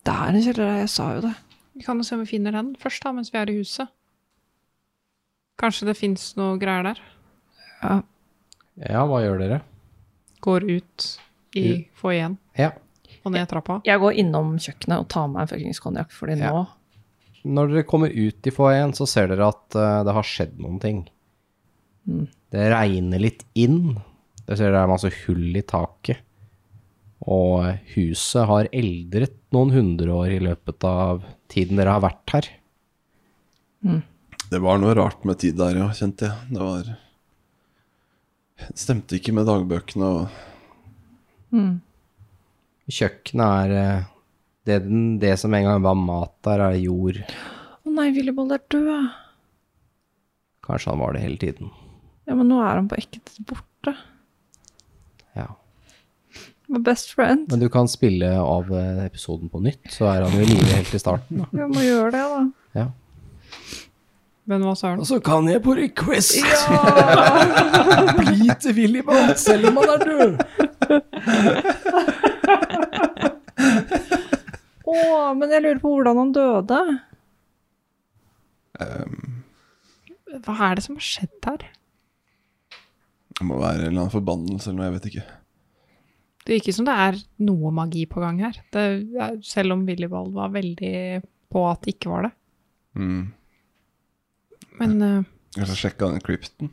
[SPEAKER 5] Det er en kjeller her, jeg sa jo det.
[SPEAKER 8] Vi kan jo se om vi finner den først, da, mens vi er i huset. Kanskje det fins noe greier der.
[SPEAKER 11] Ja, hva gjør dere?
[SPEAKER 8] Går ut i foajeen
[SPEAKER 11] Ja.
[SPEAKER 8] og ned trappa.
[SPEAKER 5] Jeg går innom kjøkkenet og tar meg en fuckings konjakk, fordi nå
[SPEAKER 11] Når dere kommer ut i foajeen, så ser dere at eh, det har skjedd noen ting.
[SPEAKER 5] Mm.
[SPEAKER 11] Det regner litt inn. Dere ser det er masse hull i taket. Og eh, huset har eldret noen hundre år i løpet av tiden dere har vært her.
[SPEAKER 4] Det var noe rart med tid der, ja, kjente jeg. Det var Det stemte ikke med dagbøkene og
[SPEAKER 11] Kjøkkenet er eh, det, den- det som en gang var mat der, er jord.
[SPEAKER 5] Å nei, Willebold er død.
[SPEAKER 11] Kanskje han var det hele tiden.
[SPEAKER 5] Ja, men nå er han på ekte borte.
[SPEAKER 11] Ja.
[SPEAKER 5] My best friend.
[SPEAKER 11] Men du kan spille av eh, episoden på nytt, så er han jo i live helt i starten. Da.
[SPEAKER 5] Jeg må gjøre det, [laughs] da.
[SPEAKER 11] Ja.
[SPEAKER 8] Men hva søren?
[SPEAKER 2] Og så kan jeg på request bli til Willibald, selv om han er død.
[SPEAKER 5] Å, men jeg lurer på hvordan han døde.
[SPEAKER 8] Hva er det som har skjedd her?
[SPEAKER 4] Det må være en eller annen forbannelse eller noe, jeg vet ikke.
[SPEAKER 8] Det virker som det er noe magi på gang her. Det er, selv om Willibald var veldig på at det ikke var det.
[SPEAKER 4] Mm.
[SPEAKER 8] Men eh,
[SPEAKER 4] Kanskje sjekka den krypten?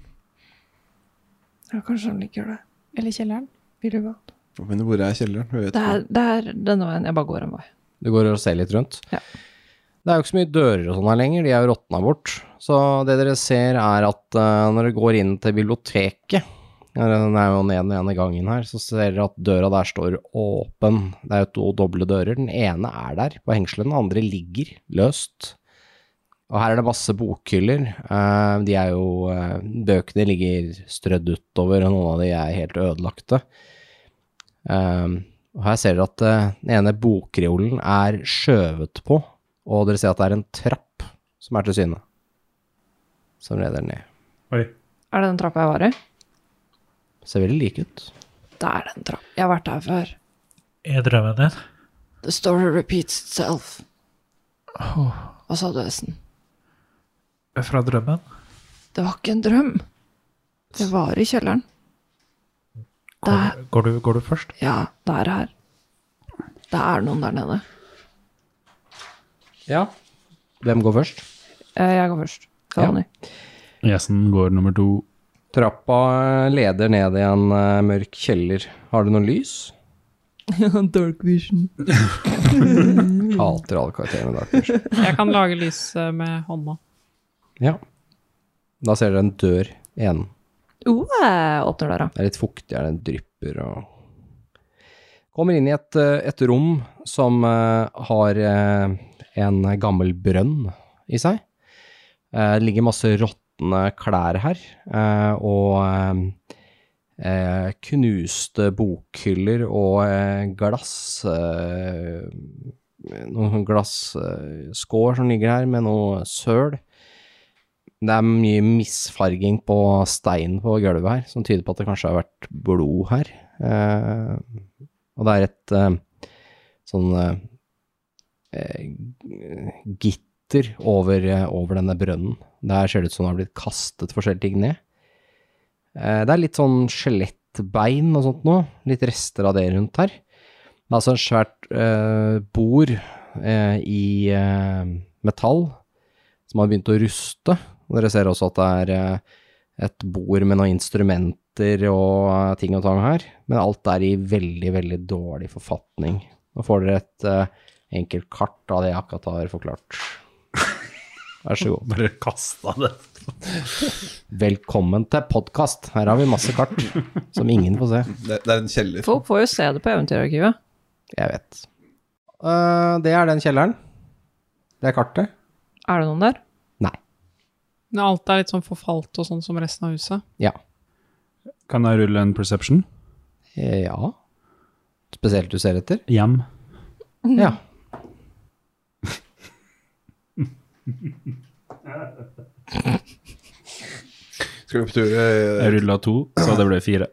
[SPEAKER 5] Ja, kanskje han liker det.
[SPEAKER 8] Eller kjelleren.
[SPEAKER 5] Willibald.
[SPEAKER 4] Hvor mener hvor er kjelleren? Vi vet
[SPEAKER 5] Det
[SPEAKER 4] ikke.
[SPEAKER 5] er, det er denne veien. Jeg bare går en vei.
[SPEAKER 11] Du går og ser litt rundt.
[SPEAKER 5] Ja.
[SPEAKER 11] Det er jo ikke så mye dører og sånn her lenger, de er jo råtna bort. Så det dere ser er at eh, når dere går inn til biblioteket, ja, den er jo ned den ene gangen her, så ser dere at døra der står åpen. Det er jo to doble dører. Den ene er der på hengselen, den andre ligger løst. Og her er det masse bokhyller. Eh, De er jo eh, Bøkene ligger strødd utover, og noen av de er helt ødelagte. Um, og her ser dere at eh, den ene bokreolen er skjøvet på, og dere ser at det er en trapp som er til syne. Som leder ned.
[SPEAKER 6] Oi.
[SPEAKER 5] Er det den trappa jeg var i?
[SPEAKER 11] Ser veldig lik ut.
[SPEAKER 5] Det er den trappa. Jeg har vært her før.
[SPEAKER 12] Er drømmen din?
[SPEAKER 5] The story repeats itself. Hva sa du, Essen?
[SPEAKER 12] Fra drømmen?
[SPEAKER 5] Det var ikke en drøm. Det var i kjelleren. Det er,
[SPEAKER 12] Går, går, du, går du først?
[SPEAKER 5] ja, det er her. Det er noen der nede.
[SPEAKER 11] Ja. Hvem går først?
[SPEAKER 5] Eh, Jeg går først. Fanny.
[SPEAKER 6] Gjesten går nummer to.
[SPEAKER 11] Trappa eh, leder ned i en eh, mørk kjeller. Har du noe lys?
[SPEAKER 5] [laughs] Dark vision.
[SPEAKER 11] Hater alle karakterene
[SPEAKER 5] [laughs]
[SPEAKER 11] der, kanskje.
[SPEAKER 8] Jeg kan lage lys eh, med hånda.
[SPEAKER 11] Ja. Da ser dere en dør i enden.
[SPEAKER 5] Oh, jeg åpner døra.
[SPEAKER 11] Det er litt fuktig, her, den drypper og Kommer inn i et, eh, et rom som eh, har eh, en gammel brønn i seg. Eh, Det ligger masse råtne klær her, eh, og eh, eh, knuste bokhyller og eh, glass eh, Noen glasskår som ligger her, med noe søl. Det er mye misfarging på steinen på gulvet her, som tyder på at det kanskje har vært blod her. Eh, og det er et eh, sånn eh, eh, gitter over, eh, over denne brønnen. Der ser det ut som det har blitt kastet forskjellige ting ned. Eh, det er litt sånn skjelettbein og sånt nå, litt rester av det rundt her. Det er altså en svært eh, bord eh, i eh, metall som har begynt å ruste. Og dere ser også at det er eh, et bord med noen instrumenter og eh, ting og tang her. Men alt er i veldig, veldig dårlig forfatning. Nå får dere et eh, enkelt kart av det jeg akkurat har forklart. Vær så god.
[SPEAKER 6] Bare kasta det.
[SPEAKER 11] Velkommen til podkast. Her har vi masse kart som ingen får se.
[SPEAKER 4] Det, det er en kjeller.
[SPEAKER 5] Folk får jo se det på Eventyrarkivet.
[SPEAKER 11] Jeg vet. Eh, det er den kjelleren. Det er kartet.
[SPEAKER 5] Er det noen der?
[SPEAKER 8] Men alt er litt sånn forfalt og sånn som resten av huset.
[SPEAKER 11] Ja.
[SPEAKER 6] Kan jeg rulle en perception?
[SPEAKER 11] Eh, Ja. spesielt du ser etter?
[SPEAKER 17] Hjem.
[SPEAKER 11] Ja.
[SPEAKER 18] Skal du på tur eh,
[SPEAKER 17] Jeg rulla to, så det ble fire.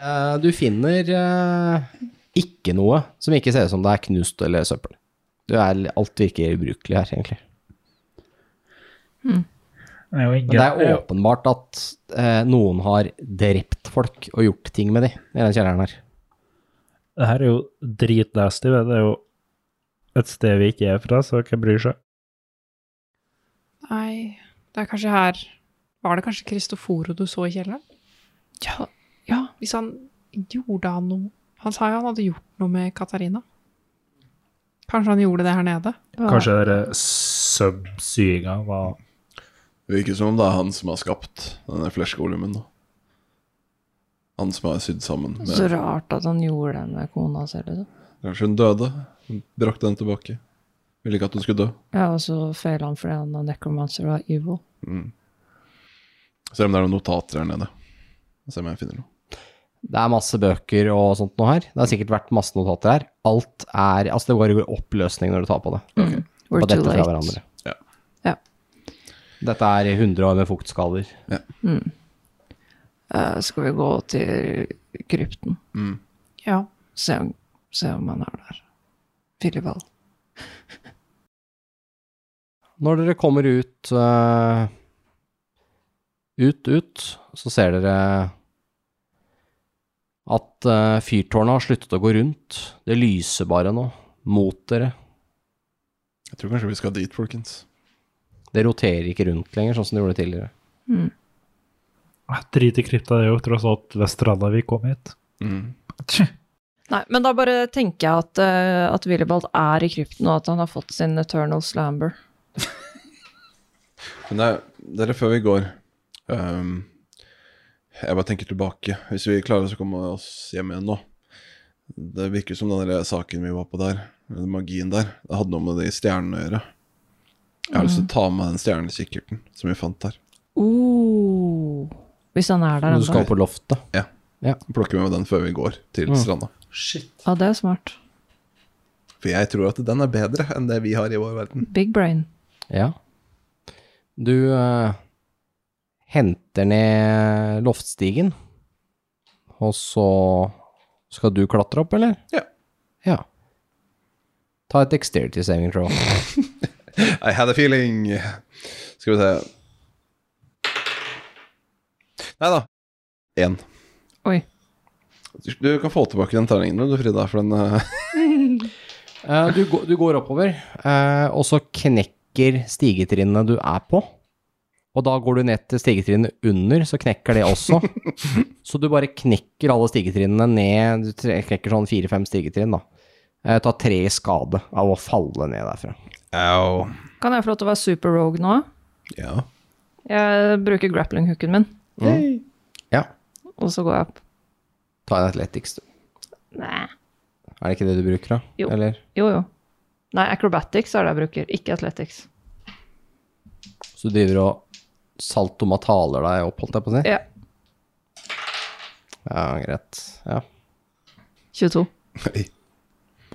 [SPEAKER 11] Eh, Du finner eh, ikke noe som ikke ser ut som det er knust eller søppel. Du er, alt virker ubrukelig her, egentlig.
[SPEAKER 6] Det er jo
[SPEAKER 11] Men det er
[SPEAKER 6] ingen,
[SPEAKER 11] åpenbart at eh, noen har drept folk og gjort ting med de i den kjelleren her.
[SPEAKER 6] det her er jo dritnasty. vet du. Det er jo et sted vi ikke er fra, så hvem bryr seg?
[SPEAKER 8] Nei, det er kanskje her Var det kanskje Kristoforo du så i kjelleren? Ja, ja, hvis han gjorde han noe Han sa jo han hadde gjort noe med Katarina. Kanskje han gjorde det her nede?
[SPEAKER 17] Kanskje den subsyinga var
[SPEAKER 4] Det virker som om det er han som har skapt denne flashgolumen. da. Han som har sydd sammen
[SPEAKER 5] Så
[SPEAKER 4] med
[SPEAKER 5] rart at han gjorde det med kona si, liksom.
[SPEAKER 4] Kanskje hun døde. Hun brakte henne tilbake. Ville ikke at hun skulle dø.
[SPEAKER 5] Ja, og så feila han fordi han var necromancer og var evil.
[SPEAKER 4] Mm. Se om det er noen notater her nede. Se om jeg finner noe.
[SPEAKER 11] Det er masse bøker og sånt noe her. Det har sikkert vært masse notater her. Alt er Altså, det går i oppløsning når du tar på det.
[SPEAKER 5] We're
[SPEAKER 11] På
[SPEAKER 5] too
[SPEAKER 11] dette fra
[SPEAKER 5] late.
[SPEAKER 11] hverandre.
[SPEAKER 4] Ja.
[SPEAKER 5] Ja.
[SPEAKER 11] Dette er 100 år med fuktskader.
[SPEAKER 5] Eh, skal vi gå til krypten?
[SPEAKER 8] Ja.
[SPEAKER 5] Se om, se om han er der. Filibald.
[SPEAKER 11] Når dere kommer ut eh, Ut, ut, så ser dere at uh, fyrtårnet har sluttet å gå rundt. Det lyser bare nå, mot dere.
[SPEAKER 4] Jeg tror kanskje vi skal dit, folkens.
[SPEAKER 11] Det roterer ikke rundt lenger, sånn som det gjorde tidligere.
[SPEAKER 6] Ah, Drit i krypta, det er jo tross alt Vesterålen vi kom hit.
[SPEAKER 4] Mm.
[SPEAKER 5] Nei, men da bare tenker jeg at, eh, at Willibald er i krypten, og at han har fått sin eternal slamber.
[SPEAKER 4] Men det er, det er før vi går. Ehm, jeg bare tenker tilbake. Hvis vi klarer oss å komme oss hjem igjen nå Det virker som den der saken vi var på der, den magien der, det hadde noe med de stjernene å gjøre. Jeg har lyst til å ta med den stjernekikkerten som vi fant der.
[SPEAKER 5] Uh, hvis han er der
[SPEAKER 11] Du
[SPEAKER 5] ennå.
[SPEAKER 11] skal på loftet.
[SPEAKER 4] Ja.
[SPEAKER 11] Ja.
[SPEAKER 4] Plukke med den før vi går til stranda.
[SPEAKER 5] Ja, det er smart.
[SPEAKER 4] For jeg tror at den er bedre enn det vi har i vår verden.
[SPEAKER 5] Big brain.
[SPEAKER 11] Ja. Du eh, henter ned loftstigen, og så skal du klatre opp, eller?
[SPEAKER 4] Ja.
[SPEAKER 11] Ja. Ta et dexterity saving throw.
[SPEAKER 4] I had a feeling. Skal vi se Nei da. Én.
[SPEAKER 5] Oi.
[SPEAKER 4] Du, du kan få tilbake den terningen du, Frida, for den eh,
[SPEAKER 11] Eh, du, går- du går oppover, eh, og så knekker stigetrinnene du er på. Og da går du ned til stigetrinnene under, så knekker det
[SPEAKER 5] [laughs]
[SPEAKER 11] også. så du bare knekker alle stigetrinnene ned, du tre- knekker sånn fire-fem stigetrinn, da. Eh, Ta tre i skade av å falle ned derfra.
[SPEAKER 4] Au.
[SPEAKER 5] Kan jeg få lov til å være super rogue nå?
[SPEAKER 4] Ja.
[SPEAKER 5] Jeg bruker grappling-hooken min,
[SPEAKER 11] Mm. Ja.
[SPEAKER 5] og så går jeg opp.
[SPEAKER 11] Ta en athletics, du.
[SPEAKER 5] Nei.
[SPEAKER 11] Er det ikke det du bruker, da?
[SPEAKER 5] Jo.
[SPEAKER 11] Eller?
[SPEAKER 5] Jo, jo. Nei, acrobatics er det jeg bruker, ikke athletics.
[SPEAKER 11] Så du driver og saltomataler deg opp, holdt jeg på å si?
[SPEAKER 5] Ja.
[SPEAKER 11] Ja, greit. Ja.
[SPEAKER 5] 22.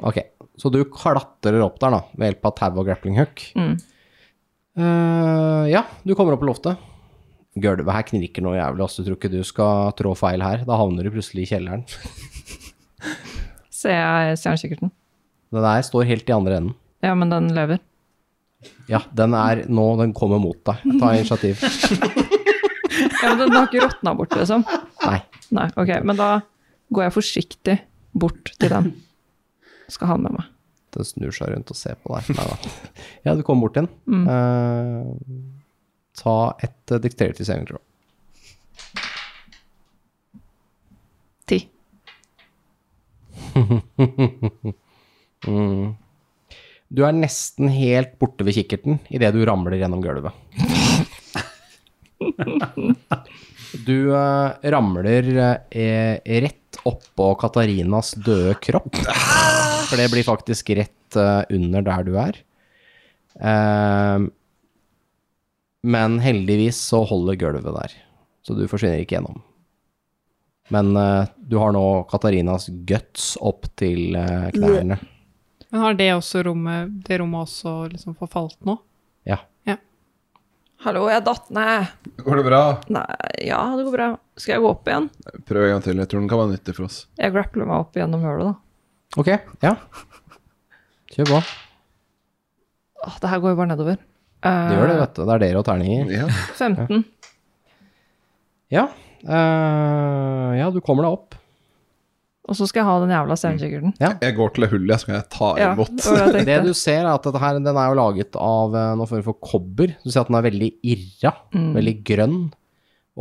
[SPEAKER 11] Ok, så du klatrer opp der da, ved hjelp av tau og grappling hook.
[SPEAKER 5] Mm.
[SPEAKER 11] Eh, ja, du kommer opp på loftet. Gulvet her knirker noe jævlig, altså du tror ikke du skal trå feil her. Da havner du plutselig i kjelleren.
[SPEAKER 5] Ser jeg stjernekikkerten?
[SPEAKER 11] Den der står helt i andre enden.
[SPEAKER 5] Ja, men den lever.
[SPEAKER 11] Ja, den er nå, den kommer mot deg. Ta initiativ.
[SPEAKER 5] Ja, men den har ikke råtna bort, liksom.
[SPEAKER 11] Nei.
[SPEAKER 5] Nei, ok, men da går jeg forsiktig bort til den. Skal ha den med meg.
[SPEAKER 11] Den snur seg rundt og ser på deg. Nei da. Ja, du kommer bort til den. Eh, ta et uh, dictator saving throw.
[SPEAKER 5] Ti.
[SPEAKER 11] Du er nesten helt borte ved kikkerten idet du ramler gjennom gulvet. Du eh, ramler eh, rett oppå Katarinas døde kropp. For det blir faktisk rett eh, under der du er. Eh, men heldigvis så holder gulvet der, så du forsvinner ikke gjennom. Men eh, du har nå Katarinas guts opp til eh, knærne.
[SPEAKER 8] Men har det også rommet, det rommet også liksom forfalt nå?
[SPEAKER 11] Ja.
[SPEAKER 5] Hallo, jeg datt ned.
[SPEAKER 4] Går det bra?
[SPEAKER 5] Nei, ja, det går bra. Skal jeg gå opp igjen?
[SPEAKER 4] Prøv en gang til. Jeg tror den kan være nyttig for oss.
[SPEAKER 5] Jeg grappler meg opp gjennom hølet, da.
[SPEAKER 11] Ok, ja. Kjør på.
[SPEAKER 5] Åh, det her går jo bare nedover. Eh,
[SPEAKER 11] Det gjør det, vet du. Det er dere og terninger.
[SPEAKER 4] Ja.
[SPEAKER 5] 15.
[SPEAKER 11] Ja. eh, ja, du kommer deg opp.
[SPEAKER 5] Og så skal jeg ha den jævla stjernekikkerten.
[SPEAKER 4] Jeg går til det hullet, så kan jeg ta
[SPEAKER 5] Ja,
[SPEAKER 4] imot.
[SPEAKER 5] det var det jeg
[SPEAKER 11] Det du
[SPEAKER 5] tenkte.
[SPEAKER 11] ser, er at dette her, den er jo laget av eh, noe form for kobber. Du ser at den er veldig irra,
[SPEAKER 5] Mm.
[SPEAKER 11] veldig grønn.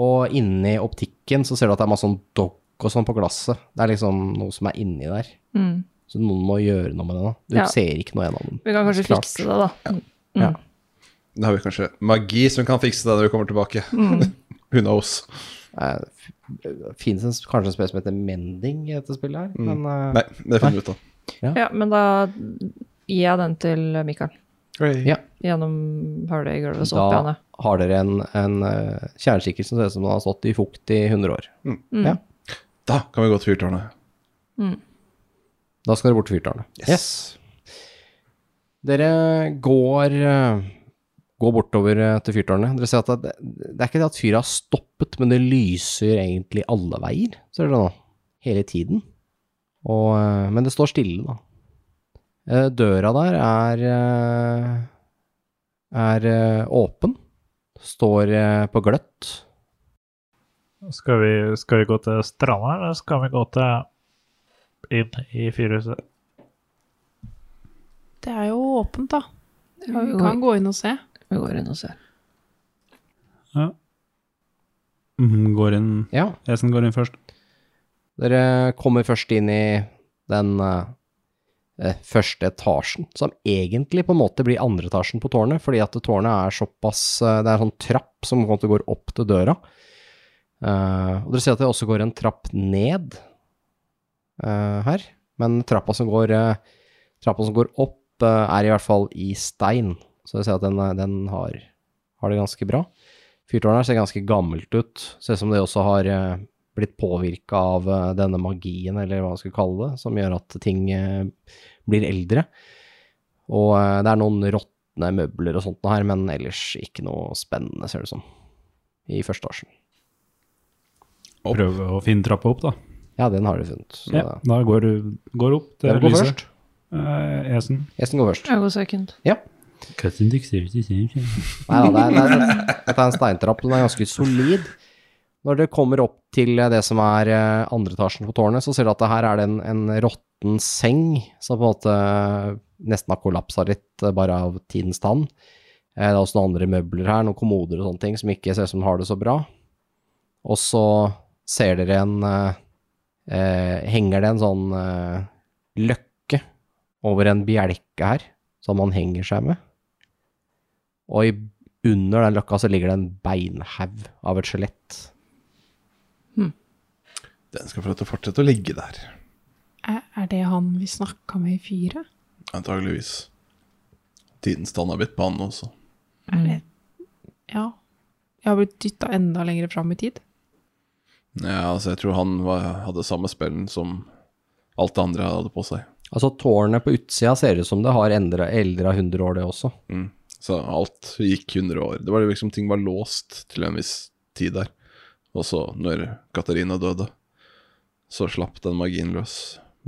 [SPEAKER 11] Og inni optikken så ser du at det er masse sånn dogg og sånn på glasset. Det er liksom noe som er inni der.
[SPEAKER 5] Mm.
[SPEAKER 11] Så noen må gjøre noe med det nå. Du
[SPEAKER 5] Ja.
[SPEAKER 11] ser ikke noe gjennom den.
[SPEAKER 5] Vi kan kanskje
[SPEAKER 11] Klart.
[SPEAKER 5] fikse det, da.
[SPEAKER 4] Da har vi kanskje magi som kan fikse det når vi kommer tilbake.
[SPEAKER 5] Mm.
[SPEAKER 4] [laughs] Who knows?
[SPEAKER 11] Eh, f- Finnes en, s- kanskje en spil som heter Mending i dette spillet her, men eh,
[SPEAKER 4] Nei, det finner vi ut av.
[SPEAKER 5] Ja, men da gir jeg den til Mikael.
[SPEAKER 11] Ja.
[SPEAKER 5] Gjennom hullet i gulvet, så opp igjen.
[SPEAKER 11] da
[SPEAKER 5] ja.
[SPEAKER 11] har dere en, en eh, kjerneskikkelse som ser ut som den har stått i fukt i 100 år.
[SPEAKER 5] Mm.
[SPEAKER 11] Ja.
[SPEAKER 4] Da kan vi gå til fyrtårnet.
[SPEAKER 11] Da skal dere bort til fyrtårnet. Yes. Dere går, eh, går bortover eh, til fyrtårnet. Dere ser at det, det er ikke det at fyret har stoppet, men det lyser egentlig alle veier, ser dere nå. Hele tiden. Og, eh, men det står stille, da. Eh, Døra der er eh, er eh, åpen. Står eh, på gløtt.
[SPEAKER 12] Skal vi, skal vi gå til stranda, eller skal vi gå til inn i fyrhuset?
[SPEAKER 8] Det er jo åpent, da. Ja, vi
[SPEAKER 5] Oi.
[SPEAKER 8] kan gå inn og se.
[SPEAKER 5] Vi går inn og ser.
[SPEAKER 6] Mhm, Går inn
[SPEAKER 11] Ja.
[SPEAKER 6] Esen går inn først.
[SPEAKER 11] Dere kommer først inn i den eh, eh, første etasjen, som egentlig på en måte blir andre etasjen på tårnet, fordi at tårnet er såpass eh, Det er sånn trapp som på en måte går opp til døra. Eh, og dere ser at det også går en trapp ned eh, her, men trappa som går, eh, trappa som går opp, eh, er i hvert fall i stein, så dere ser at den, eh, den har, har det ganske bra. Fyrtårnet her ser ganske gammelt ut, ser ut som det også har eh, blitt påvirka av eh, denne magien, eller hva man skal kalle det, som gjør at ting eh, blir eldre. Og eh, det er noen råtne møbler og sånt noe her, men ellers ikke noe spennende, ser det ut som, i første etasjen.
[SPEAKER 4] Opp.
[SPEAKER 6] Prøve å finne trappa opp, da.
[SPEAKER 11] Ja, den har du funnet. Så
[SPEAKER 6] Ja, da går du går opp til
[SPEAKER 11] Hvem går
[SPEAKER 6] lyset.
[SPEAKER 11] først?
[SPEAKER 6] Eh, Esen.
[SPEAKER 11] Gjesten går først.
[SPEAKER 5] Jeg går second.
[SPEAKER 11] Nei da, det er, det er, dette er en steintrapp, den er ganske solid. Når dere kommer opp til eh, det som er eh, andre etasjen på tårnet, så ser dere at det her er det en, en råtten seng som på en måte eh, nesten har kollapsa litt, eh, bare av tidens tann. Eh, Det er også noen andre møbler her, noen kommoder og sånne ting som ikke ser ut som de har det så bra. Og så ser dere en eh, eh, Henger det en sånn eh, løkke over en bjelke her, som man henger seg med? Og i, under den løkka så ligger det en beinhaug av et skjelett.
[SPEAKER 4] Den skal få lov til å fortsette å ligge der.
[SPEAKER 8] Er, er det han vi snakka med i fyret?
[SPEAKER 4] Antageligvis. Tidens stand har blitt på han også.
[SPEAKER 5] Mm.
[SPEAKER 8] Er det Ja. Jeg har blitt dytta enda lenger fram i tid.
[SPEAKER 4] Ja, altså, jeg tror han var, hadde samme spellen som alt det andre hadde på seg.
[SPEAKER 11] Altså tårnet på utsida ser ut som det har endra eldra 100 år, det også.
[SPEAKER 4] Mm. Så alt gikk 100 år. Det var liksom ting var låst til en viss tid der. Og så, når Katarina døde, så slapp den magien løs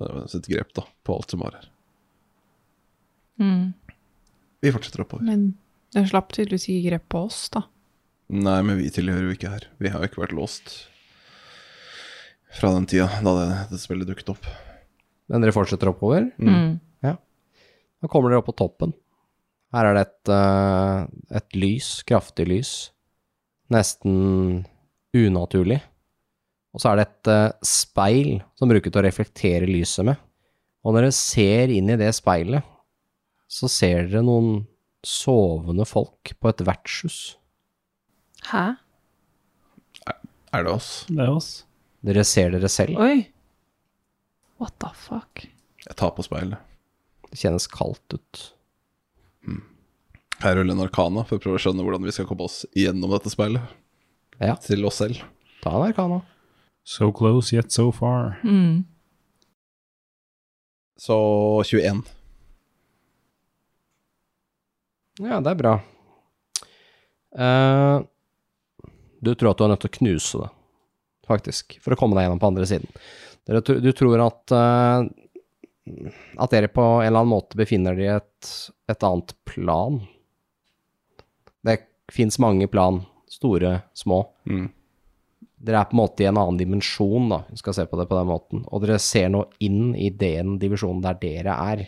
[SPEAKER 4] med sitt grep da, på alt som var her.
[SPEAKER 5] Mm.
[SPEAKER 4] Vi fortsetter oppover.
[SPEAKER 8] Men den slapp tydeligvis ikke grep på oss, da.
[SPEAKER 4] Nei, men vi tilhører jo ikke her. Vi har jo ikke vært låst fra den tida da det, det spillet dukket opp.
[SPEAKER 11] Men dere fortsetter oppover.
[SPEAKER 5] Mm.
[SPEAKER 11] Da kommer dere opp på toppen. Her er det et, eh, et lys, kraftig lys. Nesten unaturlig. Og så er det et eh, speil som brukes til å reflektere lyset med. Og når dere ser inn i det speilet, så ser dere noen sovende folk på et vertshus.
[SPEAKER 5] Hæ?
[SPEAKER 4] Er det oss?
[SPEAKER 12] Det er oss.
[SPEAKER 11] Dere ser dere selv.
[SPEAKER 5] Oi. What the fuck?
[SPEAKER 4] Jeg tar på speilet.
[SPEAKER 11] Det kjennes kaldt ut.
[SPEAKER 4] Her ruller en arkana for å prøve å skjønne hvordan vi skal komme oss gjennom dette speilet.
[SPEAKER 11] Ja.
[SPEAKER 4] Til oss selv.
[SPEAKER 11] Ta en arkana.
[SPEAKER 6] So close yet so far.
[SPEAKER 5] Mm.
[SPEAKER 4] Så 21.
[SPEAKER 11] Ja, det er bra. Eh, du tror at du er nødt til å knuse det, faktisk, for å komme deg gjennom på andre siden. Dere, tr- du tror at eh, at dere på en eller annen måte befinner dere i et, et annet plan. Det fins mange plan, store, små.
[SPEAKER 4] Mm.
[SPEAKER 11] Dere er på en måte i en annen dimensjon, da, vi skal se på det på den måten. Og dere ser nå inn i den divisjonen der dere er.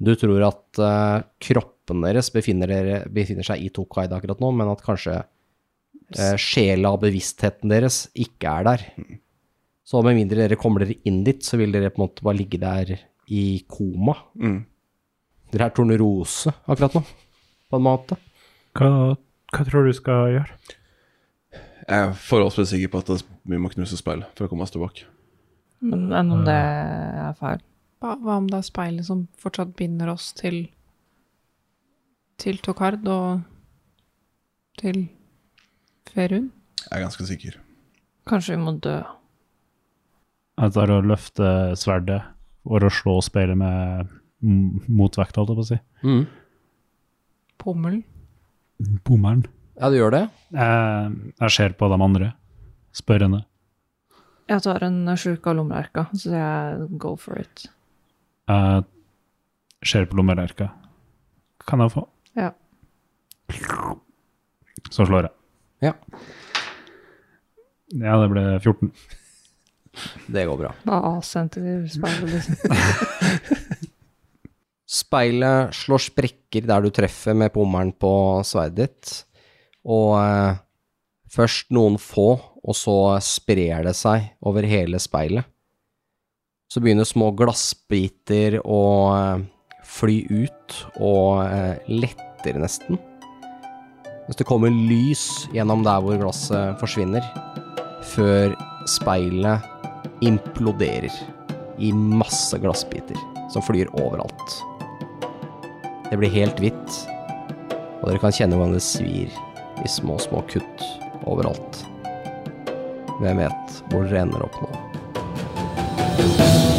[SPEAKER 11] Du tror at eh, kroppen deres befinner, dere, befinner seg i Tokaid akkurat nå, men at kanskje eh, sjela og bevisstheten deres ikke er der. Så med mindre dere kommer dere inn dit, så vil dere på en måte bare ligge der i koma.
[SPEAKER 4] Mm.
[SPEAKER 11] Dere er tornerose akkurat nå, på en måte.
[SPEAKER 12] Hva, hva tror du skal gjøre?
[SPEAKER 4] Jeg er forholdsvis sikker på at det- vi må knuse speilet for å komme oss tilbake.
[SPEAKER 5] Men enn om det er feil?
[SPEAKER 8] Hva, hva om det er speilet som fortsatt binder oss til til Tokard og til Ferun?
[SPEAKER 4] Jeg er ganske sikker.
[SPEAKER 5] Kanskje vi må dø.
[SPEAKER 6] Jeg tar og løfter sverdet for å slå speilet med mm, motvekt, holdt jeg på å si.
[SPEAKER 8] Pommelen?
[SPEAKER 6] Bommeren.
[SPEAKER 11] Ja, du gjør det?
[SPEAKER 6] Jeg, Eh, jeg ser på de andre, spørrende.
[SPEAKER 5] Jeg tar en sjuk av lommelerka, så jeg go for it.
[SPEAKER 6] Jeg ser på lommelerka. Kan jeg få?
[SPEAKER 5] Ja.
[SPEAKER 6] Så slår jeg.
[SPEAKER 11] Ja.
[SPEAKER 6] Ja, det ble 14.
[SPEAKER 11] Det går bra.
[SPEAKER 5] Bare avsendte vi speilet, liksom.
[SPEAKER 11] Speilet slår sprekker der du treffer med pommelen på sverdet ditt, og eh, først noen få, og så sprer det seg over hele speilet. Så begynner små glassbiter å eh, fly ut, og eh, letter nesten. Mens det kommer lys gjennom der hvor glasset forsvinner, før speilet imploderer i masse glassbiter som flyr overalt. Det blir helt hvitt, og dere kan kjenne hvordan det svir i små, små kutt overalt. Hvem vet hvor dere ender opp nå?